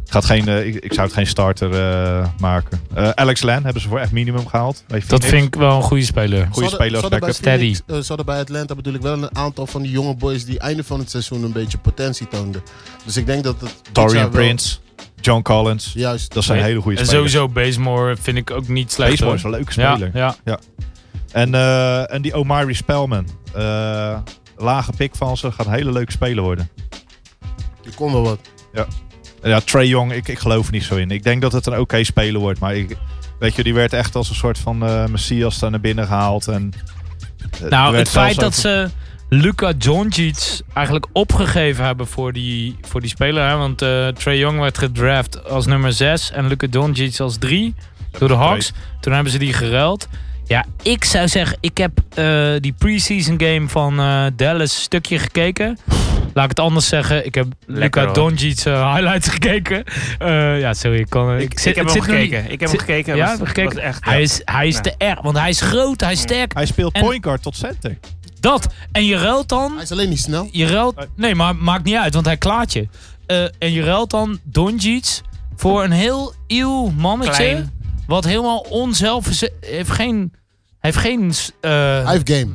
Gaat geen, eh, ik, ik zou het geen starter eh, maken. Eh, Alex Len hebben ze voor echt minimum gehaald. Bij Dat Phoenix. vind ik wel een goede speler. Goeie Ze hadden- speler als ze hadden backup. bij Teddy. Phoenix, eh, Ze hadden bij Atlanta bedoel ik wel een aantal van die jonge boys die einde van het seizoen een beetje potentie toonden. Dus ik denk dat het. dit jaar Dorian wel- Prince, John Collins. Juist. Dat zijn Nee. hele goede En spelers. sowieso Bazemore vind ik ook niet slecht. Baseball is hoor. een leuke speler. Ja, ja. En, eh, en die Omari Spellman. Eh, lage pick van ze. Gaat een hele leuke speler worden. Je kon wel wat. Ja, Trey Young, ik, ik geloof er niet zo in. Ik denk dat het een oké speler wordt. Maar ik, weet je, die werd echt als een soort van eh, messias daar naar binnen gehaald. En, eh, er Nou, werd het feit zelfs dat ze Luca Doncic eigenlijk opgegeven hebben voor die, voor die speler. Hè? Want eh Trey Young werd gedraft als nummer 6 en Luca Doncic als 3 door de Hawks. Toen hebben ze die geruild. Ja, ik zou zeggen, ik heb eh, die preseason game van eh, Dallas een stukje gekeken. Laat ik het anders zeggen, ik heb Lekker, Luca hoor. Doncic's eh, highlights gekeken. Eh, ja, sorry, ik kan... Ik, ik heb het hem zit nog niet- gekeken. Ik heb hem zit- gekeken. Ja, Was- heb je gekeken? was echt. Hij is, hij is Ja. Mm. te erg, want hij is groot, hij is sterk. Hij speelt en- point guard tot center. Dat. En je ruilt Hij dan... is alleen niet snel. Je ruilt, nee, maar maakt niet uit, want hij klaart je. Eh, en je ruilt dan Doncic voor een heel iel mannetje... Klein. wat helemaal onzelf... heeft geen... heeft geen... eh, Hij heeft game.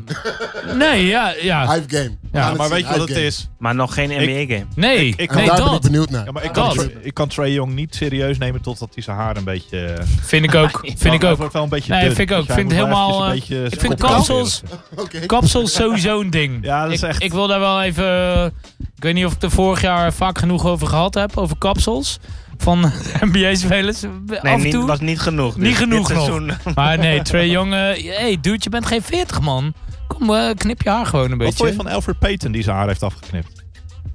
nee, ja, ja. Hij heeft game. We gaan het maar zien. weet je Hij wat heeft het game. is? Maar nog geen E NBA-game. nee, ik- ik kan nee, Daar ben ik dat benieuwd naar. Ja, maar ik, Dat. kan, Trae- ik kan Trey Young niet serieus nemen totdat hij zijn haar een beetje... eh, vind ik ook. Vind ik hij ook. wordt wel een beetje Nee, dun. vind ik ook. Dus hij Vind moet wel helemaal, eventjes eh, beetje ik zijn vind kop kapsels... Oké. Kapsels sowieso een ding. Ja, dat is ik, echt- ik wil daar wel even. eh, Ik weet niet of ik er vorig jaar vaak genoeg over gehad heb. Over kapsels. Van NBA-spelers. Nee, af en niet, toe. was niet genoeg. dus Niet genoeg dit nog. seizoen- Maar nee, Trey Young. Hé, hey, dude, je bent geen 40 man. Kom, eh, knip je haar gewoon een Wat vond je beetje. van Alfred Payton die zijn haar heeft afgeknipt?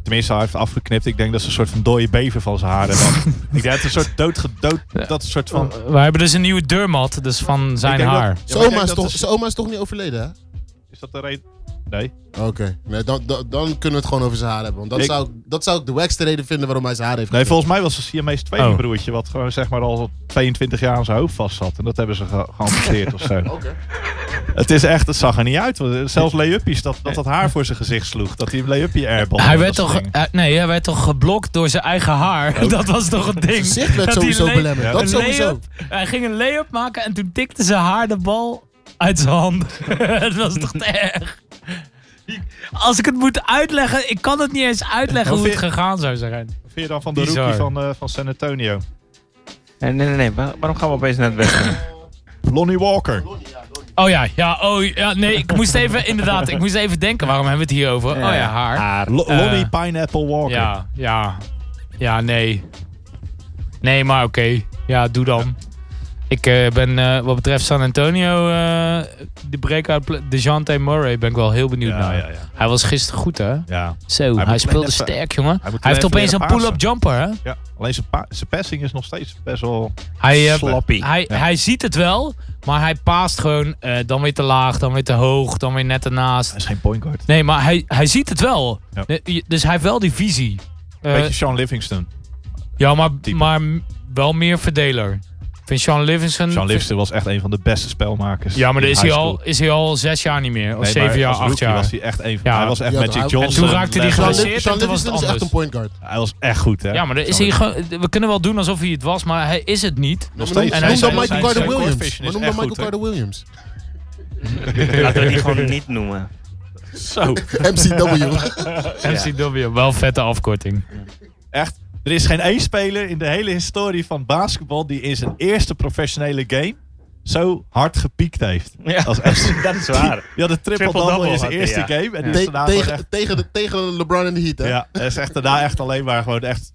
Tenminste, hij heeft afgeknipt. Ik denk dat ze een soort van dode bever van zijn haar hebben. ik denk dat het een soort doodgedood... Ja. Dat een soort van... We hebben dus een nieuwe deurmat, dus van Ik zijn denk haar. Dat, ja, maar Zijn ik oma denk is dat toch- is- zijn oma is toch niet overleden, hè? Is dat de reden? Nee. Oké, nee, dan, dan, dan kunnen we het gewoon over zijn haar hebben. Want dat, Ik- zou, dat zou ik de wackste reden vinden waarom hij zijn haar heeft Nee, geknipt. volgens mij was het Siamese Oh. tweelingbroertje. Wat gewoon zeg maar al 22 jaar aan zijn hoofd vast zat. En dat hebben ze ge geamputeerd of zo. Oké. Het is echt, het zag er niet uit. want Zelfs Leuppies, dat, dat dat haar voor zijn gezicht sloeg. Dat hij een Leuppie airbal. Hij werd, toch, eh, nee, hij werd toch geblokt door zijn eigen haar. Dat was toch het ding. Zijn gezicht werd Dat hij sowieso een belemmerd. een Dat sowieso. lay-up- Hij ging een lay-up maken en toen tikte zijn haar de bal uit zijn hand. dat was toch te erg. Als ik het moet uitleggen, ik kan het niet eens uitleggen Hoe hoe het vind- gegaan zou zijn. Vind je dan van de Bizar. rookie van, eh, van San Antonio? Nee, nee, nee, nee. Wa- Waarom gaan we opeens naar het westen? Lonnie Walker. Oh ja, ja, oh ja, nee, ik moest even, inderdaad, ik moest even denken, waarom hebben we het hier over? Oh ja, haar. Lo- Eh, Lonnie Pineapple Walker. Ja, ja, ja, nee. Nee, maar oké, ja, doe dan. Ik eh, ben eh, wat betreft San Antonio, eh, de breakout, pla- DeJounte Murray, ben ik wel heel benieuwd Ja, naar. ja, ja. Hij was gisteren goed, hè? Ja. Zo, moet hij, alleen speelde even- sterk, jongen. Hij, hij moet heeft alleen opeens even een leren pull-up jumper, hè? ja. Alleen zijn, pa- zijn passing is nog steeds best wel... Hij, eh, Sloppy. hij, Ja. hij ziet het wel, maar hij paast gewoon eh, dan weer te laag, dan weer te hoog, dan weer net ernaast. Hij is geen point guard. Nee, maar hij, hij ziet het wel. Ja. Nee, je- Dus hij heeft wel die visie. Eh, Beetje Sean Livingston. ja, maar, type. maar m- wel meer verdeler. Ik vind Sean Livingston... Sean Livingston was echt een van de beste spelmakers. Hm. Ja, maar in dan is hij, high al, school. is hij al zes jaar niet meer. Of Nee, zeven maar jaar, als acht rookie jaar. was hij echt een van... Ja. Hij was echt Ja, Magic hij- en toen Johnson. raakte hij level. Sean, geblesseerd. Liv- Sean toen was het Livingston is echt anders. een point guard. Hij was echt goed, hè? Ja, maar dan is hij gewoon, we kunnen wel doen alsof hij het was, maar hij is het niet. Noem, steeds. noem, En hij noem zijn- dan Michael zijn- Carter zijn Williams. coefficient Maar is noem dan echt Michael goed, hè? Carter Williams. Laten we die gewoon niet noemen. Zo. MCW. MCW, wel vette afkorting. Echt. Er is geen één speler in de hele historie van basketbal die in zijn eerste professionele game zo hard gepiekt heeft. Ja. Als FC. Dat is waar. Die had een triple-double Triple-double in zijn had hij, eerste ja. game. En die Ja. is Te- daarna gewoon echt... tegen, tegen, de, tegen de LeBron en de Heat, hè? Ja, hij is echt daarna echt alleen maar gewoon echt...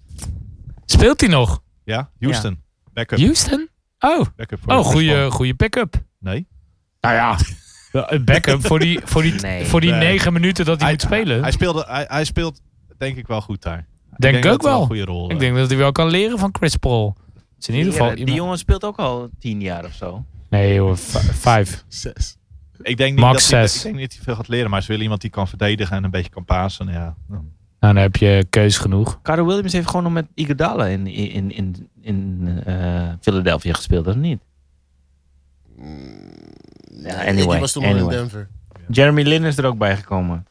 Speelt hij nog? Ja, Houston. Backup. Houston? Oh, Backup voor oh de goede, baseball. goede pick-up. Nee. Nou ja, een backup voor die, voor die, Nee. voor die Nee. negen minuten dat hij, moet spelen. Hij, speelde, hij, hij speelt denk ik wel goed daar. denk ik dat ook het Een wel. goede rol. eh, Ik denk dat hij wel kan leren van Chris Paul. Het is in ieder geval Die, die iemand- jongen speelt ook al tien jaar of zo. Nee hoor, v- vijf. Zes. ik denk niet Max dat hij, zes. Ik denk niet dat hij veel gaat leren, maar ze willen iemand die kan verdedigen en een beetje kan pasen. Ja. Nou, dan heb je keus genoeg. Carter Williams heeft gewoon nog met Iguodala in, in, in, in eh, Philadelphia gespeeld, of niet? Ja, Iggy anyway. was toen al in anyway. Denver. Jeremy Lin is er ook bij gekomen.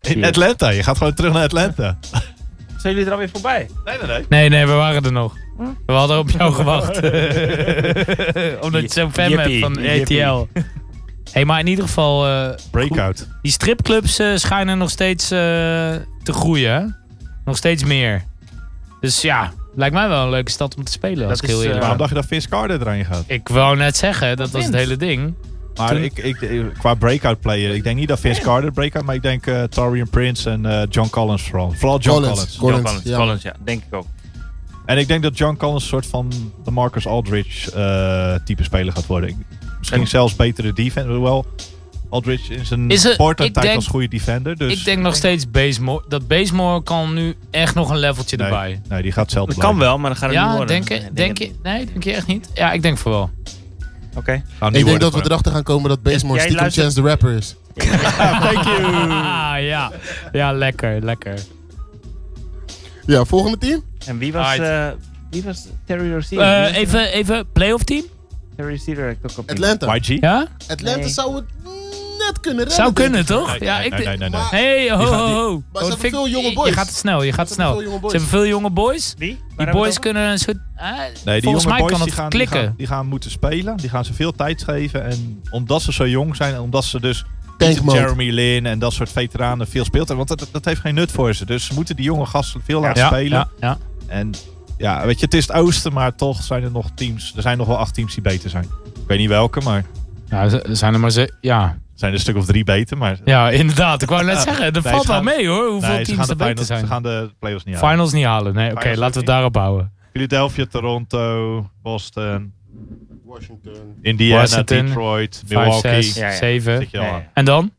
In Atlanta. Je gaat gewoon terug naar Atlanta. Zijn jullie er alweer voorbij? Nee, nee, nee. Nee, nee, we waren er nog. We hadden op jou gewacht. Omdat je zo'n fan bent Jippie, van jippie. RTL. hey, maar in ieder geval, eh, Breakout. die stripclubs eh, schijnen nog steeds eh, te groeien. hè? Nog steeds meer. Dus ja, lijkt mij wel een leuke stad om te spelen. Als Dat ik heel is, eerlijk eh, ben. Waarom dacht je dat Vince Carter erin gaat? Ik wou net zeggen, dat was het hele ding. Maar Toen- ik, ik, ik- qua breakout player, ik denk niet dat Vince Carter breakout, maar ik denk eh Tarion Prince en eh, John Collins vooral. Vooral John Collins. Collins. John Collins. Collins, Ja. Collins, ja, denk ik ook. En ik denk dat John Collins een soort van de Marcus Aldridge eh, type speler gaat worden. Ik- Misschien En- zelfs betere defender, hoewel Aldridge in zijn Is er- ik Portland tijd denk- was goede defender. Dus ik denk nog steeds Bazemore. Dat Bazemore kan nu echt nog een leveltje nee, erbij. Nee, die gaat zelf Dat kan wel, maar dan gaat het niet Ja, worden. denk, je- Nee, ik denk het je? Nee, denk je echt niet? Ja, ik denk voor wel. niet. Oké. Nou, Ik denk dat we erachter gaan komen dat Basemore Jij stiekem luistert- Chance the Rapper is. Thank you! Ah, ja. ja, lekker, lekker. Ja, volgende team? En wie was, Alright. eh, wie was Terry Rozier? Wie was Eh, er- even, even, playoff team? Terry Rozier eh, heb ik ook op. Atlanta. YG? Ja? Atlanta Nee. zou het net kunnen redden. Zou denk kunnen, ik. toch? Nee, ja, nee, ik nee, denk- nee, nee. Hey, ho, Die ho, gaan- die- ho. Maar Oh, ze dat hebben vind ik- veel jonge je- Je boys. gaat te snel, je gaat te Ze hebben snel. veel jonge boys. Ze hebben veel jonge boys. Wie? Waar hebben Die we boys het kunnen een soort... eh, Nee, die volgens jonge mij boys kan die het gaan, klikken. Die gaan, die gaan moeten spelen. Die gaan ze veel tijd geven. En omdat ze zo jong zijn en omdat ze dus Tank mode. Jeremy Lin en dat soort veteranen veel speeltijd. Want dat, dat heeft geen nut voor ze. Dus ze moeten die jonge gasten veel laten ja, spelen. ja, ja. En ja, weet je, het is het oosten, maar toch zijn er nog teams. Er zijn nog wel acht teams die beter zijn. Ik weet niet welke, maar er Ja, Nou, ze- zijn er maar ze... Ja. zijn er een stuk of drie beter. Maar ja, inderdaad. Ik wou net zeggen, dat Nee, valt ze wel gaan- mee hoor, hoeveel nee, ze, gaan teams de er beter finals- zijn. ze gaan de playoffs niet halen. Finals niet halen, nee. Oké, Finals laten we ook het daarop houden. Philadelphia, Toronto, Boston, Washington. Indiana, Washington, Detroit, Vijf, Milwaukee. zes, Ja, ja. zeven. Zit je al Nee. aan. En dan?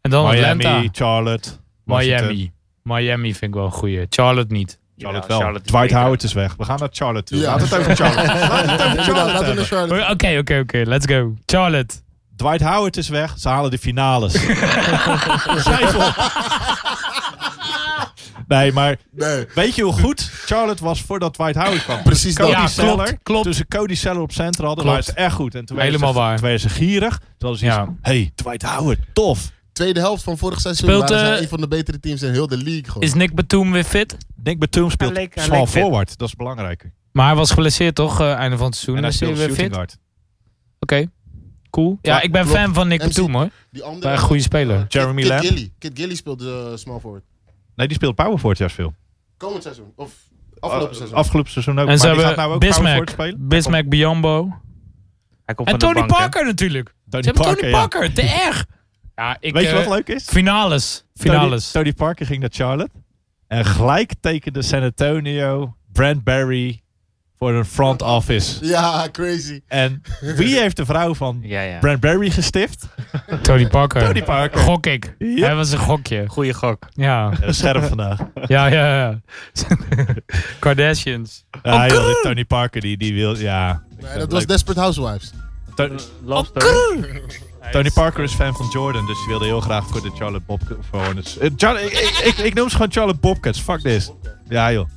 En dan Miami, Oh, Atlanta. Charlotte. Washington. Miami. Miami vind ik wel een goeie. Charlotte niet. Charlotte Ja, wel. Charlotte is Dwight beter. Howard is weg. We gaan naar Charlotte toe. Ja. Laten we het over Charlotte. Laten we het over Inderdaad, Charlotte laten we naar hebben. Oké, Charlotte. oké, oké. let's go. Charlotte. Dwight Howard is weg. Ze halen de finales. Schrijf op. Nee, maar Nee. weet je hoe goed Charlotte was voordat Dwight Howard kwam? Precies Cody dat. Ja, Seller. klopt, klopt. Toen ze Cody Seller op center hadden, Klopt. was het echt goed. En toen werden Helemaal ze, waar. Toen werden ze gierig. Toen hadden ze Ja. iets, hey, Dwight Howard, tof. Tweede helft van vorig seizoen Speelt, waren zij eh, een van de betere teams in heel de league. Gewoon. Is Nick Batum weer fit? Nick Batum speelt Hij leek- hij small leek fit. forward. Dat is belangrijker. Maar hij was geblesseerd toch, eh, einde van het seizoen. en hij is hij speelt weer shooting fit? Oké, guard. cool. Ja, Ja, ik ben klopt. fan van Nick MC. Batum hoor. Die andere, Bij een goede speler. Kid- Jeremy Kid Lamb. Gilly. Kid Gilly speelde eh, small forward. Nee, die speelt power forward juist veel. Komend seizoen. Of Oh, afgelopen seizoen. Afgelopen seizoen ook. En ze maar die hebben gaat nou ook power forward Bismack, spelen. Bismack Biombo. Hij komt En van de Tony bank, hè? Parker natuurlijk. Ze Tony hebben Tony ja. Parker, te erg. Ja, ik, Weet je eh, wat leuk is? Finales. Finales. Tony, Tony Parker ging naar Charlotte. En gelijk tekende San Antonio Brent Barry voor een front office. Ja, crazy. En wie heeft de vrouw van Ja, ja. Brent Barry gestift? Tony, Parker. Tony Parker. Gok ik. Ja. Hij was een gokje. Goeie gok. Ja, Eh, Scherp vandaag. ja, ja. ja. Kardashians. Ja, joh, die Tony Parker die, die wil. Ja. Nee, dat was Desperate Housewives. To- Oh, Tony Parker is fan van Jordan, dus die wilde heel graag voor de Charlotte Bobcats. voor Hornets. Eh, Char- ik, ik, ik, ik noem ze gewoon Charlotte Bobcats. Fuck this. Ja joh.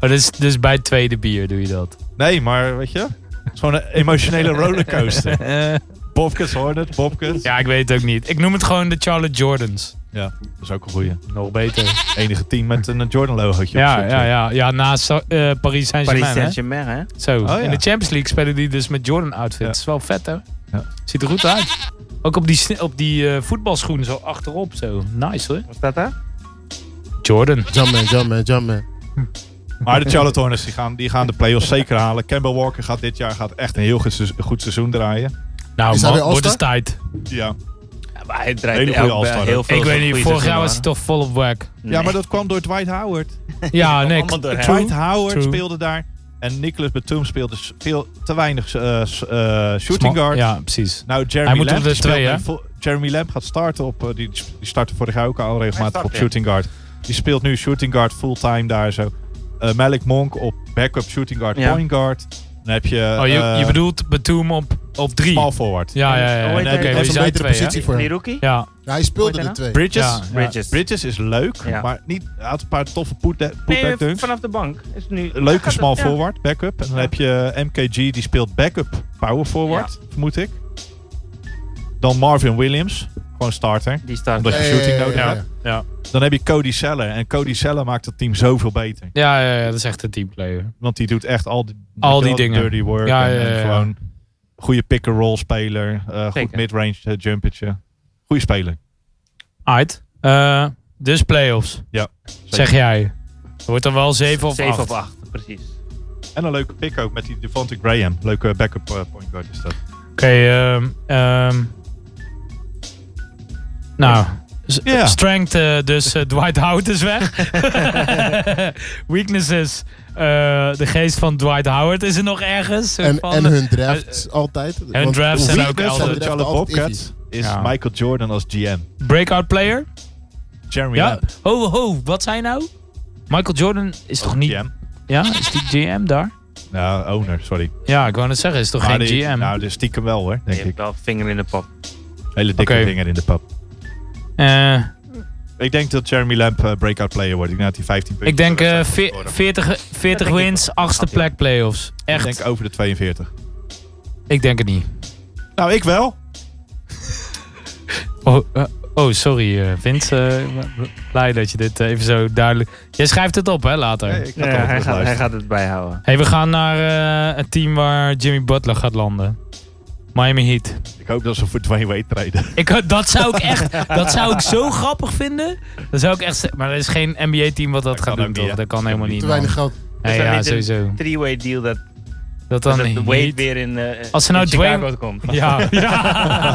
Oh, dus, dus bij het tweede bier doe je dat. Nee, maar weet je, het is gewoon een emotionele rollercoaster. Bobcats Hornets, Bobcats. Ja, ik weet het ook niet. Ik noem het gewoon de Charlotte Jordans. Ja, dat is ook een goeie. Nog beter. Enige team met een Jordan logootje. op Ja, zich. ja, ja. Ja, naast Sa- eh, Paris Paris Saint-Germain. hè? Saint-Germain, hè? Zo. ja. In de Champions League spelen die dus met Jordan outfits. Ja. Dat is wel vet, hè? Ja. Ziet er goed uit. Ook op die, sne- op die eh, voetbalschoen zo achterop. Zo. Nice, hoor. Wat staat daar? Jordan. Jumpman, Jumpman, Jumpman. Maar de Charlotte Hornets die gaan, die gaan de playoffs zeker halen. Campbell Walker gaat dit jaar gaat echt een heel goed seizoen- goed seizoen draaien. Nou, Is hij man, weer wordt All-Star? eens tijd. Ja. Ja, maar hij draait Hele goede elk- all-star heel ook. veel Ik weet niet, goede vorig jaar seizoenen, was hij toch vol op whack. hoor. ja, Nee. maar dat kwam door Dwight Howard. Ja, nee. allemaal door hem. true. Dwight Howard True. speelde daar. En Nicholas Batum speelde s- veel te weinig eh, s- eh, shooting Sma- guard. Ja, precies. Nou, Jeremy Hij moet Lamb op de die speelt twee, hè? nu vo- Jeremy Lamb gaat starten op. eh, die, die startte vorig jaar ook al regelmatig Hij start, op ja. shooting guard. Die speelt nu shooting guard fulltime daar zo. Eh, Malik Monk op backup shooting guard, Ja. point guard. Dan heb je, Oh, je, eh, je bedoelt Batum op, op drie. small forward. Ja, ja, ja. Hoe heet Oké, hij? we Dat is een zijn betere twee, hè? positie. voor hem. Die rookie? Ja, Ja, hij speelde Hoe de heet twee. Bridges, Ja, ja. Bridges. Bridges is leuk, Ja. maar niet. Hij had een paar toffe putback Nee, dunks. vanaf de bank. Is nu... Een leuke Ja, small ja. forward, backup. En dan Ja. heb je eh, MKG, die speelt backup power forward, vermoed ik. Dan Marvin Williams, gewoon starter. Die staat. Omdat je Ja, ja, shooting ja, nodig ja, hebt. ja. Dan heb je Cody Seller. En Cody Seller maakt het team zoveel beter. Ja, ja, ja, dat is echt een teamplayer. Want die doet echt al die, Al weet je die wel, dingen. Dirty work Ja, en, ja, en ja, ja. gewoon goede pick-and-roll speler. eh, goed Zeker. midrange eh, jumpertje. Goede speler. Uit. Eh, dus playoffs, zeker. zeg jij. Er wordt dan wel 7 of 7 8. of 8, precies. En een leuke pick ook met die Devontae Graham. Leuke backup eh, point guard is dat. Oké, ehm, ehm. nou. s- Ja. Strength, eh, dus eh, Dwight Howard is weg. Weaknesses, eh, de geest van Dwight Howard is er nog ergens. Soort En, van, en eh, hun drafts altijd. hun Want drafts hoe zijn wie ook draft altijd- zijn Van de draft Charlotte altijd Bobcats is Ja. Michael Jordan als GM. breakout player? Jeremy Ja. Lamb. Ho, ho, wat zei je nou? Michael Jordan is toch niet... GM. Ja, is die GM daar? Nou, owner, sorry. Ja, ik wou net zeggen, is toch Maar geen die- GM? Nou, dus stiekem wel hoor, Je denk hebt ik. wel vinger in de pap. Hele dikke Oké. vinger in de pap. Eh, Ik denk dat Jeremy Lamp eh, breakout player wordt. Ik denk dat hij 15 punten ik denk per eh, wedstrijd ve- gaat scoren. 40, 40 ik wins, 8e plek playoffs. Echt, Ik denk over de 42. ik denk het niet. Nou, ik wel. Oh, eh, oh sorry, eh, Vince. eh, blij dat je dit eh, even zo duidelijk. Jij schrijft het op, hè, later. Nee, ik ga Ja, toch hij, even gaat, hij luisteren. gaat het bijhouden. Hey, we gaan naar eh, het team waar Jimmy Butler gaat landen. Miami Heat. Ik hoop dat ze voor Dwayne Wade treden. Ik, eh, dat zou ik echt, dat zou ik zo grappig vinden. Dat zou ik echt, z- maar er is geen NBA-team wat dat, gaat Dat doen, kan ook niet, toch? hè? Dat kan helemaal niet. Te man. weinig geld. Nee, Is dat ja, niet een sowieso. Three-way deal dat, Dat dan dat de Wade Heat- weer in, eh, Als ze nou in Dwayne- Chicago komt. Ja.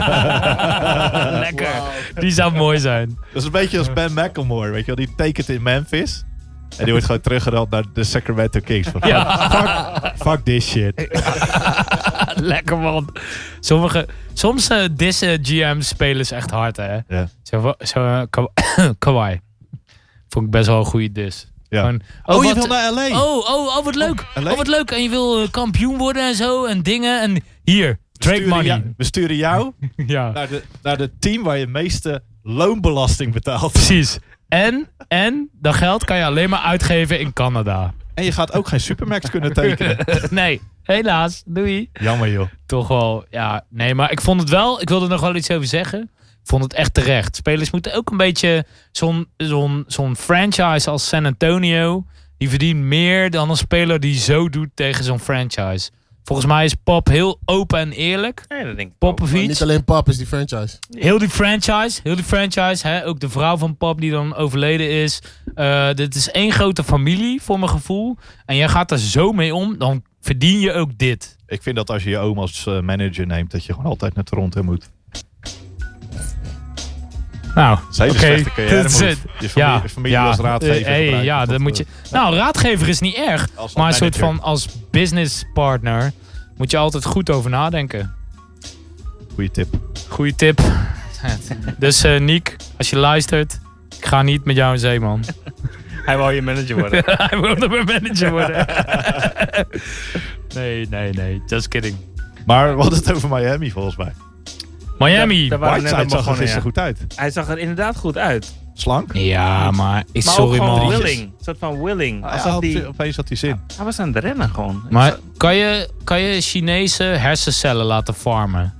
ja. Lekker. Die zou mooi zijn. Dat is een beetje als Ben McElmore, weet je wel. Die tekent in Memphis. En die wordt gewoon teruggerald naar de Sacramento Kings. Van, Ja. fuck, fuck this shit. Lekker man. Sommige, soms eh, dissen GM-spelers echt hard, hè? Ja. Zo, wa- zo eh, Ka- Kawhi. Vond ik best wel een goede dis. Ja. Gewoon, Oh, je wat- wil naar L.A. Oh, oh, oh, wat leuk. LA? Oh, wat leuk. En je wil eh, kampioen worden en zo en dingen. En hier, trade Sturen money. jou- we sturen jou Ja, naar de, naar de team waar je meeste loonbelasting betaalt. precies. En, en dat geld kan je alleen maar uitgeven in Canada. En je gaat ook geen supermax kunnen tekenen. nee, helaas. Doei. Jammer joh. Toch wel, ja. Nee, maar ik vond het wel, ik wilde er nog wel iets over zeggen. Ik vond het echt terecht. Spelers moeten ook een beetje zo'n zo'n zo'n franchise als San Antonio. Die verdient meer dan een speler die zo doet tegen zo'n franchise. Volgens mij is Pop heel open en eerlijk. Nee, dat denk ik ook. Maar Niet Popovic. alleen pap is die franchise. Heel die franchise. Heel die franchise. Hè? Ook de vrouw van Pap die dan overleden is. Eh, dit is één grote familie voor mijn gevoel. En jij gaat er zo mee om. Dan verdien je ook dit. Ik vind dat als je je oom als eh, manager neemt, dat je gewoon altijd naar Toronto moet. Nou, Zij Oké, slechte carrière dat is move. het. Je familie, je familie als raadgever. Eh, hey, gebruiken ja, tot, dan moet je. eh, Nou, raadgever is niet erg, als- als maar een soort manager. van als business partner moet je altijd goed over nadenken. Goeie tip. Goeie tip. dus eh Niek, als je luistert, ik ga niet met jou in zee, man. Hij wou je manager worden. Hij wilde mijn manager worden. nee, nee, nee. Just kidding. Maar we hadden het over Miami volgens mij. Miami. Daar waren net Whiteside allemaal zag er gewoon, gisteren ja. goed uit. Hij zag er inderdaad goed uit. Slank. Ja, maar ik Maar sorry, ook gewoon man. willing. Een soort van willing. Hij Als had- dat die, Opeens had hij zin. hij was aan het rennen gewoon. Ik Maar zag- kan je, kan je Chinese hersencellen laten farmen?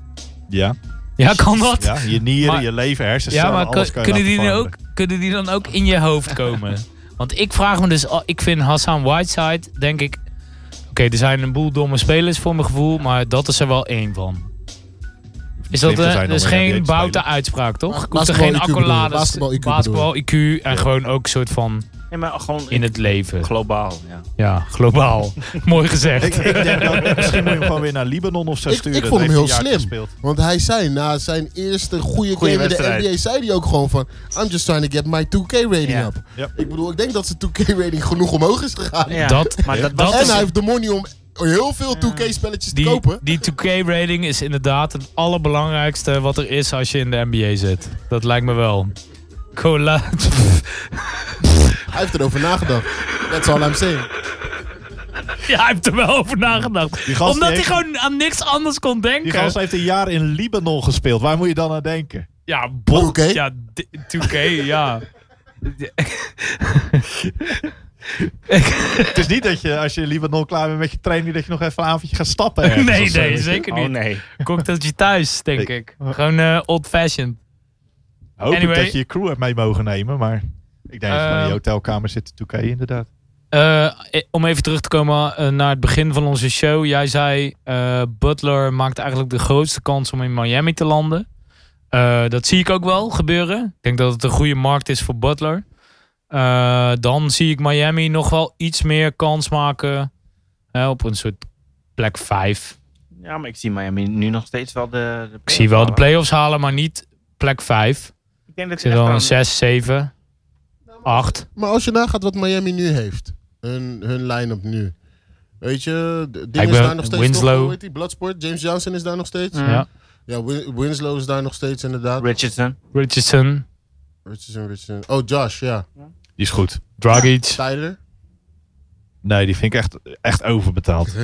Ja. Ja, kan dat? ja je nieren, Maar- je leven, hersenen, Ja, maar alles kun- kan je kunnen, die laten dan ook, veranderen. kunnen die dan ook in je hoofd komen? Want ik vraag me dus, al- ik vind Hassan Whiteside, denk ik. Oké, er zijn een boel domme spelers voor mijn gevoel, maar dat is er wel één van. Is dat, Slim te eh, zijn om dus in geen NBA te boute spelen. uitspraak, toch? Ba- Ik hoef er geen basketbal IQ bedoel je, accolades. basketbal IQ basketbal IQ en gewoon ook soort van nee, maar gewoon in het leven. globaal. Ja. Ja, globaal. Mooi gezegd. Ik, ik denk dat misschien moet je hem gewoon weer naar Libanon of zo Ik- sturen. ik vond Dat hem heeft heel hij een jaar slim. gespeeld. Want hij zei na zijn eerste goede game in de wedstrijd. NBA, zei hij ook gewoon van... I'm just trying to get my 2K rating Ja. up. Ja. Ik bedoel, ik denk dat zijn 2K rating genoeg omhoog is gegaan. Ja. Dat- maar dat, dat was En is- nou- hij heeft de money om heel veel 2K spelletjes te Die, kopen. die 2K-rating is inderdaad het allerbelangrijkste wat er is als je in de NBA zit. Dat lijkt me wel. Cola. Hij heeft erover nagedacht. That's all I'm saying. ja, hij heeft er wel over nagedacht. Die gast Omdat die hij heeft- gewoon aan niks anders kon Die denken. gast heeft een jaar in Libanon gespeeld. Waar moet je dan aan denken? Ja, bol. 2K? Ja, d- 2K, ja. Het is niet dat je als je in Libanon klaar bent met je training, dat je nog even een avondje gaat stappen. Nee, ergens nee, of zo. zeker Oh niet. nee. Cocktailtje thuis, denk ik. Gewoon eh, old-fashioned. Hoop ik Anyway. dat je je crew hebt mee mogen nemen, maar ik denk dat je gewoon in Ehm. je hotelkamer zit te 2K inderdaad. Eh, eh, om even terug te komen eh, naar het begin van onze show. Jij zei, eh, Butler maakt eigenlijk de grootste kans om in Miami te landen. Eh, dat zie ik ook wel gebeuren. Ik denk dat het een goede markt is voor Butler. Eh, dan zie ik Miami nog wel iets meer kans maken eh, op een soort plek 5. Ja, maar ik zie Miami nu nog steeds wel de. de Ik zie wel de play. playoffs halen, maar niet plek 5. Ik denk dat Ik ze zit echt wel wel een 6, 7, 8. Maar als je nagaat wat Miami nu heeft, hun, hun line-up nu. Weet je, de- Ding Ik is ben- daar nog steeds. Winslow. Toch, hoe heet die? Bloodsport, James Johnson is daar nog steeds. Mm. Ja. Ja, Win- Winslow is daar nog steeds inderdaad. Richardson. Richardson, Richardson, Richardson. Oh, Josh, ja. Die is goed. Dragic. Tyler. Nee, die vind ik echt, echt overbetaald.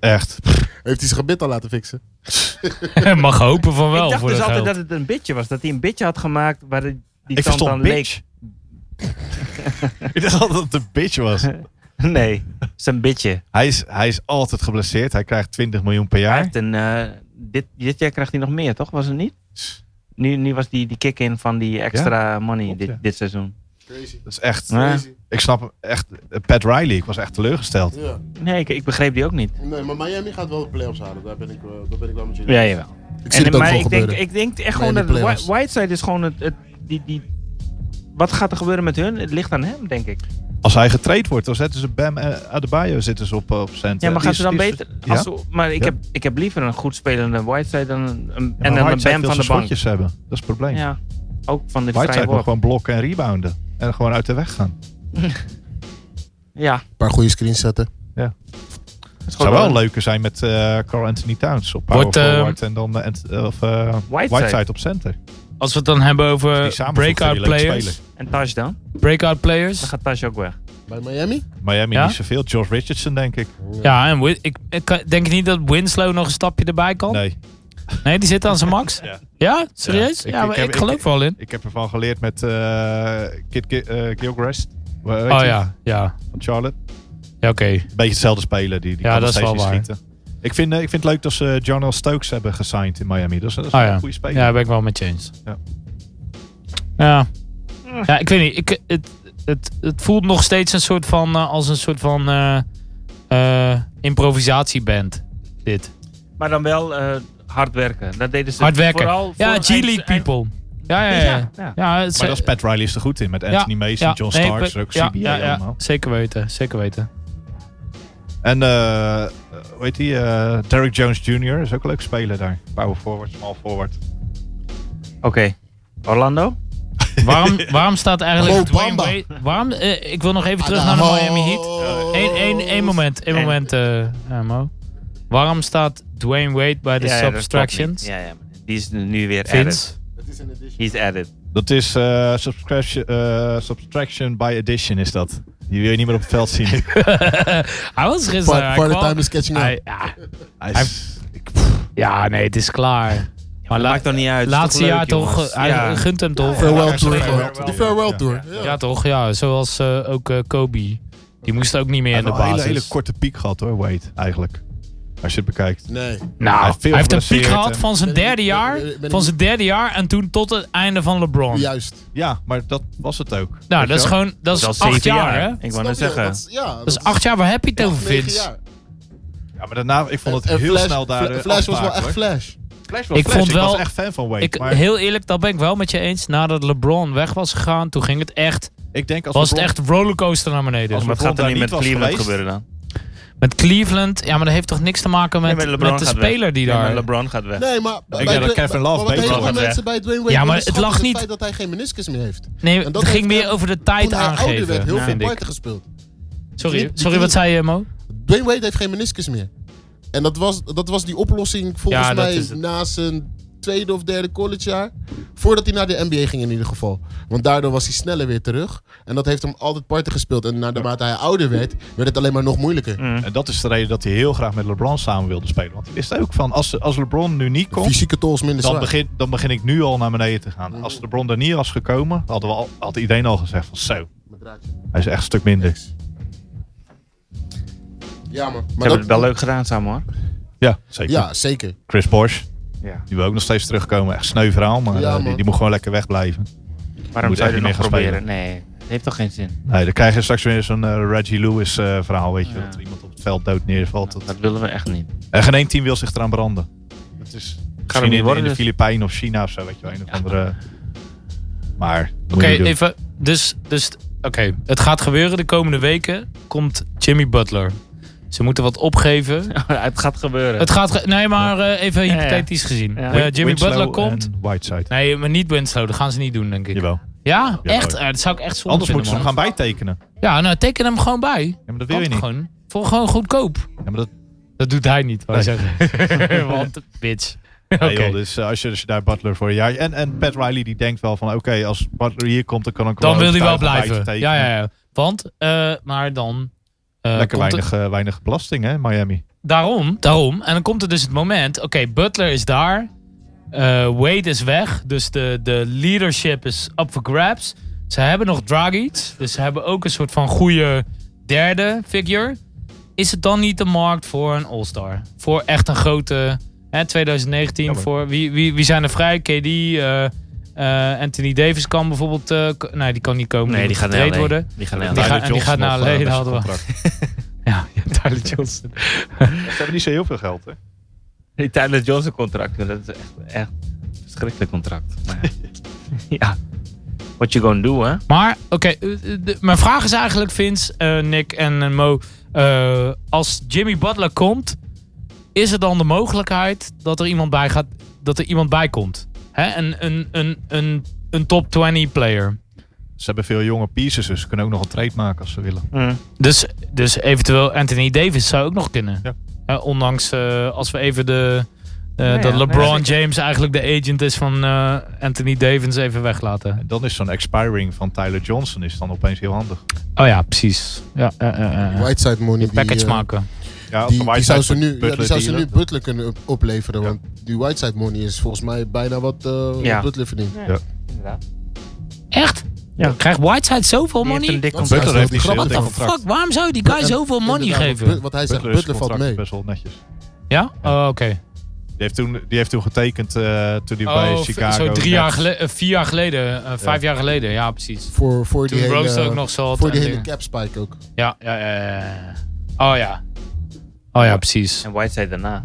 echt. Heeft hij zijn gebit al laten fixen? Mag hopen van wel. ik dacht voor dus dat altijd geld. dat het een bitje was. Dat hij een bitje had gemaakt waar het- die ik tand dan verstond leek. bitch. ik dacht altijd dat het een bitch was. Nee, zijn bitje. Hij is, hij is altijd geblesseerd. Hij krijgt 20 miljoen per Hij jaar. heeft een, eh, dit, dit jaar krijgt hij nog meer, toch? Was het niet? Nu, nu was die, die kick-in van die extra money klopt, dit, ja. dit seizoen. Crazy. Dat is echt. Ja. Crazy. Ik snap hem echt. Pat Riley, ik was echt teleurgesteld. Ja. Nee, ik, ik begreep die ook niet. Nee, maar Miami gaat wel de playoffs halen. Daar ben ik, wel- daar ben ik wel met jullie. Ja, jawel. Ik zie En- het ook maar wel ik denk, gebeuren. ik denk echt Nee, gewoon die dat Whi- playoffs. Whiteside is gewoon het, het, die, die, wat gaat er gebeuren met hun? Het ligt aan hem, denk ik. Als hij getraind wordt, dan zetten ze Bam eh, Adebayo zitten ze op, eh, op center. Ja, maar Die gaan is- ze dan die is- beter? Ja? Als ze- maar ik, Ja. heb, ik heb liever een goed spelende Whiteside dan een, een- en Ja, maar dan een Whiteside Bam wil van de bank. zijn schotjes hebben. Dat is het probleem. Ja, ook van de vrije Whiteside moet worp. gewoon blokken en rebounden. En gewoon uit de weg gaan. Ja, Een paar goede screens zetten. Het zou wel leuker zijn met eh, Carl Anthony Towns op power Wordt, eh, forward en dan eh, Ant- eh, of, eh, Whiteside. Whiteside op center. Als we het dan hebben Die over samenvoegt, Eh, breakout die leuk players. spelen. En Taj dan? Breakout players. Dan gaat Taj ook weg. Bij Miami? Miami Ja? niet zoveel. George Richardson denk ik. Ja, en Win- ik, ik kan- denk niet dat Winslow nog een stapje erbij Oh. kan. Nee, Nee. die zit aan zijn max. Ja. Ja? Serieus? Ja, Ja, ik- ik maar ik, heb- ik- geloof wel in. Ik heb ervan geleerd met eh Kid Ki- eh, Gilchrist. Hoe heet Oh hij? ja, ja. Van Charlotte. Ja, oké. Een beetje hetzelfde spelen. Die, die Ja, kan nog dat is steeds wel niet waar. schieten. Ik vind, eh, ik vind het leuk dat ze John L. Stokes hebben gesigned in Miami. Dat is, dat is Ah, wel ja. een goede speler. Ja, ben ik wel met je eens. Ja. Ja. Ja, ik weet niet. Ik, het, het, het voelt nog steeds een soort van, eh, als een soort van eh, eh, improvisatieband. Dit. Maar dan wel eh, hard werken. Dat deden ze Hard werken. vooral Ja, voor G-League eind- eind- people. Ja, ja, ja. Ja, ja. ja het Maar is- dat is Pat Riley is er goed in. Met ja, Anthony Mason, ja. John Nee, ik Starks, ben- ook ja, CBA ja, ja. allemaal. Zeker weten, zeker weten. En eh hoe heet die? eh Derrick Jones Jr. is ook een leuk speler daar. Power forward, small forward. Oké. Orlando? Waarom, waarom staat Mo eigenlijk Dwayne Bamba. Wade... Waarom, eh, ik wil nog even terug naar de Miami Heat. Eén één, één moment, één Ah, En- moment, eh, eh, Mo. Waarom staat Dwayne Wade bij de Ja, ja, dat klopt subtractions? niet. Ja, ja. maar Die is nu weer added. Vince? Dat is een edition. He's added. Dat is eh, subtraction, eh, subtraction by addition is dat. Die wil je niet meer op het veld zien. Hij Hij was gisteren. Part, hij part of kwam- time is catching up. hij- ja, is- ik- ja, nee, het is klaar. Maar la- Maakt toch niet uit. is laatste toch leuk, jaar toch, jongens? eh, hij Ja. gunt hem toch. farewell ja, tour. ja, gewoon. ja, De ja. farewell Ja, tour. ja. Ja. Ja toch, ja. Zoals eh, ook eh, Kobe. Die moest ook niet meer Hij in heeft de een hele, basis. hele korte piek gehad hoor, Wade, eigenlijk. Als je het bekijkt. Nee. nou, Hij hij heeft heeft, veel een piek geblesseerd gehad en- van zijn Ben ik- derde ben- jaar. ben- ben ik- Van zijn derde jaar en toen tot het einde van LeBron. Juist. Ja, maar dat was het ook. Nou, Weet dat is je wel? gewoon dat is Dat is al acht zeven jaar, hè? jaar. Ik wou Snap net je? zeggen. Dat is- Ja, Dat is acht jaar. Waar heb je het over, Vince? Ja, maar daarna, ik vond het En heel Flash- snel daar. Fla- eh, Flash was wel afmaken, echt hoor. Flash. Flash was Ik Flash. vond Ik was wel- echt fan van Wade. Ik, maar heel eerlijk, dat ben ik wel met je eens. Nadat LeBron weg was gegaan, toen ging het echt, ik denk als was het LeBron- echt rollercoaster naar beneden. Oh, Als Maar Wat LeBron gaat er daar nu met niet was Cleveland geweest- gebeuren dan? Met Cleveland, ja, maar dat heeft toch niks te maken met, Nee, maar met, LeBron de gaat speler weg. die Nee, maar daar... LeBron gaat weg. Nee, maar... bij denk dat Dwayne- Kevin maar Love wat beter heel was. veel Gaat mensen bij Dwayne Wade Ja, maar willen het schatten lag is niet- Het feit dat hij geen meniscus meer heeft. nee, En het dat ging heeft meer hem over de tijd Toen hij ouder werd, aangeven, heel veel vind ik. parten gespeeld. die Sorry, knie- sorry, wat zei je, Mo? Dwayne Wade heeft geen meniscus meer. En dat was, dat was die oplossing volgens Ja, dat mij is het. na zijn tweede of derde collegejaar. Voordat hij naar de NBA ging in ieder geval. Want daardoor was hij sneller weer terug. En dat heeft hem altijd parten gespeeld. En naarmate hij ouder werd, werd het alleen maar nog moeilijker. En dat is de reden dat hij heel graag met LeBron samen wilde spelen. Want hij wist ook van, als, als LeBron nu niet komt, Fysieke tools minder dan zwaar. begin, dan begin ik nu al naar beneden te gaan. Als LeBron er niet was gekomen, hadden we al, had iedereen al gezegd van zo, Met draadje. hij is echt een stuk minder. Ja, Ze man. Maar hebben dat, het wel leuk gedaan samen hoor. Ja, zeker. Ja, zeker. Chris Bosch, Ja. die wil ook nog steeds terugkomen. Echt sneu verhaal, maar Ja, eh, die, man. die moet gewoon lekker wegblijven. Waarom Moet zou je eigenlijk het nog niet meer gaan proberen? Nee, het heeft toch geen zin. Nee, dan krijg je straks weer zo'n eh, Reggie Lewis eh, verhaal, weet je. Ja. Dat er iemand op het veld dood neervalt. Dat- Dat willen we echt niet. En geen één team wil zich eraan branden. Dat is niet misschien in, in worden, de dus. Filipijnen of China of zo, weet je wel. Een of andere... Maar, dat moet Oké, je doen. even. Dus, dus oké, het gaat gebeuren. De komende weken komt Jimmy Butler. Ze moeten wat opgeven. Oh, het gaat gebeuren. Het gaat. ge- Nee, maar eh, even Ja, ja. hypothetisch gezien. Ja. Eh, Jimmy Winslow Butler komt. en Whiteside. Nee, maar niet Winslow. Dat gaan ze niet doen, denk ik. Jawel. Ja, Ja, echt? ook. Eh, dat zou ik echt zonde Anders moeten vinden, ze hem man. gaan bijtekenen. Ja, nou, teken hem gewoon bij. Ja, maar dat wil Kan je toch niet. Gewoon. Voor gewoon goedkoop. Ja, maar dat, Dat doet hij niet, wou Nee. zeggen. Want, bitch. Oké. nee, joh, dus eh, als, je, als je daar Butler voor een jaar... En, en Pat Riley die denkt wel van... Oké, als Butler hier komt, dan kan ik Dan wil hij wel overtuigen om bij te blijven. tekenen. Ja, ja, ja. Want, eh, maar dan... eh, Lekker komt weinig, eh, weinig belasting, hè, in Miami. er- daarom, daarom. En dan komt er dus het moment. Oké, Butler is daar. Eh, Wade is weg. Dus de, de leadership is up for grabs. Ze hebben nog Dragic. Dus ze hebben ook een soort van goede derde figure. Is het dan niet de markt voor een All-Star? Voor echt een grote... Hè, 2019, Ja, maar- voor wie, wie, wie zijn er vrij? KD, eh, eh, Anthony Davis kan bijvoorbeeld... eh, k- nee, die kan niet komen. nee, die moet gaat getraind naar LA. worden. Die gaat naar Die LA. gaat- en die gaat naar alleen LA, dat hadden we. Ja, ja, Tyler Johnson. Ze hebben niet zo heel veel geld, hè. Die Tyler Johnson contract, dat is echt, echt een verschrikkelijk contract. Maar ja. ja. What you gonna do, hè? Maar, oké, eh, eh, de- mijn vraag is eigenlijk, Vince, eh, Nick en eh, Mo. eh, als Jimmy Butler komt, is er dan de mogelijkheid dat er iemand bij, gaat, dat er iemand bij komt? Hè? Een, een, een, een, een top 20 player. Ze hebben veel jonge pieces, dus ze kunnen ook nog een trade maken als ze willen. Mm. Dus, dus eventueel Anthony Davis zou ook nog kunnen. Ja. Hè, ondanks eh, als we even de. eh, Ja, dat ja, LeBron nee, James eigenlijk de agent is van eh, Anthony Davis even weglaten. En dan is zo'n expiring van Tyler Johnson is dan opeens heel handig. Oh ja, precies. Ja, ja, ja, ja, ja. Whiteside money. Die Die, package eh, maken. Ja, als Die, de die zou Whiteside ze voor nu, ja, Butler die zou ze nu dealen, Butler kunnen op- opleveren. Ja. Want die Whiteside money is volgens mij bijna wat eh, wat Ja. Butler verdient. Inderdaad. Die Echt? Ja. Krijgt Whiteside zoveel heeft een money? dik Dat is contract. Butler heeft niet Wat zo'n What dik the contract. fuck? Waarom zou die guy En zoveel money inderdaad, wat Bu- geven? Wat hij zegt, Butler is Butler valt contract mee. best wel netjes. Die Ja? Oh, oké. heeft toen, die heeft toen getekend eh, toen hij bij Oh, v- Chicago... Zo drie net- jaar geleden, vier jaar geleden, eh, vijf jaar geleden. Ja, precies. Voor, voor Toen die hele, Rose ook nog zat. voor die en hele dingen. cap spike ook. ja, ja, ja, ja, ja. Oh ja. Oh ja, precies. En Whiteside daarna.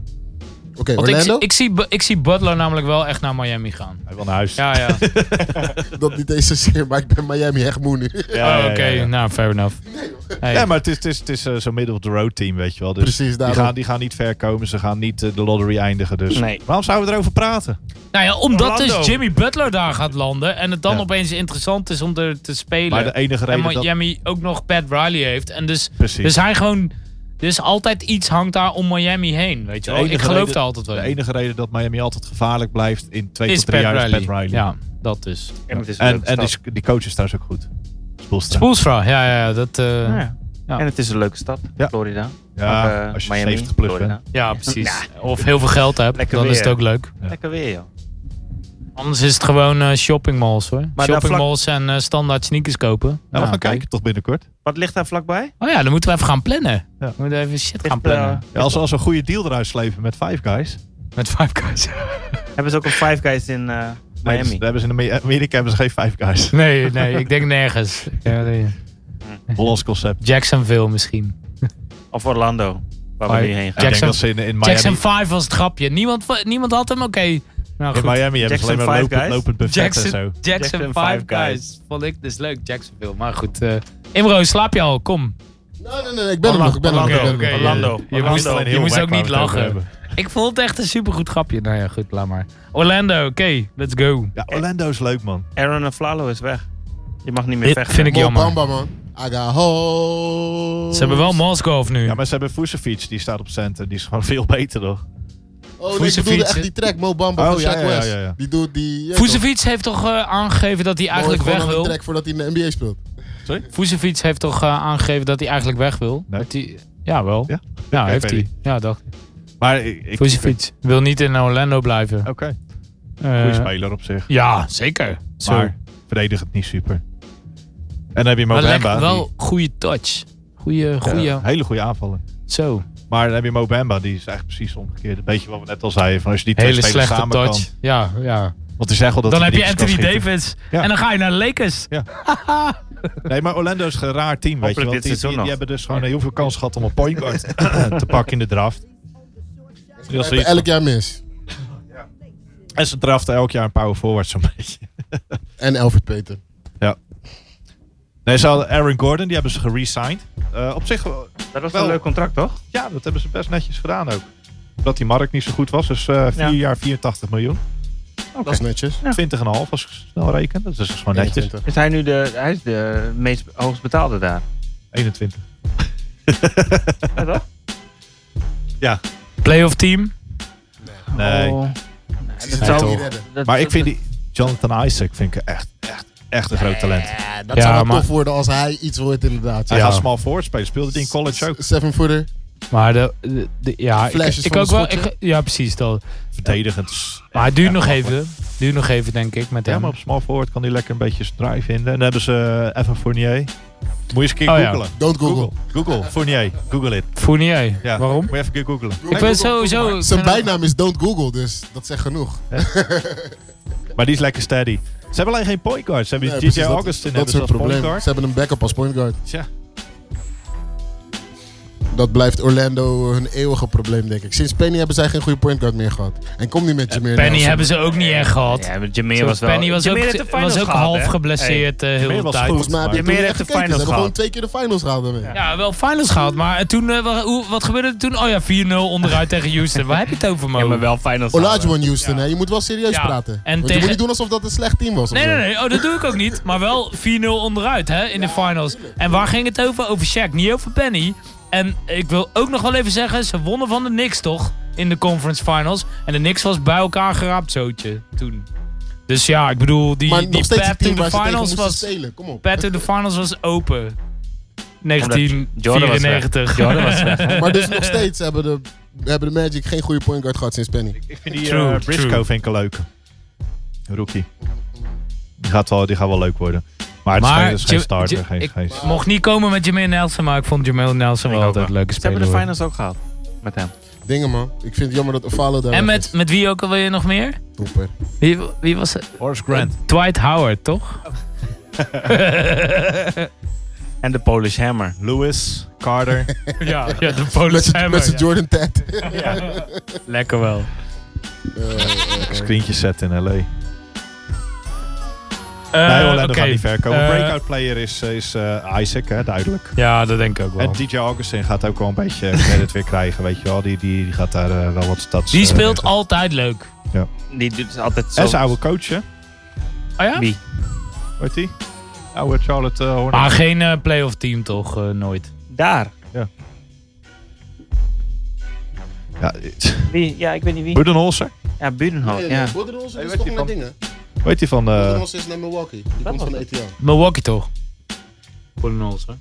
Oké, Want ik, Orlando? zie- ik, zie, Bu- ik zie Butler namelijk wel echt naar Miami gaan. Hij wil naar huis. Ja, Oh, ja. Dat niet eens zozeer, maar ik ben Miami echt moe nu. Oh, ja, ja, Oké, ja. nou, fair enough. Hey. Ja, maar het is, het is, het is eh, zo'n middle of the road team, weet je wel. Dus Precies, die, daarom. gaan, die gaan niet ver komen. Ze gaan niet eh, de lottery eindigen. Dus Nee. waarom zouden we erover praten? Nou ja, omdat dus Orlando. Jimmy Butler daar gaat landen en het dan Ja. opeens interessant is om er te Maar de spelen. enige En reden dat... Miami ook nog Pat Riley heeft. En dus, Precies. dus hij gewoon... Dus altijd iets hangt daar om Miami heen, weet je wel. Ik enige geloof reden- er altijd wel de in. enige reden dat Miami altijd gevaarlijk blijft in twee is tot drie Pat jaar is Riley. Pat Riley. Ja, dat dus. En het is een En, leuke en die, stad. die coach is trouwens ook goed. Spoelstra. Spoelstra, ja, ja, ja, dat... eh, Nou Ja. ja. Ja. En het is een leuke stad. Ja. Florida. Of, ja, eh, als je Miami, 70 plus Florida. bent. precies. Nou. Of heel veel geld hebt, Lekker dan is het weer. ook leuk. Ja. Lekker weer, joh. Anders is het gewoon eh, shoppingmalls hoor. daar shoppingmalls en eh, standaard sneakers kopen. Nou, we Ja. gaan kijken toch binnenkort. Wat ligt daar vlakbij? Oh ja, dan moeten we even gaan plannen. Ja. eh, We moeten even shit gaan Ligt, plannen. Ja, als, als we een goede deal eruit slepen met Five Guys. Met Five Guys. eh, hebben ze ook een Five Guys in eh, Nee, dus Miami? daar hebben ze in Ame- Amerika hebben ze geen Five Guys. Nee, nee, ik denk nergens. Ja, nee. Hollands concept. Jacksonville misschien. Of Orlando, waar we Five- nu heen gaan. Ik denk Jackson- dat ze in, in Miami... Jackson 5 was het grapje. Niemand, va- niemand had hem? Oké. Nou in goed. Miami hebben ze Jackson alleen maar Five lopend, Guys. lopend buffet en zo. Jackson, Jackson, Jackson 5 Five Guys. Vond ik dus leuk, Jacksonville. Maar goed. eh, Imro, slaap je al? Kom. Nee, nee, nee, ik ben er nog. Ik ben er nog. ik ben er nog. Orlando, oké. Orlando. Je Orlando. moest, Alleen je Heel moest wack ook waar niet we het over lachen. hebben. Ik vond het echt een supergoed grapje. Nou ja, goed, laat maar. Orlando, oké, let's go. Ja, Orlando is leuk, man. Aaron Flalo is weg. Je mag niet meer Dit vechten. vind ik Mo jammer. Bamba, man. I got hoes. Ze hebben wel Mosgolf nu. Ja, maar ze hebben Vucevic, die staat op center. Die is gewoon veel beter, Oh, toch? nee, ik bedoelde Vucevic, echt hè? die track. Mo Bamba Oh, van ja, Shaq ja, ja, West. ja, ja. Die doet die... ja, toch? Vucevic heeft toch eh, aangegeven dat hij Mo heeft eigenlijk gewoon weg nog wil? een track voordat hij in de NBA speelt. Vucevic heeft toch eh, aangegeven dat hij eigenlijk weg wil? Nee. Dat hij, ja, wel. Ja? Ja, Oké, heeft weet hij. Ja, dacht ik. Maar ik... ik- Vucevic wil niet in Orlando blijven. Oké, goede Eh, speler op zich. ja, zeker. Zo. Maar verdedigend niet super. En dan heb je Maar Mobamba. lekker wel goede touch. Goede, goede. hele goede aanvallen. Zo. Maar dan heb je Mobamba, die is eigenlijk precies omgekeerd. Een beetje wat we net al zeiden. Van als je die twee Hele spelers slechte samen touch. kan. Ja, ja. Want die zeggen al dat Dan hij heb je niks kan Anthony schieten. Davis. Ja. En dan ga je naar de Lakers. Nee, maar Orlando is een raar team, weet je. Hopelijk Want dit die, seizoen die, die nog. hebben dus gewoon heel veel kans gehad om een point guard te pakken in de draft. Dus als Dat ze iets- elk jaar mis. en ze draften elk jaar een power forward zo'n beetje. En Elfred Peter. Nee, ze hadden Aaron Gordon, die hebben ze geresigned. Eh op zich, wel- Dat was Wel. een leuk contract, toch? ja, dat hebben ze best netjes gedaan ook. Dat die markt niet zo goed was, dus eh vier Ja. jaar 84 miljoen. Dat is netjes. Oh, 20,5 als ik snel reken. Dat is dus gewoon netjes. 21. Is hij nu de, hij is de meest hoogst betaalde daar? 21. Ja, toch? Playoff team. Nee. Oh. Die dat zou toch. niet redden. dat- Maar ik dat- vind die Jonathan Isaac vind ik echt, echt, echt een groot talent. Ja, dat Ja, zou wel maar- tof worden als hij iets wordt inderdaad. Hij Ja. gaat small forward spelen. Speelde die in college ook. Seven footer. Maar de, de- de- ja, ik, Flashes ik van ook de wel. schotten. ik- ja, precies. Dat. Verdedigend. Maar het duurt Ja, nog maar- even. Duurt nog even, denk ik, met Ja, hem. maar op small forward kan hij lekker een beetje zijn drive vinden. En dan hebben ze eh, Evan Fournier. Moet je eens een keer Oh ja. googlen. Don't Google. Google. Fournier. Google it. Fournier. Ja. Waarom? Moet je even een keer googlen. Ik ben sowieso... Zijn ik ben- bijnaam is Don't Google, dus dat zegt genoeg. Maar die is lekker steady. Ze hebben alleen geen point guard. Ze hebben Nee, DJ precies, dat- Augustin Dat hebben is ze het als point probleem. guard. Ze hebben een backup als point guard. Tja. dat blijft Orlando hun eeuwige probleem, denk ik. Sinds Penny hebben zij geen goede pointguard meer gehad. En kom niet met je meer. Penny hebben ze ook niet echt gehad. Ja, maar Jameer was wel... Penny was Jameer ook, heeft de finals was ook gehad, half hè? geblesseerd eh, heel Jameer de was tijd. goed. Volgens mij hebben Jameer toen niet heeft echt de gekeken. finals Ze hebben gewoon gehad. twee keer de finals gehad. daarmee. Ja, wel finals gehad, maar toen, eh, wa- hoe- wat gebeurde er toen? Oh ja, 4-0 onderuit tegen Houston. Waar heb je het over, Mo? Ja, maar wel finals halen. Olajuwon Houston, hè? je moet wel serieus Ja. praten. En Want je tegen- moet niet doen alsof dat een slecht team was. of Nee, zo. nee, nee. Oh, dat doe ik ook niet. Maar wel 4-0 onderuit hè, in de finals. En waar ging het over? Over Shaq, niet over Penny. En ik wil ook nog wel even zeggen, ze wonnen van de Knicks toch? In de conference finals. En de Knicks was bij elkaar geraapt zootje toen. Dus ja, ik bedoel, die, Maar die nog steeds een pad to team the waar ze tegen finals moesten was... spelen. Kom op. Pad to the finals was open. Jordan was weg. 1994. Jordan was weg. Maar dus nog steeds hebben de, hebben de Magic geen goede point guard gehad sinds Penny. Ik vind die True, eh, Briscoe true. vind ik een leuke. Rookie. Die gaat wel, die gaat wel leuk worden. Maar het is Maar geen- het is geen Ja- starter. Ja- Geen, ik- geen- Mocht niet komen met Jermaine Nelson, maar ik vond Jermaine Nelson wel Ik ook altijd een leuke Ze hebben speler. de hoor. finals ook gehad. Met hem. Dingen man. Ik vind het jammer dat Ovalo daar En weg met, is. met wie ook al wil je nog meer? Hooper. Wie, wie was het? Horace Grant. Dwight Howard, toch? En de Polish Hammer. Lewis, Carter. ja, ja, de Met Polish z'n- Hammer. Met zijn Jordan Ted. Lekker wel. Screentjes zetten in L.A. Eh, nee, Orlando gaat niet ver Eh, komen. Breakout player is, is eh, Isaac, hè, duidelijk. Ja, dat denk ik ook wel. En DJ Augustin gaat ook wel een beetje credit weer krijgen, weet je wel. Die, die, die gaat daar eh, wel wat stads... Die eh, speelt neerzetten. altijd leuk. Die doet het altijd zo. En zijn oude coach, hè? Oh ja? Wie? Weet die? Oude Charlotte eh, Hornets. Maar geen eh, playoff team toch, eh, nooit. Daar. Ja, eh, Wie? Ja, ik weet niet wie. Budenholzer? Ja, Budenhof. Ja. Boerderons Hey, is weet toch je naar van- dingen. Weet die van... eh, Boerderons is naar Milwaukee. Die komt van de ETL. Milwaukee toch? Cardinals, hè?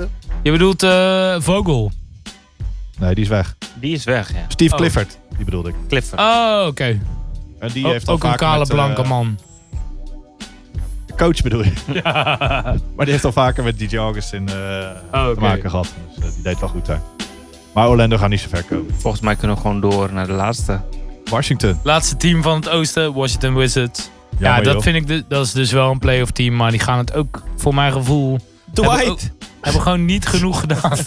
Ja. Je bedoelt eh, Vogel. nee, die is weg. Die is weg, ja. Steve Oh. Clifford, die bedoelde ik. Clifford. Oh, oké. En die O- heeft al ook een vaak kale met, eh, blanke man. de coach bedoel je. maar die heeft al vaker met DJ Augustin eh te Oh, oké. maken gehad. Dus eh, die deed wel goed daar. Maar Orlando gaat niet zo ver komen. Volgens mij kunnen we gewoon door naar de laatste. Washington. Laatste team van het oosten, Washington Wizards. Ja, Jammer, dat joh. vind ik de- dat is dus wel een playoff team, maar die gaan het ook voor mijn gevoel. Hebben, ook- hebben gewoon niet genoeg gedaan.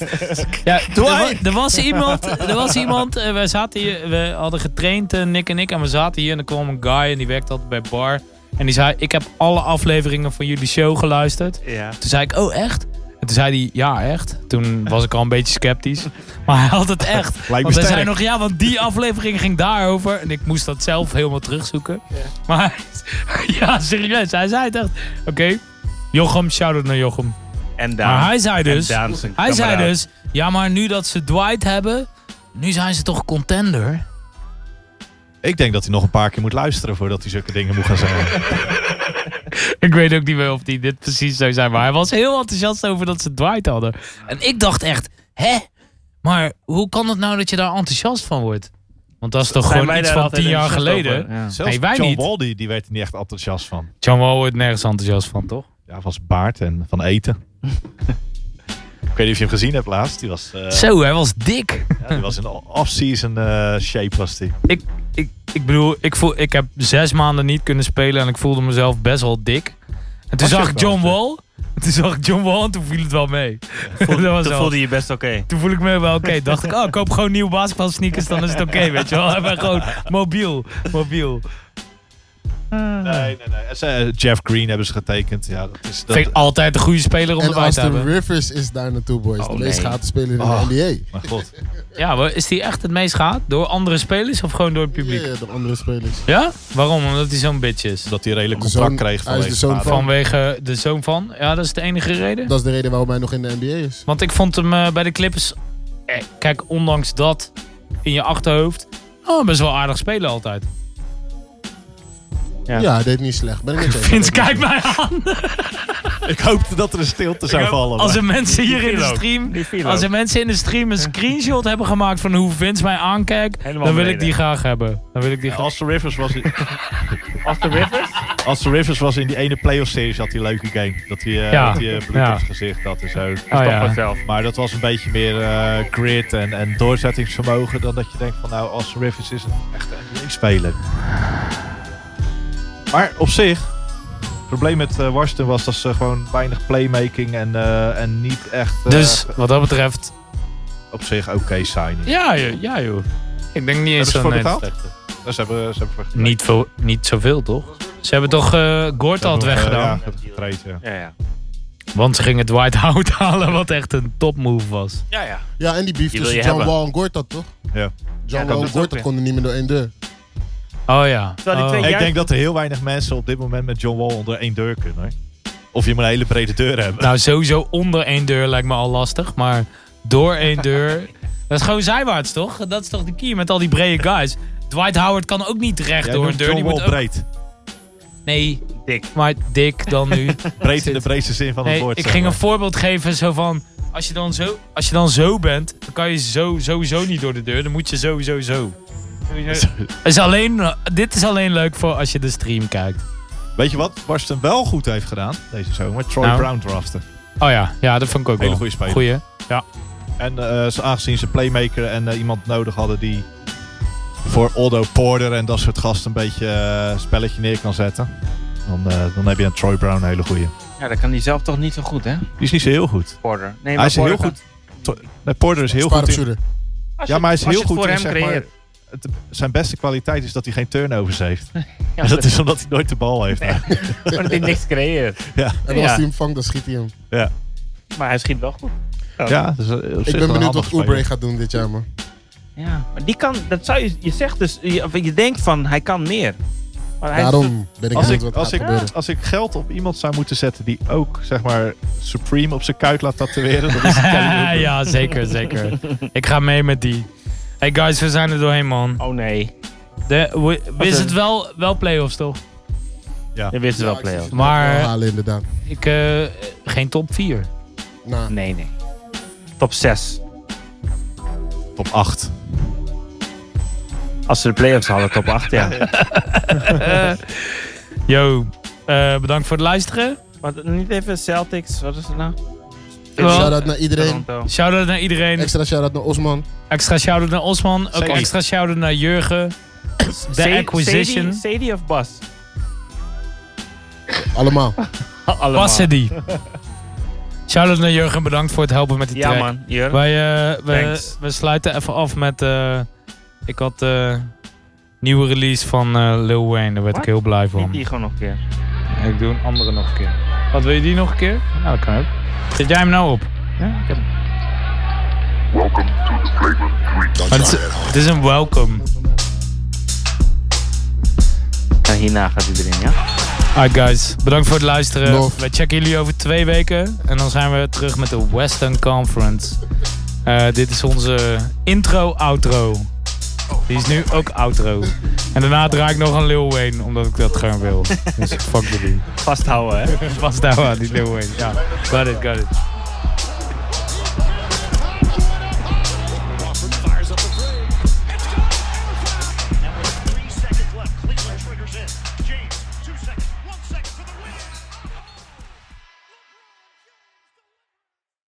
ja, er, wa- er was iemand, er was iemand eh, we, zaten hier, we hadden getraind, eh, Nick en ik, en we zaten hier en er kwam een guy en die werkte altijd bij Bar. En die zei, ik heb alle afleveringen van jullie show geluisterd. Ja. Toen zei ik, oh echt? En toen zei hij, ja echt. Toen was ik al een beetje sceptisch. Maar hij had het echt. Lijkt me Want hij sterk. zei nog, ja, want die aflevering ging daarover. En ik moest dat zelf helemaal terugzoeken. Maar ja, serieus, hij zei het echt. Oké, Jochem, shout-out naar Jochem. En Maar daar. hij zei dus, en Daan is een hij zei kameraad. dus, ja, maar nu dat ze Dwight hebben, nu zijn ze toch contender? Ik denk dat hij nog een paar keer moet luisteren voordat hij zulke dingen moet gaan zeggen. Ik weet ook niet meer of die dit precies zou zijn. Maar hij was heel enthousiast over dat ze Dwight hadden. En ik dacht echt, hè? Maar hoe kan het nou dat je daar enthousiast van wordt? Want dat is toch Zijn gewoon wij iets daar van altijd tien jaar enthousiast geleden. over? Ja. Zelfs Nee, wij John niet. Wall, die, die werd er niet echt enthousiast van. John Wall wordt nergens enthousiast van, toch? Ja, van zijn baard en van eten. ik weet niet of je hem gezien hebt laatst. Die was, eh, Zo, hij was dik. ja, die was in off-season eh, shape was die. Ik, ik, ik bedoel, ik, voel, ik heb zes maanden niet kunnen spelen en ik voelde mezelf best wel dik. En toen Was je zag ook ik wel John Wall. En toen zag ik John Wall en toen viel het wel mee. Voel- Dat was Toen wel- voelde je je best oké. Toen voel ik me wel oké. Dacht ik, oh, ik koop gewoon nieuwe basketbal sneakers, dan is het oké, weet je wel. Ik ben gewoon mobiel, mobiel. Nee, nee, nee. En ze- eh, Jeff Green hebben ze getekend. Ja, dat is, Vind ik dat, altijd een goede speler om En erbij te Austin hebben. Rivers is daar naartoe, boys. Oh, de meest nee. gehate speler in Oh. de NBA. maar god. Ja, maar is die echt het meest gehaat? Door andere spelers of gewoon door het publiek? Ja, de andere spelers. Ja? Waarom? Omdat hij zo'n bitch is. Dat hij een redelijk De contract zoon- kreeg hij is van de zoon van- Vanwege de zoon van. Ja, dat is de enige reden. Dat is de reden waarom hij nog in de NBA is. Want ik vond hem eh, bij de Clippers... eh, kijk, ondanks dat in je achterhoofd... Oh, best wel aardig spelen altijd. Ja. Ja, hij deed niet slecht. Ben ik niet Vince, kijk mij aan. Ik hoopte dat er een stilte zou vallen. Als er mensen hier in de viel ook. stream... Die viel Als ook. er mensen in de stream een screenshot hebben gemaakt van hoe Vince mij aankijkt, Helemaal dan wil ik beneden. die graag hebben. Dan wil ik die Ja, graag. Austin Rivers was in, After Rivers? Austin Rivers was in die ene playoff series had die leuke game. Dat hij eh, Ja. dat hij, eh, bloed Ja. op zijn gezicht had en zo. Oh Toch ja. vanzelf. Maar dat was een beetje meer eh grit en, en doorzettingsvermogen dan dat je denkt van nou Austin Rivers is een echte NBA-speler. Maar op zich, het probleem met eh, Washington was dat ze gewoon weinig playmaking en, eh, en niet echt... eh, Dus wat dat Dus, betreft, op op zich oké signing. Ja, joh, ja joh. Ik denk niet eens ze zo'n voor hele betaald? slechte. Dus ze hebben ze hebben voor getraind. Niet, veel, niet zoveel, toch? Ze hebben toch eh Gort Ze hebben, had eh, weggedaan? Ja, ze hebben getraind, ja. Ja, ja. Want ze gingen Dwight Howard halen, wat echt een topmove was. Ja, ja. Ja, en die beef Die wil tussen je John hebben. Wall en Gortat, toch? Ja. John dat Wall en is ook Gortat weer. konden niet meer door één deur. Oh ja. Terwijl die Oh. twee Ik Juist- denk dat er heel weinig mensen op dit moment met John Wall onder één deur kunnen. hoor. Of je moet een hele brede deur hebben. Nou, sowieso onder één deur lijkt me al lastig, maar door één deur. Dat is gewoon zijwaarts, toch? Dat is toch de key met al die brede guys. Dwight Howard kan ook niet recht Jij door een noemt deur. John Die Wall moet ook- breed. Nee, Dik. maar dik dan nu. Breed in de breedste zin van het Nee, woord. ik zeg ging een maar. voorbeeld geven zo van. Als je, dan zo, als je dan zo bent, dan kan je zo, sowieso niet door de deur. Dan moet je sowieso zo. Is alleen, dit is alleen leuk voor als je de stream kijkt. Weet je wat Barsten wel goed heeft gedaan deze zomer? Troy Nou. Brown draften. Oh ja, ja dat vond ik ook Hele wel. goede speler. Goeie. En eh, ze- aangezien ze playmaker en eh, iemand nodig hadden die voor Aldo Porter en dat soort gasten een beetje eh, spelletje neer kan zetten. Dan, eh, dan heb je een Troy Brown een hele goede. Ja, dat kan hij zelf toch niet zo goed, hè? Die is niet zo heel goed. Porter. Nee, Hij is heel Porter goed. To- nee, Porter is heel Spaar goed. op in- shooter. Als ja, maar hij is als heel je het goed voor in, hem zeg maar, creëert. het- zijn beste kwaliteit is dat hij geen turnovers heeft. Ja, en dat is omdat hij nooit de bal heeft. omdat hij niks creëert. En Ja. als hij hem vangt, dan schiet hij hem. Maar hij schiet wel goed. Ja, dus, eh, op Ik zich wel een ben benieuwd handige wat speler. Oubre gaat doen dit jaar, man. Ja, maar die kan, dat zou je, je zegt dus, je, of je denkt van hij kan meer. Maar hij is toch- Daarom ben ik Als benieuwd wat ik, gaat als, ik, gebeuren. als ik geld op iemand zou moeten zetten die ook, zeg maar, Supreme op zijn kuit laat tatoeëren, dan is het Kelly Oubre. ja, zeker, zeker. Ik ga mee met die. Hey guys, we zijn er doorheen, man. Oh nee, De, we, Wat is een- het wel, wel playoffs, toch? je wist het Ja, wel ik play zie het Maar- wel halen, inderdaad. Ik, eh, geen top 4. Nou, Nee, nee. Top 6. Top 8. Als ze de play-offs halen, top 8, ja. Yo, eh, bedankt voor het luisteren. Wat, niet even Celtics, wat is het nou? shout-out naar iedereen. Toronto. Shout-out naar iedereen. Extra shout-out naar Osman. Extra shout-out naar Osman. Ook Zeker. extra shout-out naar Jurgen. The Acquisition. Sadie, Sadie of Bas? Allemaal. Allemaal. Passen die. Shout-out naar Jurgen. Bedankt voor het helpen met die Ja track. man, Jur. Wij, eh, we, Thanks. we sluiten even af met... eh, ik had eh nieuwe release van eh, Lil Wayne. Daar werd Wat? ik heel blij Niet van. die gewoon nog een keer. Ik doe een andere nog een keer. Wat wil je die nog een keer? Nou, dat kan ook. Zet jij hem nou op? Ja, ik heb hem. Maar het, is, het is een welcome. Nou, hierna gaat iedereen, ja? Alright guys, bedankt voor het luisteren. Love. Wij checken jullie over twee weken. En dan zijn we terug met de Western Conference. Eh, dit is onze intro-outro. Die is nu ook outro. En daarna draai ik nog een Lil Wayne, omdat ik dat gewoon wil. Dus fuck jullie. Vasthouden, hè? Vast daar aan die Lil Wayne. Ja, got it, got it.